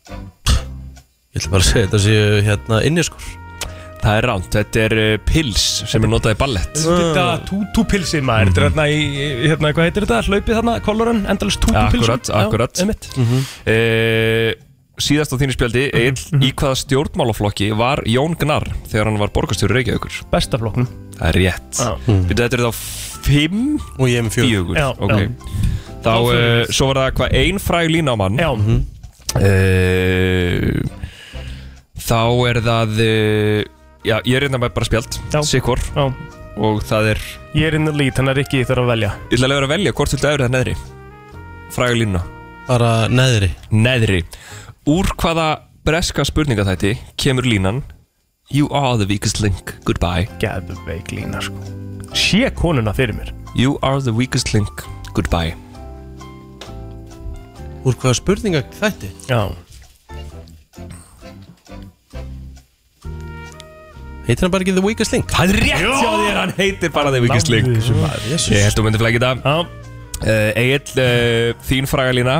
Speaker 3: Ég ætla bara að segja þetta séu hérna inniskur
Speaker 11: Það er ránt, þetta er uh, pils sem er notað í ballett
Speaker 2: Þetta
Speaker 3: Ah.
Speaker 11: Ah.
Speaker 2: tutu pilsið maður
Speaker 11: Mhm.
Speaker 2: Þetta er hérna í Hérna, hvað heitir þetta? Hlaupið þarna, kolorun Endalist tutu pilsið
Speaker 11: Akkurat, akkurat.
Speaker 2: Já, einmitt
Speaker 3: Mhm.
Speaker 11: uh, Síðast á þínu spjaldi
Speaker 2: Mhm,
Speaker 11: Egil, í hvaða stjórnmálaflokki var Jón Gnarr þegar hann var borgarstjóri Reykjavíkur?
Speaker 2: Besta flokknum
Speaker 11: Það er rétt
Speaker 2: Já.
Speaker 11: Býttu, Þetta eru þá fimm
Speaker 3: Mhm. Og ég er með fjögur
Speaker 11: fjögur
Speaker 2: Já,
Speaker 11: ok
Speaker 2: já.
Speaker 11: Þá,
Speaker 2: Þá
Speaker 11: uh,
Speaker 2: fyrir við.
Speaker 11: svo var það hvað ein fræg lína á mann
Speaker 2: Já
Speaker 3: Mhm.
Speaker 11: uh, Þá er það uh, Já, ég er reynda með bara spjald
Speaker 2: Já.
Speaker 11: Sikkur
Speaker 2: Já
Speaker 11: Og það er
Speaker 2: Ég er in the lead Þannig að Rikki þarf að velja
Speaker 11: Ég ætla að vera að velja hvort þú ert öfri það neðri Fræg lína
Speaker 3: Bara neðri
Speaker 11: Neðri Úr hvaða breska spurningatætti kemur línan You are the weakest link, goodbye
Speaker 2: Gæðveik lína sko Sé konuna fyrir mér
Speaker 11: You are the weakest link, goodbye
Speaker 3: Úr hvaða spurninga þætti?
Speaker 2: Já
Speaker 3: Heitir hann bara ekki The Weakest Link?
Speaker 11: Það er rétt hjá þér, hann heitir bara the weakest link
Speaker 2: Þessu maður
Speaker 11: Ég held þú myndir flækja þetta
Speaker 2: Já
Speaker 11: uh, Egil, uh, þín fragalína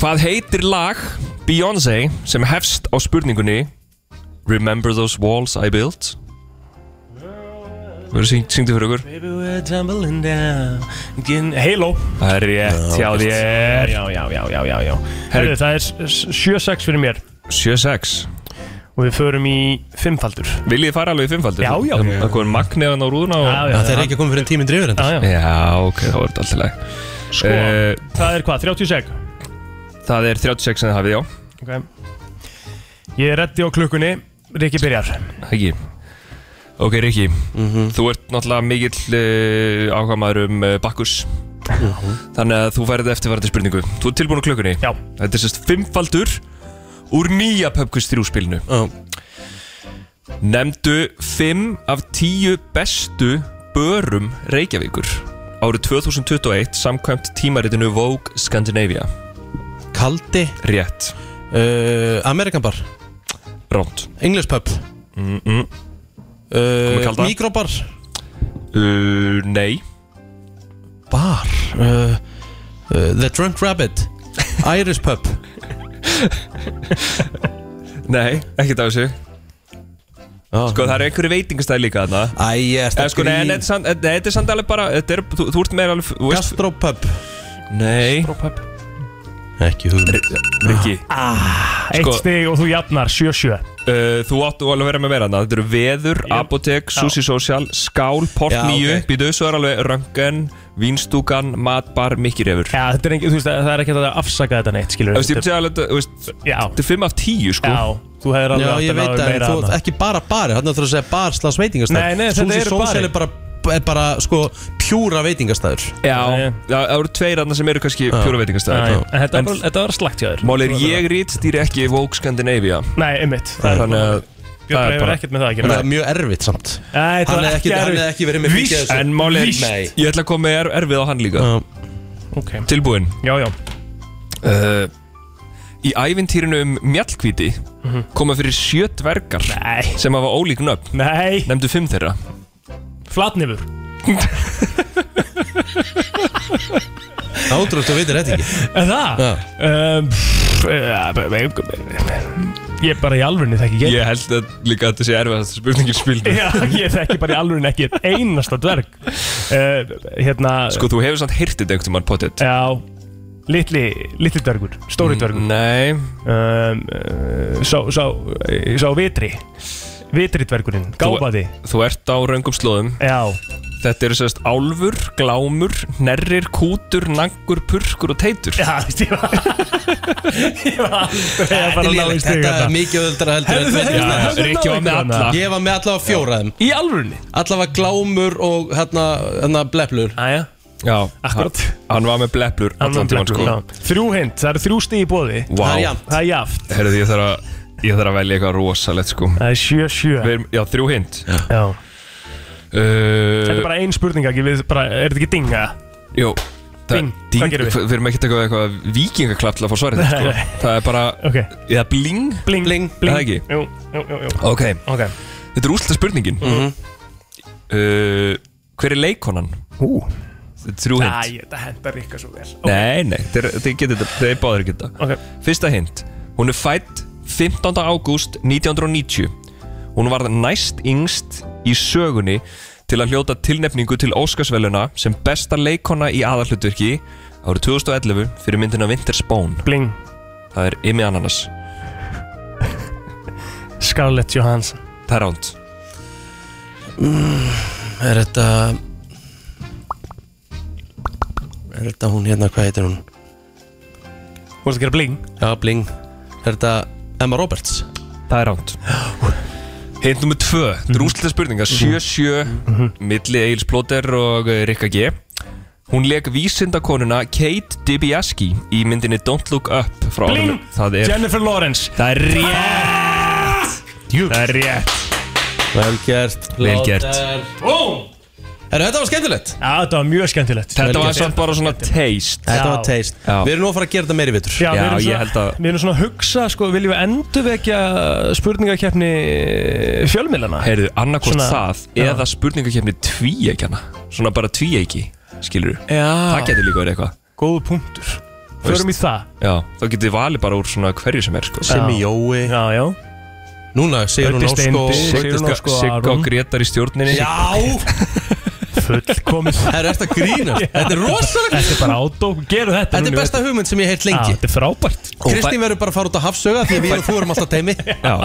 Speaker 11: Hvað heitir lag Beyoncé sem hefst á spurningunni Remember those walls I built? Verður syng, syngdu fyrir okkur
Speaker 2: Baby we're tumbling down Again, Halo
Speaker 11: Það er rétt hjá þér
Speaker 2: Já, já, já, já, já, já Herru, það er s- s- 7-6 fyrir mér
Speaker 11: 7-6
Speaker 2: Og við förum í fimmfaldur
Speaker 11: Viljið þið fara alveg í fimmfaldur?
Speaker 2: Já, já.
Speaker 11: Það komið magniðan á rúðuna og...
Speaker 2: já,
Speaker 3: Það er ekki að koma fyrir tíminn drifur enda
Speaker 2: já, já.
Speaker 11: Já, ok, þá er þetta alltaf lag
Speaker 2: Sko,
Speaker 11: Eh,
Speaker 2: það er hvað, 30 seg
Speaker 11: Það er 36 sem þið hafið, já
Speaker 2: okay. Ég er reddi á klukkunni Rikki byrjar
Speaker 11: Ekki Ok, Rikki,
Speaker 3: Mhm.
Speaker 11: þú ert náttúrulega mikill uh, ákvæmaður um uh, Bakkus
Speaker 3: Mhm.
Speaker 11: Þannig að þú færið eftirvarandi spurningu Þú ert tilbúin á klukkunni
Speaker 2: Já,
Speaker 11: Þetta er sérst fimmfaldur úr nýja Pöpkus 3 spilinu
Speaker 3: Já.
Speaker 11: Nemndu fimm af tíu bestu börum Reykjavíkur árið 2021 samkvæmt tímaritinu Vogue Scandinavia
Speaker 3: Kaldi
Speaker 11: Rétt,
Speaker 3: uh, Amerikan bar
Speaker 11: rámt
Speaker 3: English pub
Speaker 11: mm -mm.
Speaker 2: Eh,
Speaker 11: Komið
Speaker 3: uh,
Speaker 11: kalda.
Speaker 3: Mikrobar
Speaker 11: uh, Nei,
Speaker 3: Bar uh, uh, The Drunk Rabbit Irish pub
Speaker 11: nei, ekkert af þessu Sko það eru einhverju veitingastæði líka þarna
Speaker 1: Æ, ég er
Speaker 11: Eða sko, nei, en þetta er samt- en þetta er samt alveg bara þetta er, þú, þú ert meira alveg þú veist-
Speaker 1: Gastropub
Speaker 11: Nei,
Speaker 1: Ekki hugum
Speaker 11: Rikki
Speaker 1: Ah.
Speaker 2: Ah, Eitt
Speaker 11: Sko-
Speaker 2: stig og þú jafnar 7-7
Speaker 11: uh, Þú áttu alveg að vera með meira þarna Þetta eru veður, apotek, sushi social, skál, port
Speaker 1: Já,
Speaker 11: nýju
Speaker 1: ok.
Speaker 11: Býtu, svo er alveg röngan, vínstúkan, matbar, mikkirefur
Speaker 2: Já, þetta er engin, þú veist, það er ekki að afsaka þetta neitt, skilur
Speaker 11: Þú veist, ég myndi segja alveg, þú veist,
Speaker 2: Já,
Speaker 11: þetta er 5 af 10 sko
Speaker 2: já, þú hefur
Speaker 1: Já,
Speaker 2: alveg átt
Speaker 1: ég
Speaker 2: að
Speaker 1: veit
Speaker 2: hafa
Speaker 1: að
Speaker 2: meira
Speaker 1: þú
Speaker 2: annað.
Speaker 1: ekki bara bari Þannig að þú að segja bar slags veitingastæð
Speaker 2: Nei, nei, þetta eru
Speaker 1: Sósel er bara, er bara sko pjúra veitingastæður
Speaker 11: Já,
Speaker 2: Nei.
Speaker 11: það það eru tveir annað sem eru kannski pjóra
Speaker 2: Nei,
Speaker 11: veitingastæði
Speaker 2: en þetta, var, þetta var slagt hjá þér
Speaker 11: Mál er ég rítstýri ekki Vogue Scandinavia
Speaker 2: Nei, einmitt Það er
Speaker 11: Þannig að það
Speaker 2: Björn
Speaker 11: er
Speaker 2: hefur
Speaker 11: bara-
Speaker 2: ekkert með það að
Speaker 1: En
Speaker 2: gera
Speaker 1: það er mjög erfitt samt
Speaker 2: Nei,
Speaker 1: Hann hefði ekki, hann hefði ekki verið með
Speaker 2: Víst,
Speaker 1: mikið af þessu.
Speaker 11: En mál er,
Speaker 2: Víst.
Speaker 1: Nei.
Speaker 11: ég ætla að koma með er, erfið á hann líka
Speaker 1: Já.
Speaker 2: Ok,
Speaker 11: Tilbúin
Speaker 2: já, já
Speaker 11: uh, Í ævintýrinu um mjallkvíti koma fyrir sjö dvergar
Speaker 2: Mhm. Nei,
Speaker 11: sem hafa ólík nöfn
Speaker 2: nei,
Speaker 11: Nefndu fimm þeirra
Speaker 2: flatnifur
Speaker 1: Átrúlegt að veitir þetta ekki
Speaker 2: En það?
Speaker 1: Já.
Speaker 2: Um, pff, ja, b- b- b- Ég bara í alvörinni þekki ekki
Speaker 11: Ég held að líka að þetta sé erfiðast spurningin spilnum
Speaker 2: Já, ég þekki bara í alvörinni ekki einn einasta dverg uh, Hérna
Speaker 11: Sko þú hefur samt hirtið einhvern tímann potið
Speaker 2: Já, litli, litli dvergur, stóri dvergur
Speaker 11: Mm, Nei,
Speaker 2: um, uh, Sá, sá, eh, sá vitri Vitri dvergurinn, gáfaði
Speaker 11: þú ert á raungum slóðum
Speaker 2: Já,
Speaker 11: Þetta eru sérst álfur, glámur, nerrir, kútur, nangur, purkur og teitur
Speaker 2: já, þú veist, ég var Ég var aldrei að fara að ná í
Speaker 1: Lélegt,
Speaker 2: stiga
Speaker 1: Þetta er
Speaker 2: þetta
Speaker 1: mikið öðuldra heldur en
Speaker 2: Hefðu-
Speaker 1: veitingastæður.
Speaker 2: hefðu- hefðu-
Speaker 11: Rikki var með alla
Speaker 1: Ég var með allavega fjóraðum
Speaker 2: hérna. Í alvörinni
Speaker 1: Allavega glámur og hérna, hérna bleplur
Speaker 2: Æja,
Speaker 11: Já,
Speaker 2: Akkúrat.
Speaker 11: hann- Hann var með bleplur allan tímann sko
Speaker 2: Þrjú hint, það eru þrjú stig í bóði
Speaker 11: Vá,
Speaker 1: Það er jafnt.
Speaker 2: Það er jaft
Speaker 11: herruðu ég þarf að Ég þarf að velja eitthvað rosalegt sko
Speaker 2: Það er sjö sjö
Speaker 11: Við erum, já, þrjú hint
Speaker 2: Já. Þetta
Speaker 11: uh,
Speaker 2: er bara ein spurning ekki, við bara, er þetta ekki dinga?
Speaker 11: Jó, það-
Speaker 2: Ding, hvað
Speaker 11: ding,
Speaker 2: gerum við?
Speaker 11: Við erum ekki að taka eitthvað vikingaklapp til að fá svarið þetta,
Speaker 2: Nei,
Speaker 11: sko. Það er bara,
Speaker 2: Ok,
Speaker 11: eða bling
Speaker 2: bling,
Speaker 1: Bling.
Speaker 11: Það ekki?
Speaker 2: Jú, jú, jú, jú.
Speaker 11: Ok,
Speaker 2: Ok, Mhm.
Speaker 11: þetta er úslega spurningin uh, Hver er leikonan?
Speaker 2: ú
Speaker 11: Þetta er Þrjú
Speaker 2: Æ,
Speaker 11: hint
Speaker 2: þetta hendar ykkar svo vel Ok,
Speaker 11: Nei, nei, þeir, þeir geta þetta, þeir báðir geta þetta
Speaker 2: Ok,
Speaker 11: Fyrsta hint Hún er fætt 15. ágúst 1990 Hún varð næst yngst í sögunni til að hljóta tilnefningu til Óskarsveluna sem besta leikona í aðallutverki árið 2011 fyrir myndina Winter's Bone
Speaker 2: bling,
Speaker 11: Það er Imi Ananas
Speaker 2: Scarlett Johansson
Speaker 11: Það er ánd
Speaker 1: Mm, Er þetta Er þetta hún hérna, hvað heitir hún?
Speaker 2: Þú veist að gera bling
Speaker 1: Já, bling Er þetta Emma Roberts?
Speaker 11: Það er ánd Hint nummer 2 Þetta
Speaker 2: Mhm.
Speaker 11: er úrsluta spurninga 7-7 Milli Egil Plóter og eh, Rikka G Hún leik vísindakonuna Kate DiBiase í myndinni Don't Look Up frá
Speaker 2: Bling!
Speaker 11: árinu Það er
Speaker 2: Jennifer Lawrence Ah!
Speaker 11: Það er rétt
Speaker 2: Það er rétt
Speaker 1: Vel gert
Speaker 11: Vel gert.
Speaker 2: Búm!
Speaker 1: Er þetta var skemmtilegt?
Speaker 2: Já, þetta var mjög skemmtilegt
Speaker 11: Þetta var samt bara svona taste
Speaker 1: Þetta
Speaker 2: Já.
Speaker 1: var taste
Speaker 11: Já.
Speaker 1: Við erum nú að fara að gera þetta meiri vitur
Speaker 2: Já,
Speaker 11: Já,
Speaker 2: við erum
Speaker 11: ég
Speaker 2: svona,
Speaker 11: held að-
Speaker 2: Við erum svona að hugsa, sko, viljum við endurvekja spurningakeppni fjölmilana?
Speaker 11: Heyrðu, annarkvort
Speaker 2: Svona-
Speaker 11: það
Speaker 2: Já.
Speaker 11: Eða spurningakefni tvíeikjana Svona bara tvíeiki, skilur
Speaker 2: Já,
Speaker 11: Það getur líka verið eitthvað
Speaker 2: góðu punktur Förum í það
Speaker 11: Já, þá getur þið valið bara úr svona hverju sem er sko.
Speaker 1: Simmi Jói
Speaker 2: Já, já
Speaker 1: Núna, segir hún
Speaker 2: Öddi
Speaker 1: Ósko
Speaker 2: Steindi. Sigrún
Speaker 11: Sigga
Speaker 2: og sko
Speaker 11: Sigga
Speaker 2: Aron.
Speaker 11: og Gretar í stjórninni
Speaker 1: Já
Speaker 2: Full komið
Speaker 1: Það er eftir að grínast Þetta er rosalega
Speaker 2: Þetta er bara átó Geru þetta
Speaker 1: Þetta er
Speaker 2: núna,
Speaker 1: besta hugmynd sem ég heilt
Speaker 2: Já,
Speaker 1: lengi
Speaker 2: Þetta er frábært
Speaker 1: Kristín verður bara að fara út að hafsöga Því að við og þú erum alltaf teimi
Speaker 11: Já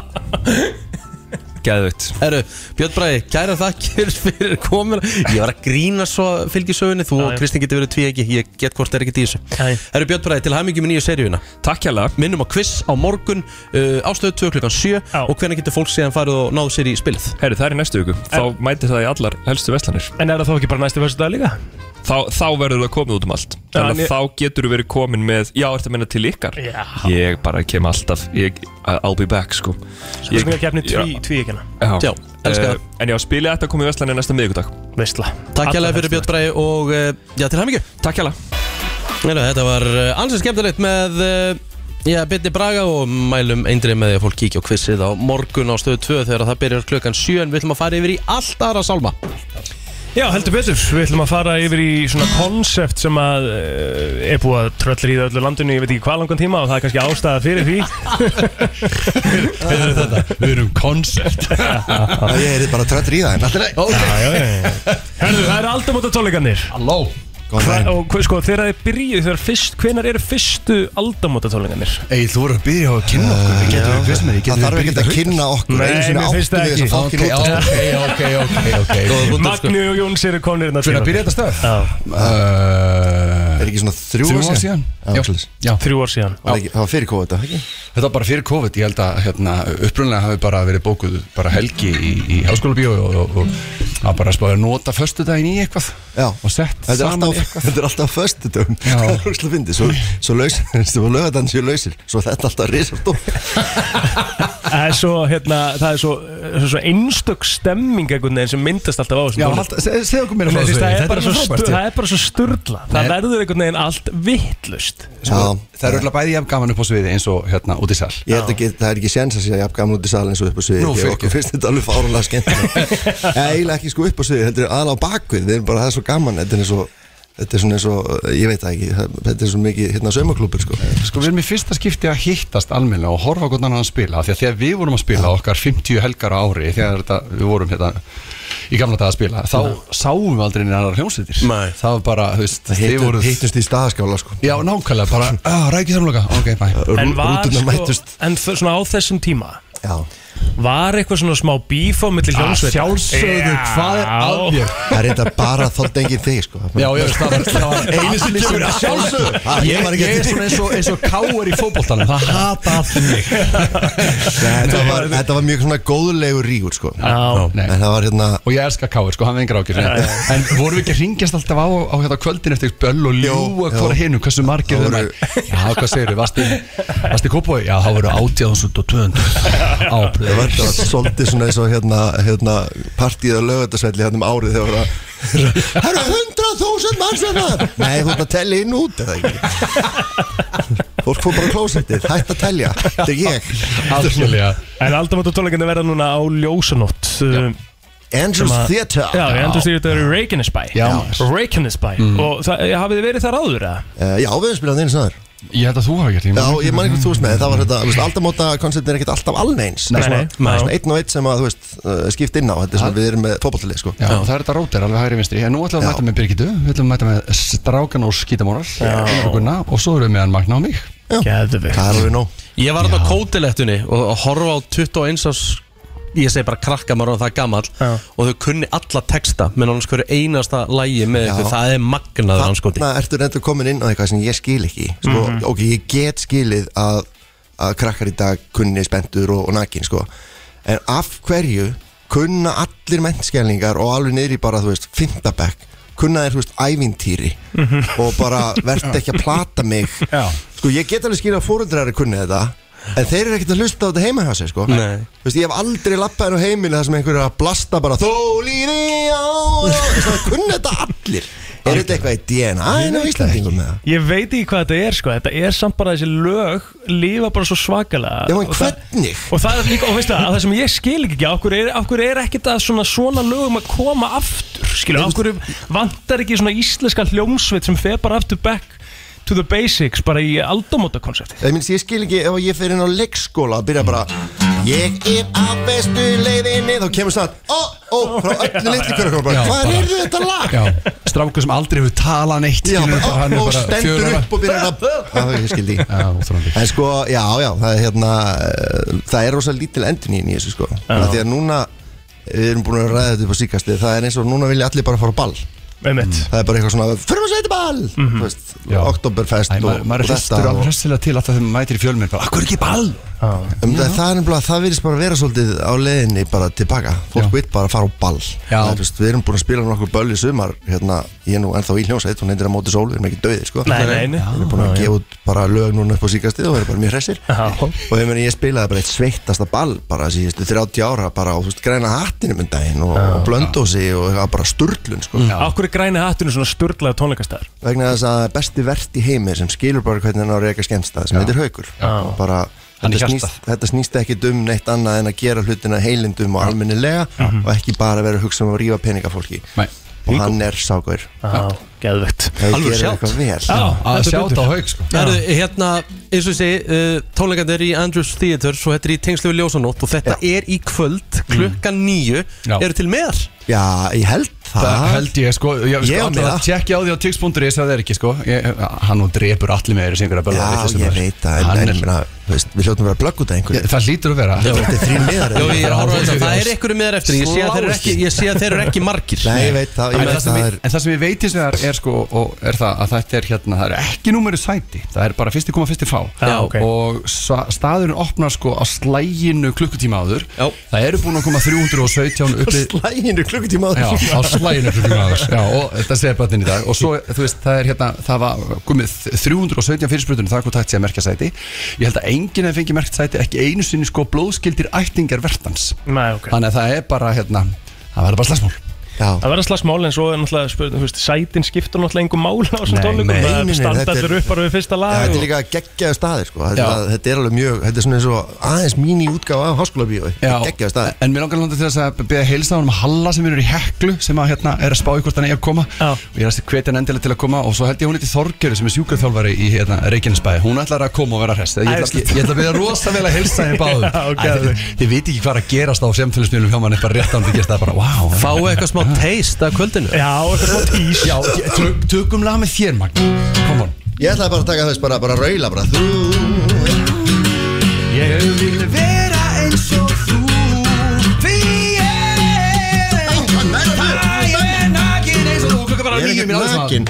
Speaker 11: Gæðvögt
Speaker 1: Herru, Björn Bræði, kæra þakkir fyrir komin Ég var að grína svo fylgisögunni Þú og
Speaker 2: já.
Speaker 1: Kristinn getur verið tví ekki Ég get hvort er ekki í þessu
Speaker 2: Já, já.
Speaker 1: Herru Björn Bræði, til hamingjum í nýju seríuna
Speaker 11: Takk hérlega
Speaker 1: Minnum á quiz á morgun uh, Ástöðu 2 klukkan 7
Speaker 2: Já.
Speaker 1: Og hvernig getur fólk síðan farið og náðu sér í spilið
Speaker 11: Herru, það er í næstu viku Þá mætir það í allar helstu veslanir
Speaker 2: En er það þá ekki bara næstu versu dag líka?
Speaker 11: Þá, þá verður það komið út um allt Þannig að
Speaker 2: en ég-
Speaker 11: þá getur þú verið komin með Já, ertu að minna til ykkar
Speaker 2: Já
Speaker 11: Ég bara kem alltaf ég, I'll be back sko Ég-
Speaker 2: Spurningakeppni
Speaker 11: Já.
Speaker 2: tví, tví ekki hana
Speaker 1: Já,
Speaker 11: Já,
Speaker 1: elska það.
Speaker 11: Eh, En já, spilið þetta komið í Vestlandi næsta miðgudag
Speaker 2: Veistla
Speaker 1: Takk hérlega fyrir Björn Bræði og uh, já, til hamingju
Speaker 11: Takk hérlega
Speaker 1: Herru, þetta var uh, ansið skemmtilegt með uh, Já, Bitni Braga og mælum eindrið með því að fólk kíkja á quizið á morgun á stöðu 2 þegar það byrjar klukkan 7 en við ætlum að fara yfir í allt aðra sálma.
Speaker 2: Já, heldur betur. Við ætlum að fara yfir í svona konsept sem að uh, er búið að tröllri í öllu landinu, ég veit ekki hvað langan tíma og það er kannski ástæða fyrir því.
Speaker 3: Hefur þetta, við erum koncept
Speaker 12: Ég er bara tröttur í það en alltaf leið.
Speaker 2: Já, já, já. já. Herðu, það eru aldamóta tónleikarnir.
Speaker 3: Halló
Speaker 12: Góðan daginn.
Speaker 2: Og hve- sko, þegar þið byrjuð, þegar fyrst, hvenar eru fyrstu aldamóta tónleikarnir?
Speaker 3: Ei, þú voru að byrja á að kynna okkur Við getum um við fyrst með því
Speaker 12: Eh, Það þarf ekki að kynna okkur
Speaker 2: Nei,
Speaker 12: einu sinni
Speaker 2: mér finnst
Speaker 12: áttu
Speaker 2: það
Speaker 12: við
Speaker 2: ekki.
Speaker 12: þess að fokkin
Speaker 3: Ok,
Speaker 12: út
Speaker 3: ok, ok, ok Góða
Speaker 12: sko.
Speaker 3: búin
Speaker 2: Magni og Jóns eru konir hérna
Speaker 3: Fyrir að byrja þetta stöð
Speaker 2: Já,
Speaker 12: Er
Speaker 3: Uh,
Speaker 12: ekki svona þrjú
Speaker 3: Þrjú
Speaker 12: ár
Speaker 3: ár
Speaker 12: síðan?
Speaker 3: síðan.
Speaker 12: Já, svoleiðis.
Speaker 3: Já,
Speaker 2: þrjú ár síðan.
Speaker 12: Var ekki- Það var fyrir kóða þetta,
Speaker 3: þetta var bara fyrir COVID, ég held að hérna, upprunlega hafi bara verið bókuð bara helgi í, í háskóla bíó og, og, og að bara spáði að nota föstudaginn í eitthvað
Speaker 12: Já.
Speaker 3: og sett
Speaker 12: Þetta er
Speaker 3: saman í
Speaker 12: alltaf,
Speaker 3: eitthvað
Speaker 12: þetta er alltaf föstu dögum
Speaker 3: Já.
Speaker 12: Það er úrslega fyndið Svo, svo laus, svo lögðan séu lausir Svo þetta er alltaf risastór
Speaker 2: Það er svo, hérna, það er svo, svo, svo einstök stemming einhvern veginn sem myndast alltaf á þessum
Speaker 3: Já,
Speaker 2: tónleikum.
Speaker 3: halda- seg- segðu okkur mér
Speaker 2: Nei,
Speaker 3: frá
Speaker 2: þú veist,
Speaker 3: þessu
Speaker 2: Það
Speaker 3: Þetta
Speaker 2: er bara
Speaker 3: alveg
Speaker 2: svo
Speaker 3: frábært,
Speaker 2: stu-
Speaker 3: ég.
Speaker 2: það er bara svo sturla Það
Speaker 3: Nei.
Speaker 2: verður einhvern veginn allt vittlust
Speaker 12: Já,
Speaker 3: Það er öll bara jafn gaman upp á sviði eins og hérna út í sal
Speaker 12: Ég held ekki, það er ekki séns að sé að jafn gaman út í salin svo upp á sviði
Speaker 3: Nú,
Speaker 12: Ég-
Speaker 3: fyrir
Speaker 12: Okkur
Speaker 3: ekki.
Speaker 12: finnst þetta alveg fárunlega skemmt Eiginlega ekki sko upp á sviði, þetta er aðla á bakvið Við erum bara, það er svo gaman Þetta er svo, þetta er svona eins og, ég veit það ekki það- Þetta er svo mikið, hérna, saumaklúpur sko
Speaker 3: Sko við erum í fyrsta skipti að hittast almennilega og horfa hvernig hann spila af því að þegar við vorum að spila okkar 50 helgar á ári þegar þetta, við vorum hérna í gamla daga að spila þá sáum við aldrei neina annar hljómsveitir
Speaker 1: Nei.
Speaker 3: það var bara, þú veist, þið
Speaker 12: Hittum-
Speaker 3: voruð
Speaker 12: Hittumst í staðaskála sko
Speaker 3: Já, nákvæmlega, bara, ah, að rækja samloka, ok, bæ
Speaker 2: En var
Speaker 12: Rútunar
Speaker 2: sko,
Speaker 12: mættust
Speaker 2: en þ- svona á þessum tíma
Speaker 12: Já,
Speaker 2: Var eitthvað svona smá bíf á milli hljómsveit
Speaker 3: Sjálfsögðu, hvað er að mér?
Speaker 12: það er þetta bara þótt enginn þig sko
Speaker 3: Já, ég veist, það var, það var einu sinni sem
Speaker 12: Sjálfsögðu. Ha, ég
Speaker 3: Ég,
Speaker 12: var ekki
Speaker 3: ég
Speaker 12: að-
Speaker 3: er svona eins og, eins og káur í fótboltanum Það hata allir mig
Speaker 12: Þetta var, þetta var mjög svona góðlegur rígur sko
Speaker 2: Já,
Speaker 3: Nei.
Speaker 12: En það var hérna
Speaker 3: Og ég elska káur, sko, hann vengar ákjör En vorum við ekki að ringjast alltaf á, á hérna kvöldin eftir böll og ljúa
Speaker 12: Jú,
Speaker 3: hvora
Speaker 12: jú.
Speaker 3: hinum, hversu margir
Speaker 12: Það
Speaker 3: þeim er
Speaker 12: voru-
Speaker 3: Já, hvað segir við, varstu, varstu í kópói? Já, það voru 18.200 á
Speaker 12: Það var,
Speaker 3: plöðu
Speaker 12: það var svolítið svona eins og hérna, hérna partíð á lögatarsvelli hérna um árið þegar voru að Það eru hundrað þúsund manns hérna Nei, þú ert að tellja inn og út eða ekki Fólk fór bara á klósettið, hætt að tellja Þetta er ég
Speaker 3: Algjörlega
Speaker 2: en aldamóta tónleikandi verða núna á ljósanótt um,
Speaker 12: Andrews
Speaker 2: Sem að-
Speaker 12: Theatre
Speaker 2: Já, ég endur stýrið þetta eru Reykjanesbæ
Speaker 3: Já, maður.
Speaker 2: Reykjanesbæ Og það, ja, hafið þið verið þar áður eða?
Speaker 12: Eh, Já, við höfum spilað einu snar
Speaker 3: Ég held að þú hafa gert
Speaker 12: Já, ég man ekki þú veist með, það var þetta, þú veist, aldamóta konceptin er ekkert alltaf alveg eins Það er
Speaker 2: Nei,
Speaker 12: svona-
Speaker 2: nei.
Speaker 12: svona einn og einn sem að, þú veist, eh, skipt inn á Þetta er svona, við erum með tópaltalið, sko
Speaker 3: Já, það er þetta rótir alveg hægri vinstri En nú ætlum við
Speaker 12: Já.
Speaker 3: að mæta með Birgitu Við ætlum að mæta með Strákan og Skítamóral Gunna, Og svo erum við með hann Magna og mig
Speaker 2: Geðvig
Speaker 12: Það er alveg nóg
Speaker 1: Ég var þarna á kótilettunni og að horfa á 21 árs ég segi bara krakka maður og það er gamall
Speaker 2: Já.
Speaker 1: og þau kunni alla texta með náttúrulega hverju einasta lægi með
Speaker 12: Já.
Speaker 1: ykkur, það er magnaður anskoti
Speaker 12: Þarna ertu reyndur komin inn á eitthvað sem ég skil ekki sko, Ok, ég get skilið að, að krakkar í dag kunni spendur og, og nakin sko. En af hverju kunna allir mennskelningar og alveg niður í bara, þú veist, fimmtabekk kunna þér, þú veist, ævintýri og bara verð ekki að plata mig
Speaker 3: Já.
Speaker 12: Sko, ég get alveg skilið að fóruldrar eru kunni þetta En þeir eru ekkert að hlusta á þetta heima hjá sér, sko
Speaker 1: Nei.
Speaker 12: Þú veist, ég hef aldrei lappað henn á heimili þar sem einhver er að blasta bara Þó líði á Það kunna þetta allir Er þetta eitthvað í DNA en á Íslandingum með það?
Speaker 2: Ég veit ekki hvað þetta er sko Þetta er samt bara þessi lög Lifa bara svo svakalega
Speaker 12: Já, en
Speaker 2: Og það-
Speaker 12: hvernig?
Speaker 2: Og það er líka, og veistu það, að það sem ég skil ekki af hverju er, af hverju er ekkert að svona svona lögum að koma aftur, skilur, af hverju vantar ekki svona íslenska hljómsveit sem fer bara aftur back to the basics bara í aldamóta konceptið.
Speaker 12: Ég, minnst, ég skil ekki ef ég fer inn á leikskóla og byrja bara Ég er á bestu leiðinni Þá kemur snart Ó, ó, frá öllu litli kjörgur
Speaker 3: Já,
Speaker 12: Hvað
Speaker 3: bara-
Speaker 12: er þetta lag?
Speaker 3: Já, strákur sem aldrei hefur talað neitt
Speaker 12: Já,
Speaker 3: skilur við,
Speaker 12: bara,
Speaker 3: hann er
Speaker 12: ó, ó,
Speaker 3: bara
Speaker 12: stendur
Speaker 3: fjögurra ára.
Speaker 12: upp og byrjar að Já, ég skil því
Speaker 3: Já, óþolandi.
Speaker 12: En sko, já, já, það er hérna eh, Það er rosa lítil endurníðin í þessu sko Af Því að núna, við erum búin að ræða þetta upp á síkast Það er eins og núna vilja allir bara fara á ball
Speaker 2: Einmitt.
Speaker 12: Það er bara eitthvað svona, fyrir að setja ball Þú veist,
Speaker 3: Mhm. Já.
Speaker 12: Oktoberfest
Speaker 3: Æ, maður, maður
Speaker 12: og
Speaker 3: hristur
Speaker 12: og-
Speaker 3: alveg hressilega til alltaf þegar maður mætir í fjölminn bara, akkur ekki ball
Speaker 12: um, það, það er nefnilega, það virðist bara vera svolítið á leiðinni bara tilbaka Fólk
Speaker 3: Já.
Speaker 12: veit bara að fara á ball
Speaker 3: Já.
Speaker 12: það, er, þú veist, Við erum búin að spila nokkur böll í sumar hérna, Ég er nú ennþá í hljómsveit, hún heitir að móti sól Við erum ekki döðið, sko
Speaker 2: Nei, nei, nei.
Speaker 12: Við erum búin að gefa út bara lög núna upp á síkastið og við erum bara mjög hressir
Speaker 2: Já.
Speaker 12: og ég meni ég spilaði bara eitt sveittasta ball bara síðustu 30 ára bara og þú veist græna hattinum um daginn og, og blöndósi og það var bara sturlun sko
Speaker 2: Af hverju græna hattinu svona sturglaða tónleikastæðar?
Speaker 12: vegna þess að besti vert í heimi sem skilur bara hvernig hann á að reyka skemmstað sem heitir haukur
Speaker 2: Já.
Speaker 12: bara
Speaker 3: Hann er
Speaker 12: þetta
Speaker 3: hjartað.
Speaker 12: snýst, þetta snýst ekki um neitt annað en að gera hlutina heilindum og almennilega og ekki bara vera að hugsa um að rífa peninga fólki
Speaker 3: Nei.
Speaker 12: og hann er sákur
Speaker 2: Já, geðvegt
Speaker 12: Ef þú
Speaker 1: Alveg
Speaker 12: gerir
Speaker 1: sjátt.
Speaker 12: eitthvað vel
Speaker 2: Já,
Speaker 3: Að sjáta
Speaker 2: betur.
Speaker 3: á haug sko
Speaker 1: Það eru hérna, eins og ég segi, uh, tónleikandir í Andrews Theatre Svo þetta er í tengslu við Ljósanótt Og þetta er í kvöld, klukkan nýju
Speaker 3: Mm. Já.
Speaker 1: Eru til meðar?
Speaker 12: Já, ég held
Speaker 3: Það
Speaker 12: það
Speaker 3: held ég sko Ég,
Speaker 12: Ég
Speaker 3: sko,
Speaker 12: á
Speaker 3: allan
Speaker 12: miða.
Speaker 3: að tjekki á því á tix.is að það er ekki sko ég, Hann og drepur allir með þeirri syngur að bölla
Speaker 12: Já, ég veit það, en-
Speaker 3: Hann
Speaker 12: en
Speaker 3: er-
Speaker 12: ég meina, þú veist, við hljóttum að vera að blögg út af einhverju
Speaker 3: Það hlýtur að vera
Speaker 12: Þetta er þrír miðar
Speaker 1: Já,
Speaker 12: eða?
Speaker 1: ég er að
Speaker 3: Já,
Speaker 1: horfa á þetta.
Speaker 3: já.
Speaker 1: Það er einhverju meðar eftir Ég sé að þeir eru ekki, ég sé að þeir eru ekki margir
Speaker 12: Nei, ég veit það,
Speaker 3: En
Speaker 12: ég
Speaker 3: það,
Speaker 12: veit
Speaker 3: sem
Speaker 12: það
Speaker 3: ég,
Speaker 12: er
Speaker 3: en það sem ég veit hins vegar er sko og er það að þetta er hérna, það er ekki númeru sæti, það er bara fyrsti koma fyrsti fá
Speaker 2: Já, ok.
Speaker 3: og sa- staðurinn opnar sko á slæginu klukkutíma áður
Speaker 1: Já.
Speaker 3: það eru búin að koma 317 upplið
Speaker 12: Slæginu klukkutíma
Speaker 3: Já, á slæginu klukkutíma áður Já, og þetta segir bættin í dag og svo, þú veist, það er hérna, það var komið 317 fyrirsprutunum það er hvað tætt sé að merkja sæti ég held að enginn hefði fengið merkt sæti, ekki einu sinni sko blóðskildir ættingar vertans
Speaker 2: Nei, ok
Speaker 3: þannig að það er bara, hérna, það verður bara slagsmál
Speaker 12: Já,
Speaker 2: Það verða slagsmál en svo er náttúrulega spurning, þú veist, sætin skiptur náttúrulega engum mál á þessum
Speaker 3: Nei,
Speaker 2: tónleikum,
Speaker 3: nei.
Speaker 2: það
Speaker 12: Nei, nei, nei,
Speaker 2: standa
Speaker 12: þetta er-
Speaker 2: allir upp bara við fyrsta
Speaker 12: Já,
Speaker 2: lag
Speaker 12: þetta er
Speaker 2: og...
Speaker 12: líka geggjaðu staðir sko. þetta,
Speaker 3: Já.
Speaker 12: er að- þetta er alveg mjög, þetta er svona eins og aðeins mín í útgáfa af háskóla bíói
Speaker 3: Já,
Speaker 12: geggjaðu staðir
Speaker 3: en mér langar landa til þess að beða heilsa honum Halla sem er í heklu sem að hérna er að spá í hvort hann er að koma
Speaker 2: Já.
Speaker 3: og ég er að hvetja hann endilega til að koma og svo held ég hún heiti Þorgjöru sem er sjúkraþjálfari í hérna, Reykjanesbæ hún ætlar að koma og vera hrest ég ætla, ég, ég ætla að beða rosa vel að heilsa henni báðum
Speaker 2: Já, ok.
Speaker 3: Æ, þið, þið veit ekki hvað er að gerast á semfélagsmiðlum hjá mann eitthvað rétt án því gerst það bara, wow
Speaker 1: Fáu eitthvað smá taste af kvöldinu
Speaker 2: Já, eitthvað svona tís
Speaker 3: Já, ég- tök- tökum lag með þér Magni Come on
Speaker 12: Ég ætlaði bara að taka þess bara, bara að raula bara Þú
Speaker 3: Ég vil vera eins og þú Því ég er nakin eins og þú Klukka bara
Speaker 12: Ég
Speaker 3: nýju
Speaker 12: er ekki
Speaker 3: minn á þessum
Speaker 12: nakin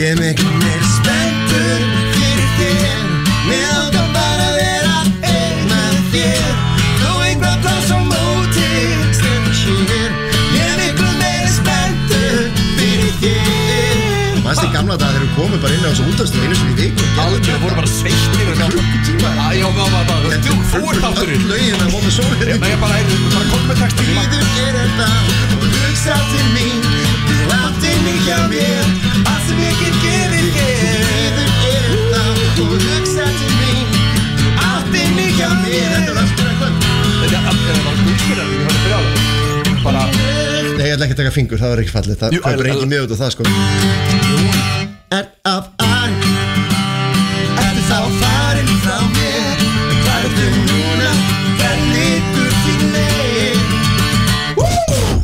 Speaker 12: Ég er mikil meir spenntur fyrir þér Mér ákvæm bara að vera einn með þér Þú einhver pláss á móti Stefnsýnir Ég er mikil meir spenntur fyrir þér Mæst þið gamla dag þegar við komum bara inn á þessu útastu einu sinni í viku
Speaker 3: Alveg, voru bara sveittir og sjálf Já,
Speaker 12: klukkutíma
Speaker 3: já, já, já, já, þú, þú ert þátturinn
Speaker 12: Öll lögin að móta sólið
Speaker 3: Nei, ég bara, heyrðu, bara kom með textin
Speaker 12: Líður gerir það og hugsa til mín Þú áttir mig hjá mér Allt sem ég get gefið þér Líður gerir það og hugsa til mín Þú áttir mig hjá mér Þetta er aftur eitthvað
Speaker 3: Þetta er allt, þetta var guðspyrðan, ég var að byrja á það Bara,
Speaker 12: Nei, ég ætla ekki að taka fingur, það var ekki fallið Það
Speaker 3: Jú,
Speaker 12: kaupir
Speaker 3: al-
Speaker 12: engin mjög út á það, sko Er af ær Ertu þá farin frá mér Hvað er þau núna? Hver liggur þín leið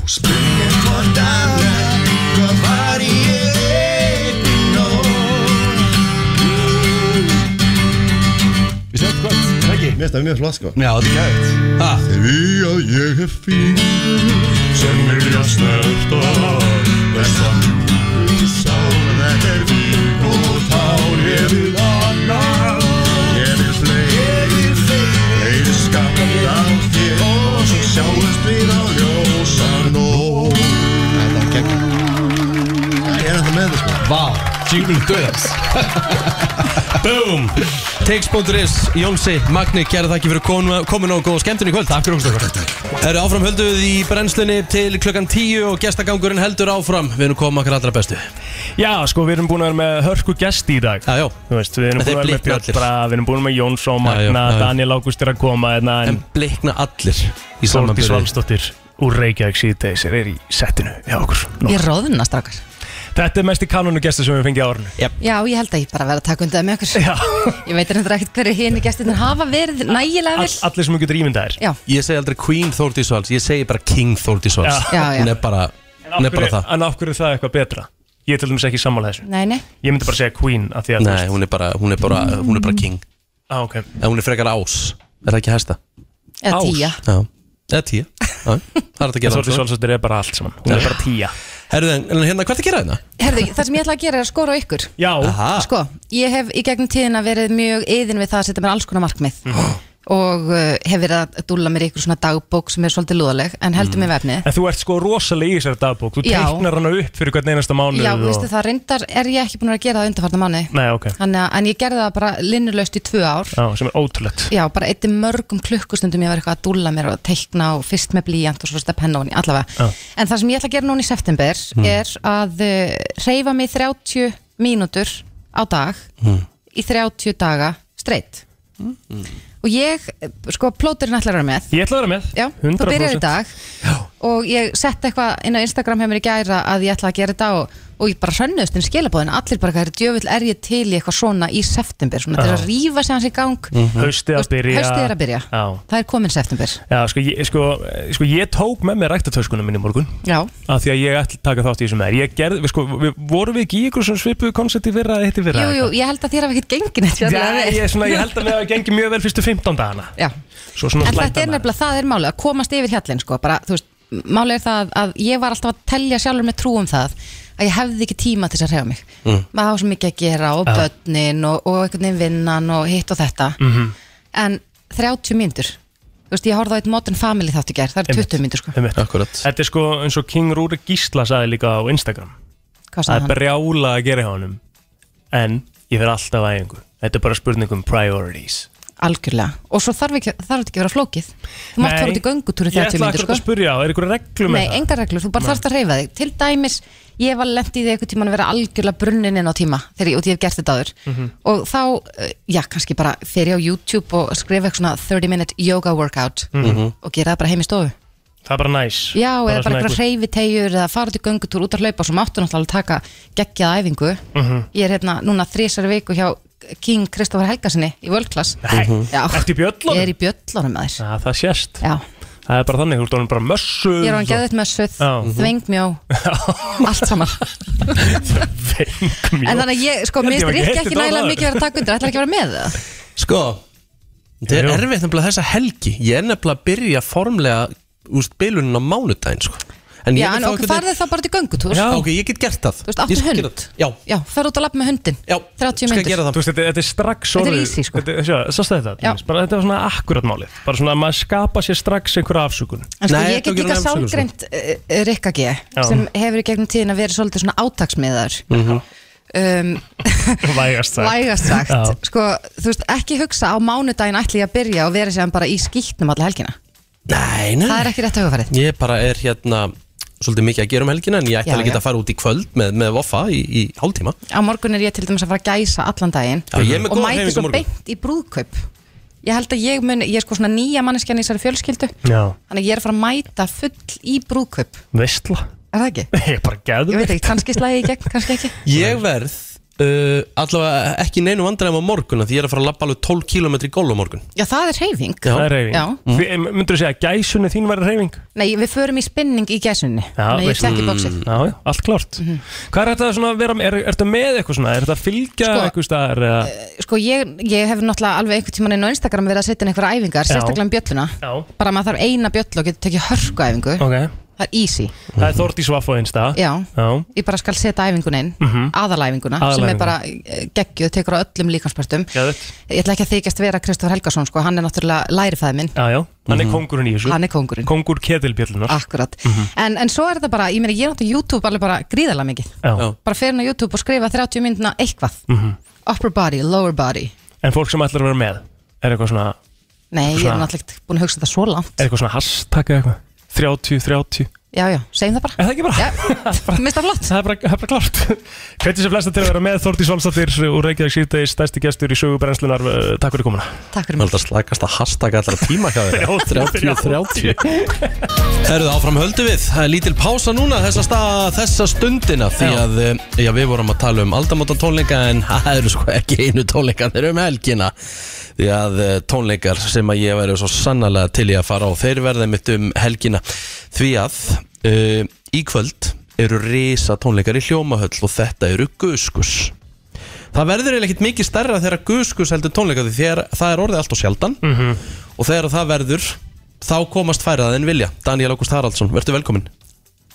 Speaker 12: Spurning hvort aðra Hvað var ég einn í nóg
Speaker 3: við séum þetta gott, það ekki?
Speaker 12: Mér finnst það mjög flott, sko
Speaker 3: Já, þetta er gæðið Ha,
Speaker 12: Því að ég hef fín Sem vilja snerta Þessa mjúku sál Það er vín og tár Ég vil annar Ég vil fleiri Ég vil fleiri Eir skapað af þér Og svo sjáumst við á ljósa nóg Þetta er gegn Ég er þetta með þess sko
Speaker 3: vá, jingle döðans
Speaker 2: Boom!
Speaker 1: Takes.is, Jónsi, Magni, kæra þakki fyrir komin, komin og góða skemmtun í kvöld Takk fyrir okkur Eru áfram hölduð í brennslunni til klukkan 10 og gestagangurinn heldur áfram Við erum komið okkar allra bestu Já,
Speaker 2: Já, sko, við erum búin að vera með hörku gesti í dag
Speaker 1: já,
Speaker 2: Þú veist, við erum
Speaker 1: Þeir
Speaker 2: búin að vera með
Speaker 1: blikna allir.
Speaker 2: Björn Bra, við erum búin með Jónsson,
Speaker 1: Já, já,
Speaker 2: Magna,
Speaker 1: já, já.
Speaker 2: Daniel Ágúst er að koma hérna, en
Speaker 1: en blikna allir í
Speaker 2: Þórdís
Speaker 1: samanbyrði
Speaker 2: Valsdóttir úr Reykjavík síðdeis er í settinu hjá okkur. Nú.
Speaker 13: Ég roðna strákar
Speaker 2: Þetta er mest í kanonu gestur sem við fengið á árinu.
Speaker 13: Já, ég held að ég bara verði að taka undir það með okkur
Speaker 2: Já,
Speaker 13: Ég veit reyndar ekkert hverju hini gestirnir hafa verið nægilega
Speaker 2: all,
Speaker 13: vel
Speaker 2: allir sem þú getur ímyndaðir.
Speaker 13: Já,
Speaker 1: Ég segi aldrei Queen Þórdís Vals, ég segi bara King Þórdís Vals
Speaker 2: Já.
Speaker 13: já, já
Speaker 1: Hún er bara,
Speaker 2: En af
Speaker 1: hún er bara
Speaker 2: hverju-
Speaker 1: það
Speaker 2: En af hverju er það eitthvað betra? Ég er til dæmis ekki sammála þessu.
Speaker 13: Nei, nei,
Speaker 2: Ég myndi bara segja Queen af því að...
Speaker 1: Nei, hún er bara, hún er bara, hún er bara King
Speaker 2: Ah, ok.
Speaker 1: En hún er frekar ás, er það ekki hæsta?
Speaker 13: eða
Speaker 2: Ás.
Speaker 13: tíja
Speaker 1: Já, eða 10 Já, Það er þetta að gera
Speaker 2: Þórdís Valsdóttir er bara allt saman. Hún er bara tíja.
Speaker 1: Herðu, en en hérna, hvað er að gera hérna?
Speaker 13: Herðu, það sem ég ætla að gera er að skora á ykkur
Speaker 2: Já,
Speaker 1: Aha.
Speaker 13: Sko, ég hef í gegnum tíðina verið mjög yðin við það að setja mér alls konar markmið
Speaker 2: Mm.
Speaker 13: og uh, hef verið að dúlla mér í ykkur svona dagbók sem er svolítið lúðaleg en heldur mér vefni
Speaker 2: Mm. en þú ert sko rosalega í þessari dagbók. Þú
Speaker 13: Já.
Speaker 2: teiknar hana upp fyrir hvern einasta mánuð
Speaker 13: Já,
Speaker 2: og...
Speaker 13: veistu það, reyndar er ég ekki búin að gera það undanfarnar mánu
Speaker 2: Nei, ok.
Speaker 13: En ég gerði það bara linnulaust í tvö ár
Speaker 2: Já, sem er ótrúlegt.
Speaker 13: Já, bara eitthi mörgum klukkustundum ég var eitthvað að dúlla mér og teikna og fyrst með blíjant og svo fyrst að penna honi, allavega.
Speaker 2: Já.
Speaker 13: En það sem ég ætla að gera núna í september
Speaker 2: Hmm.
Speaker 13: er að uh, reyfa mig 30 mínútur á dag í 30 daga streitt. Og ég, eh, sko, plóturinn ætla að vera með.
Speaker 2: Ég ætla að vera með.
Speaker 13: Já,
Speaker 2: 100%.
Speaker 13: þú byrjar í dag og ég sett eitthvað inn á Instagram hjá mér í gæra að ég ætla að gera þetta og, og ég bara hrönnust inn skilabóðin allir bara hvað er djöfull er ég til í eitthvað svona í september svona til
Speaker 2: Já.
Speaker 13: að rífa sig hans í gang
Speaker 1: Mhm.
Speaker 2: Haustið að byrja
Speaker 13: Haustið er að byrja.
Speaker 2: Já,
Speaker 13: það er komin september
Speaker 2: já sko, ég, sko, eh, sko, ég tók með mér ræktatöskunum minni í morgun
Speaker 13: Já,
Speaker 2: af því að ég ætla að taka þátt í þessum með þér. ég gerði, við sko, við, vorum við ekki í ykkur svona svipuðu koncept í fyrra eða hitt í fyrra
Speaker 13: jú, jú,
Speaker 2: eitthvað?
Speaker 13: ég held að þér hafa ekkert gengin eitt
Speaker 2: Já, ég, svona, ég held að mér hafa gengið mjög vel fyrstu 15 dagana
Speaker 13: Já,
Speaker 2: Svo svona
Speaker 13: en þetta er
Speaker 2: slættan
Speaker 13: nefnilega, það er málið að komast yfir hjallin sko, bara, þú veist, málið er það að ég var alltaf að telja sjálfur með trú um það að ég hefði ekki tíma til þess að hreyfa mig
Speaker 2: Mm.
Speaker 13: maður hafa svo mikið að gera og
Speaker 2: Já.
Speaker 13: börnin og, og einhvern veginn vinnan og hitt og þetta
Speaker 2: Mhm.
Speaker 13: en 30 mínútur þú veist, ég horfði á eitt Modern Family þátt í gerð það er 20 mínútur sko,
Speaker 2: Akkurat Þetta er sko eins og King Rúri Gísla sagði líka á Instagram
Speaker 13: hvað
Speaker 2: Það
Speaker 13: sagði
Speaker 2: er
Speaker 13: hann?
Speaker 2: brjála að gera hjá honum En ég fer alltaf að einhver Þetta er bara spurning um priorities
Speaker 13: Algjörlega, og svo þarf ekki, þarf þetta ekki að vera flókið þú mátt
Speaker 2: Nei.
Speaker 13: fara út í göngutúri 30
Speaker 2: Ég ætla
Speaker 13: mínútur
Speaker 2: akkurat
Speaker 13: sko
Speaker 2: að spyrja á, er ykkur reglum
Speaker 13: Nei, engar reglur, þú bara
Speaker 2: Nei.
Speaker 13: þarfst að reyfa þig Til dæmis, ég var lent í því eitthvað tíman að vera algjörlega brunnin inn á tíma þegar ég, og ég hef gert þetta áður
Speaker 2: Mhm.
Speaker 13: og þá, eh, já, kannski bara fer ég á YouTube og skrifa eitthvað svona 30 minute yoga workout
Speaker 2: Mhm.
Speaker 13: og gera það bara heim í stofu
Speaker 2: Það er bara næs
Speaker 13: Já, eða bara
Speaker 2: svona
Speaker 13: eitthvað reyfitegjur eða fara út í göngutúr út að hlaupa og svo máttu náttúrulega taka geggjað æfingu
Speaker 2: Mhm.
Speaker 13: Ég er hérna núna þrísar viku hjá King Kristoffer Helgasinni í World Class
Speaker 2: Nei,
Speaker 13: Já,
Speaker 2: Mhm. ertu í bjöllunum?
Speaker 13: ég er í bjöllunum að þér
Speaker 2: Já, það sést
Speaker 13: Já.
Speaker 2: Það er bara þannig, þú ert honum bara mössu
Speaker 13: Ég er á hann geðið með söð,
Speaker 2: Já. Mhm.
Speaker 13: þvengmjó, allt saman En þannig að ég, sko,
Speaker 2: Ég held
Speaker 13: mér
Speaker 2: ég hafi
Speaker 13: finnst Rikki
Speaker 2: ekki heyrt
Speaker 13: ekki
Speaker 2: þetta
Speaker 13: nægilega
Speaker 2: áður.
Speaker 13: mikið verið að taka undir, ætlar ekki að vera með það
Speaker 1: Sko, þetta er erfitt nefnilega þessa helgi Ég er nefnilega að byrja formlega úst bylunin á mánudaginn sko. en
Speaker 13: Já,
Speaker 1: ég vil
Speaker 13: en
Speaker 1: þá
Speaker 13: okkur
Speaker 1: einhvern veginn-
Speaker 13: farðið það bara til göngutúr
Speaker 1: Já, ok, ég get gert það
Speaker 13: Þú veist, áttu
Speaker 1: Ég skal
Speaker 13: hund?
Speaker 1: gera það. Já,
Speaker 13: Já, ferð út að lappa með hundin Já, 30
Speaker 1: skal
Speaker 13: myndir
Speaker 1: gera
Speaker 2: Mhm. Þú veist, þetta, þetta er strax
Speaker 13: Þetta er
Speaker 2: orðið-
Speaker 13: easy, sko.
Speaker 2: þetta, sjá, Sástu þetta? til
Speaker 13: Já.
Speaker 2: dæmis, Bara, þetta var svona ah. akkurat málið Bara svona að maður skapa sér strax einhverja afsökun
Speaker 13: En sko, ég get líka sálgreint eh, Rikka G
Speaker 2: Já.
Speaker 13: sem hefur í gegnum tíðin að vera svolítið svona átaksmiðar um,
Speaker 2: Vægast sagt
Speaker 13: Vægast sagt
Speaker 2: Já.
Speaker 13: Sko, þú veist, ekki hugsa á mánudaginn ætli ég að byrja og vera séðan bara í skýtnum alla helgina
Speaker 1: Nei, nei
Speaker 13: Það er ekki rétt hugafærið
Speaker 1: Ég bara er hérna svolítið mikið að gera um helgina en ég ætti
Speaker 13: Já,
Speaker 1: alveg
Speaker 13: já.
Speaker 1: að fara út í kvöld með, með voffa í, í hálftíma
Speaker 13: Á morgun er ég til dæmis að fara að gæsa allan daginn
Speaker 1: Já, ég er með
Speaker 13: og
Speaker 1: góða
Speaker 13: mæti
Speaker 1: hreyfingu
Speaker 13: svo
Speaker 1: morgun.
Speaker 13: beint í brúðkaup Ég held að ég mun, ég er sko svona nýja manneskjan í þessari fjölskyldu
Speaker 2: Já,
Speaker 13: Þannig að ég er að fara að mæta full í brúðkaup
Speaker 2: veistla
Speaker 13: Er það ekki?
Speaker 2: Ég er bara gæðu
Speaker 13: Ég veit ekki, kannski slæði í gegn, kannski ekki
Speaker 1: Ég verð uh, allavega ekki í neinu vandræðum á morgun af því ég er að fara að labba alveg 12 km í gólf á morgun
Speaker 13: Já, það er hreyfing
Speaker 2: Það er reyfing
Speaker 13: Já.
Speaker 1: Mhm.
Speaker 2: mm. Myndur þú segja að gæsunni þín væri reyfing?
Speaker 13: Nei, við förum í spinning í gæsunni Þannig að ég
Speaker 2: veistla.
Speaker 13: tek í Mhm. bóksið
Speaker 2: Mm, Já, já, allt klárt Hvað er þetta svona að vera, er, er þetta með eitthvað svona? Er þetta að fylgja
Speaker 13: Sko,
Speaker 2: eitthvað staðar? eða?
Speaker 13: Sko, ég, ég hef náttúrulega alveg einhvern tímann inn á Instagram verið að setja inn einhverja æfingar,
Speaker 2: Já.
Speaker 13: sérstaklega um bjölluna
Speaker 2: Já.
Speaker 13: Bara maður þarf eina bjöllu og getur tekið hörkuæfingu
Speaker 2: Ok,
Speaker 13: Það er easy
Speaker 2: það er Þórdís Vaff á einsta
Speaker 13: Já,
Speaker 2: Já,
Speaker 13: ég bara skal setja æfinguna inn
Speaker 2: Mhm.
Speaker 13: aðalæfinguna, sem er
Speaker 2: Aðalæfinguna.
Speaker 13: bara eh, geggjuð, tekur á öllum líkanspartum
Speaker 2: Geðveikt.
Speaker 13: Ég ætla ekki að þykjast vera Kristofur Helgason sko, hann er náttúrulega lærifæði minn
Speaker 2: já, já, hann
Speaker 1: Mhm.
Speaker 2: er kongurinn í þessu
Speaker 13: Hann er kóngurinn.
Speaker 2: Kongur ketilbjöllunar
Speaker 13: Akkurat en, en svo er þetta bara, ég meina ég er náttúrulega YouTube alveg bara gríðarlega mikið
Speaker 2: Já.
Speaker 13: bara fer hann á YouTube og skrifa 30 myndina eitthvað
Speaker 2: Mhm.
Speaker 13: upper body, lower body
Speaker 2: En fólk sem ætlar að vera með Er eitthvað svona,
Speaker 13: Nei, ég er
Speaker 2: Svona-
Speaker 13: náttúrulega ekkert búin að hugsa þetta svo langt
Speaker 2: er eitthvað svona hashtag eða eitthvað 30, 30
Speaker 13: Já, já, segjum það bara
Speaker 2: Er það ekki bara?
Speaker 13: Já, mista flott
Speaker 2: Það er bara, það er bara klart Hvernig sem flesta til að vera með Þórdís Valsdóttir úr Reykjavík síðdegi stærsti gestur í sögubrennslunar uh, Takk fyrir komuna
Speaker 13: Takk fyrir
Speaker 1: Það er alltaf slakast að hashtag allra tíma hjá þér
Speaker 2: 30,
Speaker 1: 30 Herðu áfram höldu við, það er lítil pása núna þessa, stað, þessa stundina því
Speaker 2: Já.
Speaker 1: að eh, já, við vorum að tala um aldamóta tónleika en það eru sko ekki einu tónleikan þeir eru um helgina því að eh, tónleikar sem að ég væri svo sannarlega til í að fara á þeir verða mitt um helgina því að uh, í kvöld eru risa tónleikar í hljómahöll og þetta eru guskus Það verður eiginlega ekkert mikið stærra þegar Guskus heldur tónleika því þegar það er orðið allt og sjaldan og þegar það verður þá komast færað en vilja Daniel Ágúst Haraldsson, verður velkomin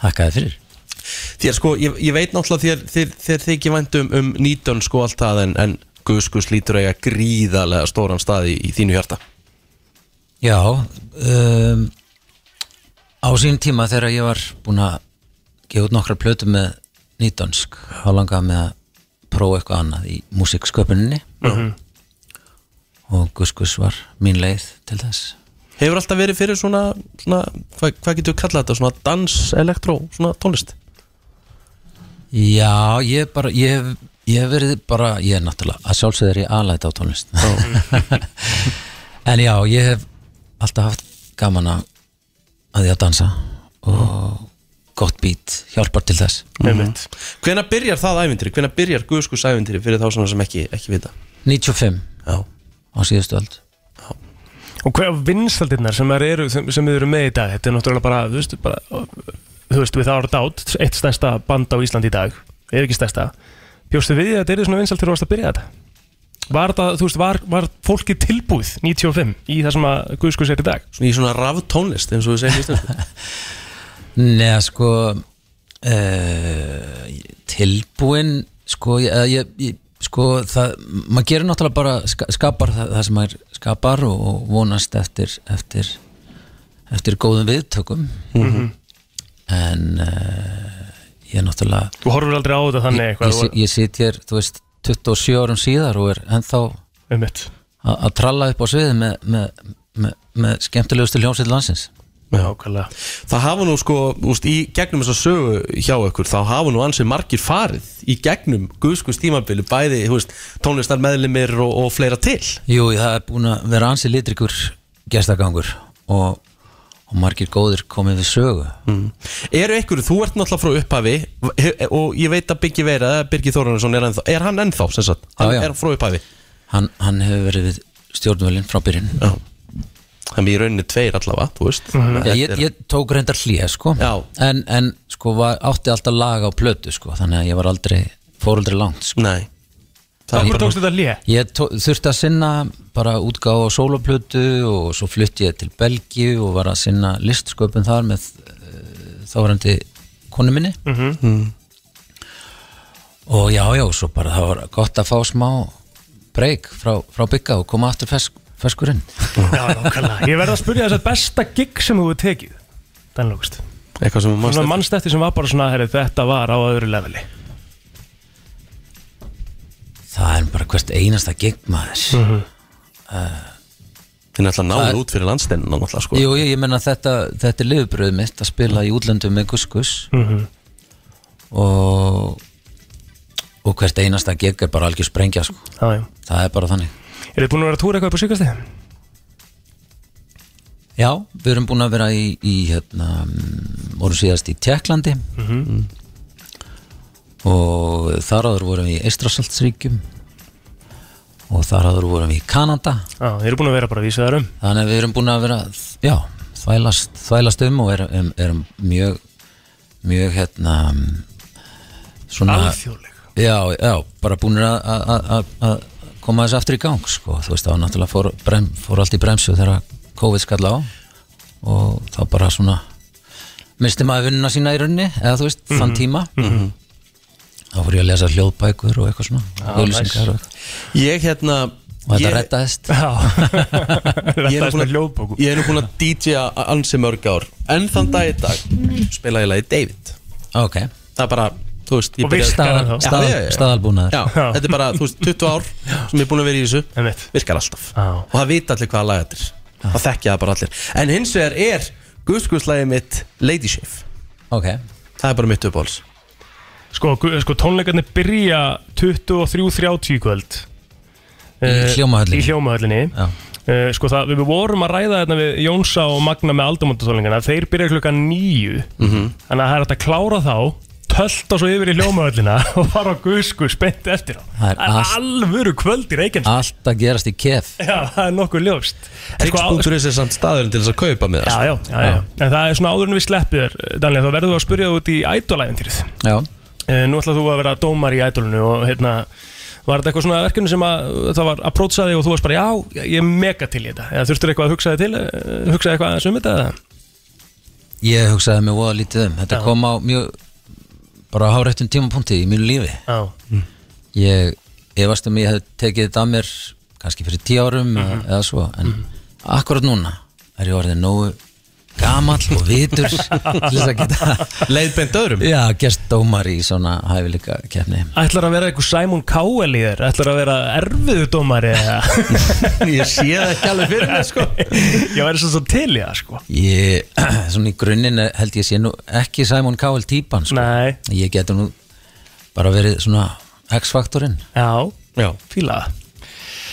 Speaker 14: Hakkaði fyrir
Speaker 1: Þér sko, ég, ég veit náttúrulega þér, þér, þér þykir vænt um, um nýtun sko allt það en, en Guskus lítur eiga gríðarlega stóran staði í, í þínu hjarta
Speaker 14: Já um, Á sín tíma þegar ég var búinn að gefa út nokkra plötu með nýtdönsk þá langaði mig að prófa eitthvað annað í músiksköpuninni
Speaker 1: Mhm.
Speaker 14: og Guskus var mín leið til þess
Speaker 1: Hefur alltaf verið fyrir svona, svona hvað hva getur við kallað þetta, svona dans, elektró, svona tónlist
Speaker 14: Já, ég bara ég, hef- ég hef verið bara, ég er náttúrulega að sjálfsögður ég aðlæta á tónlist en já, ég hef alltaf haft gaman að að ég að dansa og gott beat hjálpar til þess
Speaker 2: Einmitt.
Speaker 1: Hvena byrjar það ævintýri? Hvena byrjar Guðskus ævintýri fyrir þá svona sem ekki, ekki vita?
Speaker 14: 95
Speaker 1: Já.
Speaker 14: á síðustu öld
Speaker 2: Og hvað er vinstaldirnar sem, þær eru, sem, sem við erum með í dag? Þetta er náttúrulega bara, þú veist, bara, þú veist við þá erum dát, eitt stærsta band á Íslandi í dag, ef ekki stærsta. Bjóstu við því að þetta eru svona vinstaldir og varst að byrja þetta? Var, það, þú veist, var, var fólki tilbúið 95 í það sem að Guðskus er í dag?
Speaker 1: Svona í svona raftónlist eins og við segjum í íslensku
Speaker 14: Nei, sko uh, tilbúin sko, ég, eða ég, ég, sko það, maður gerir náttúrulega bara ska- skapar það, það sem maður skapar og, og vonast eftir eftir, eftir góðum viðtökum
Speaker 2: Mhm.
Speaker 14: en uh, ég náttúrulega
Speaker 2: Þú horfur aldrei á þetta þannig
Speaker 14: ég,
Speaker 2: eitthvað?
Speaker 14: sit- ég sit hér, þú veist, 27 árum síðar og er ennþá
Speaker 2: Einmitt.
Speaker 14: að að tralla upp á sviði með, með, með, með skemmtilegustu hljómsveit landsins
Speaker 2: Nákvæmlega
Speaker 1: Það hafa nú sko, úst, í gegnum þessa sögu hjá ykkur, þá hafa nú ansið margir farið í gegnum Guðskus tímabili bæði, þú veist, tónlistar meðlumir og, og fleira til
Speaker 14: Jú, það er búin að vera ansið litrikur gestagangur og, og margir góðir komið við sögu
Speaker 1: mm. Eru ykkur, þú ert náttúrulega frá upphafi he- og ég veit að Byggi Veira, eða Byrgi Þórunarson er ennþá, er hann ennþá sem sagt, hann
Speaker 14: já.
Speaker 1: er frá upphafi
Speaker 14: Hann, hann hefur verið við stjórnvölinn frá byrjun
Speaker 1: Já Þannig í rauninni tveir allavega, þú veist
Speaker 14: Mhm. Já, ég- ég tók reyndar hlýja, sko Já. en, en sko var, átti alltaf lag á plötu sko, þannig að ég var aldrei fór aldrei langt sko.
Speaker 1: Nei
Speaker 2: Það Akkur tókst þetta hlé?
Speaker 14: Ég tó, þurfti að sinna bara útgáð á sóloplötu og svo flutti ég til Belgíu og var að sinna listsköpun þar með uh, þávarandi konu minni
Speaker 2: Mhm.
Speaker 14: og já, já, svo bara það var gott að fá smá breyk frá, frá bygga og koma aftur fersk, ferskurinn
Speaker 2: Já, nákvæmlega. Ég verð að spyrja þess að besta gig sem þú hefur tekið, Danlókust.
Speaker 1: Eitthvað sem
Speaker 2: Svona mannstætti sem var bara svona, herri, þetta var á öðru leveli.
Speaker 14: Það er bara hvert einasta gig maður
Speaker 2: Mhm.
Speaker 14: uh,
Speaker 1: Þið náttúrulega
Speaker 14: Það er-
Speaker 1: náðu út fyrir landsteinina náttúrulega sko
Speaker 14: Jú, jú, ég menna þetta, þetta er liðbröð mitt að spila í útlöndum með Guskus
Speaker 2: Mhm.
Speaker 14: og og hvert einasta gig er bara algjör sprengja sko.
Speaker 2: Já, já.
Speaker 14: það er bara þannig
Speaker 2: Er þið búin að vera að túra eitthvað upp á síkastíð?
Speaker 14: Já, við erum búin að vera í, í hérna, mm, vorum síðast í Tjekklandi
Speaker 2: Mhm.
Speaker 14: og þar áður vorum við í Eistrasaltsríkjum og þar áður vorum við í Kanada
Speaker 2: Já, þið eru búin að vera bara að vísa þar um.
Speaker 14: þannig að við erum búin að vera já, þvælast, þvælast um og erum, erum, erum mjög mjög hérna mm, svona
Speaker 2: Alþjóðleg.
Speaker 14: já, já, bara búin að- að að- að koma þessu aftur í gang sko. þú veist, þá náttúrulega fór, brem, fór allt í bremsu þegar COVID skall á og þá bara svona misti maður vinnuna sína í rauninni eða þú veist, þann tíma þá fór ég að lesa hljóðbækur og eitthvað svona
Speaker 1: Já,
Speaker 14: auglýsingar og
Speaker 1: næs. Ah, Ég hérna
Speaker 14: Og þetta
Speaker 1: ég-
Speaker 14: reddaðist.
Speaker 2: Já.
Speaker 1: Ég er nú
Speaker 2: Reddaðist
Speaker 1: búin
Speaker 2: með
Speaker 1: að-
Speaker 2: hljóðbókum.
Speaker 1: ég er nú búin að DJ-a ansi mörg ár En þann dag í dag spila ég lagi David
Speaker 14: Ok
Speaker 1: Það er bara, þú veist ég
Speaker 14: Og
Speaker 1: byrjaði-
Speaker 14: virkar Staðal- ennþá. staðal-
Speaker 1: Já, já, já.
Speaker 14: staðalbúnaður.
Speaker 1: Já,
Speaker 14: Já.
Speaker 1: þetta er bara, þú veist, 20 ár sem ég er búin að vera í þessu
Speaker 2: Einmitt.
Speaker 1: Virkar alltaf
Speaker 2: Já.
Speaker 1: Og það vita allir hvaða lag þetta er Það þekkja það bara allir En hins vegar er guðskuðslagið mitt Lady Shave
Speaker 14: Ok
Speaker 1: Það er bara mitt uppáhalds
Speaker 2: Sko, gu- sko tónleikarnir byrja 23.30 í kvöld. Eh,
Speaker 14: hljómahöllinni.
Speaker 2: Í hljómahöllinni.
Speaker 14: Já.
Speaker 2: Eh, Sko, það, við vorum að ræða þetta við Jónsa og Magna með aldamöndatónleikana. Þeir byrja klukkan nýju.
Speaker 1: Mhm.
Speaker 2: Þannig að það er hægt að klára þá Tölta svo yfir í hljómaöllina og fara á gusku spennt eftir á
Speaker 14: Það er
Speaker 2: Það er
Speaker 14: allt-
Speaker 2: alvöru kvöld í Reykjavík
Speaker 14: allt að gerast í kef
Speaker 2: Já, það er nokkuð ljóst En sko, á-
Speaker 1: Tricks.is er samt staðurinn til þess að kaupa með það sko.
Speaker 2: Já, já, já, já. En það er svona áður en við sleppið þér Daniel, þá verður þú að spyrja þú út í ædolæfintýrið
Speaker 14: Já
Speaker 2: Nú ætlaðu þú að vera dómar í ædolinu og hérna Var þetta eitthvað svona verkefni sem að það var að prótsa þig og þú varst bara já, ég er mega til í þetta eða þurftur eitthvað að hugsa þig til, eh, hugsa eitthvað aðeins um þetta eða?
Speaker 14: Ég hugsaði mig voða lítið um Þetta
Speaker 2: Já.
Speaker 14: kom á mjög bara á hárættum tímapunkti í mínu lífi
Speaker 2: Já.
Speaker 14: Ég efast um ég hef tekið þetta að mér kannski fyrir tíu árum
Speaker 2: Mhm.
Speaker 14: eða svo en akkurat núna er ég orðið nógu gamall og vitur til þess að geta
Speaker 1: leiðbend öðrum
Speaker 14: Já, gerst dómar í svona hæfileika kefni
Speaker 2: Ætlar að vera eitthvað Simon Cowell í þér? Ætlar að vera erfiðu dómari eða?
Speaker 1: Ég sé það ekki alveg fyrir mig sko
Speaker 2: Ég væri svo, svo til í það sko
Speaker 14: Ég, svona í grunninn er- held ég sé nú ekki Simon Cowell típan sko.
Speaker 2: Nei
Speaker 14: Ég getur nú bara verið svona X-faktorinn
Speaker 2: Já,
Speaker 1: Já.
Speaker 2: fíla það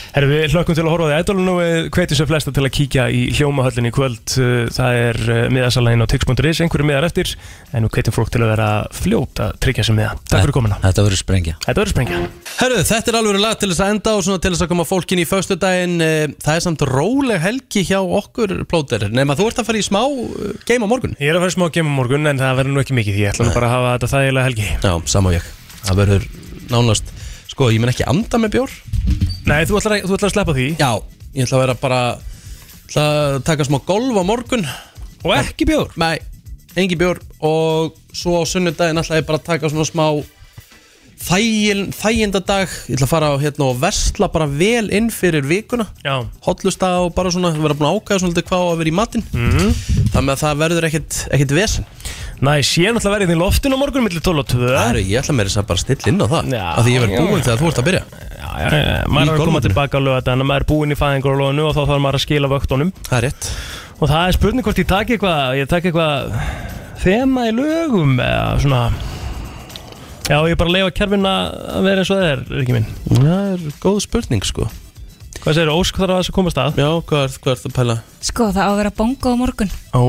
Speaker 2: Herru, við hlökkum til að horfa á því ædolun og við hvetjum sem flesta til að kíkja í hljómahöllin í kvöld. Uh, Það er miðasalægin á tix.is, einhverju miðar eftir, en við hvetjum fólk til að vera fljót að tryggja sem miða. Takk fyrir komuna.
Speaker 14: Þetta verður sprengja
Speaker 2: Þetta verður sprengja.
Speaker 1: Herru, þetta er alveg lag til þess að enda og svona til þess að koma fólkin í föstudaginn eh, Það er samt róleg helgi hjá okkur plóter Nefn þú ert að fara í smá eh, game á morgun
Speaker 2: Ég er að fara í smá game á morgun en það verður nú ekki mikið því ég ætla nú bara að hafa þetta þægilega helgi.
Speaker 1: Já, sama og ég Það verður nánast Sko, ég menn ekki anda með bjór
Speaker 2: Nei, þú ætlar, þú ætlar að sleppa því
Speaker 1: Já, ég ætla að vera bara ætla að taka smá golf á morgun
Speaker 2: Og ekki bjór?
Speaker 1: Nei, engi bjór og svo á sunnudaginn ætla ég bara að taka svona smá þægil, þægindadag ég ætla að fara á hérna og versla bara vel inn fyrir vikuna
Speaker 2: Já.
Speaker 1: hotlusta og bara svona vera búin að ákæða svona lítið hvað á að vera í matinn
Speaker 2: Mhm.
Speaker 1: mm. þannig að það verður ekkit, ekkit vesen
Speaker 2: Næs, ég er náttúrulega verið hérna í loftinu á morgun millir 12 og 2
Speaker 1: Það eru, ég ætla með þess að bara stilla inn á það
Speaker 2: Já.
Speaker 1: af því ég verð búinn þegar þú ert að byrja
Speaker 2: Já, já, já, maður er að koma tilbaka á lögadagana, maður er búinn í fæðingarlóðinu og þá þarf maður að skila vöktunum
Speaker 1: Það er rétt
Speaker 2: Og það er spurning hvort ég taki eitthvað, ég taki eitthvað þema í lögum eða svona Já, ég bara leifa kerfin að vera eins og það er, Riki minn
Speaker 1: Það er góð spurning sko
Speaker 2: Hvað segir Ósk þarf að þessu komast að?
Speaker 1: Já, hvað er, hvað er það að pæla?
Speaker 15: Sko, það á að vera bongo á morgun
Speaker 2: Ó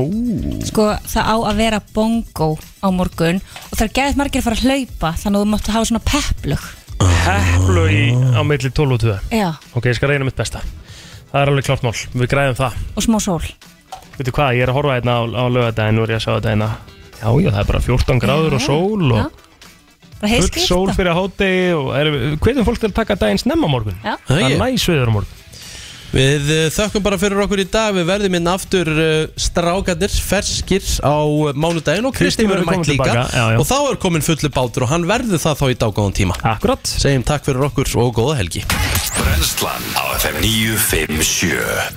Speaker 15: Sko, það á að vera bongo á morgun Og það er geðið margir að fara að hlaupa Þannig að þú máttu hafa svona pepplug
Speaker 2: Heplu í á milli 12 og 2
Speaker 15: Já,
Speaker 2: Ok, ég skal reyna mitt besta Það er alveg klart mál, við græðum það
Speaker 15: og smá sól
Speaker 2: Veitu hvað, ég er að horfa hérna á, á lögadaginn og er ég að sjá þetta hérna Já, já, það er bara 14 gráður og sól
Speaker 15: Bara
Speaker 2: og
Speaker 15: sko.
Speaker 2: full
Speaker 15: heiðskrift
Speaker 2: sól fyrir hátegi og erum- hvetjum fólk til að taka daginn snemma á morgun
Speaker 15: Já.
Speaker 2: Það er næs viður á morgun
Speaker 1: Við eh, þökkum bara fyrir okkur í dag Við verðum inn aftur uh, strákadir ferskir á eh, mánudaginn og Kristi
Speaker 2: Kristín verður
Speaker 1: verður mætt
Speaker 2: komin
Speaker 1: líka
Speaker 2: tilbaka, já, já.
Speaker 1: og þá er komin fullu bátur og hann verður það þá í daggóðan tíma
Speaker 2: Akkurat
Speaker 1: Segjum takk fyrir okkur og góða helgi
Speaker 4: Brennslan á FM 957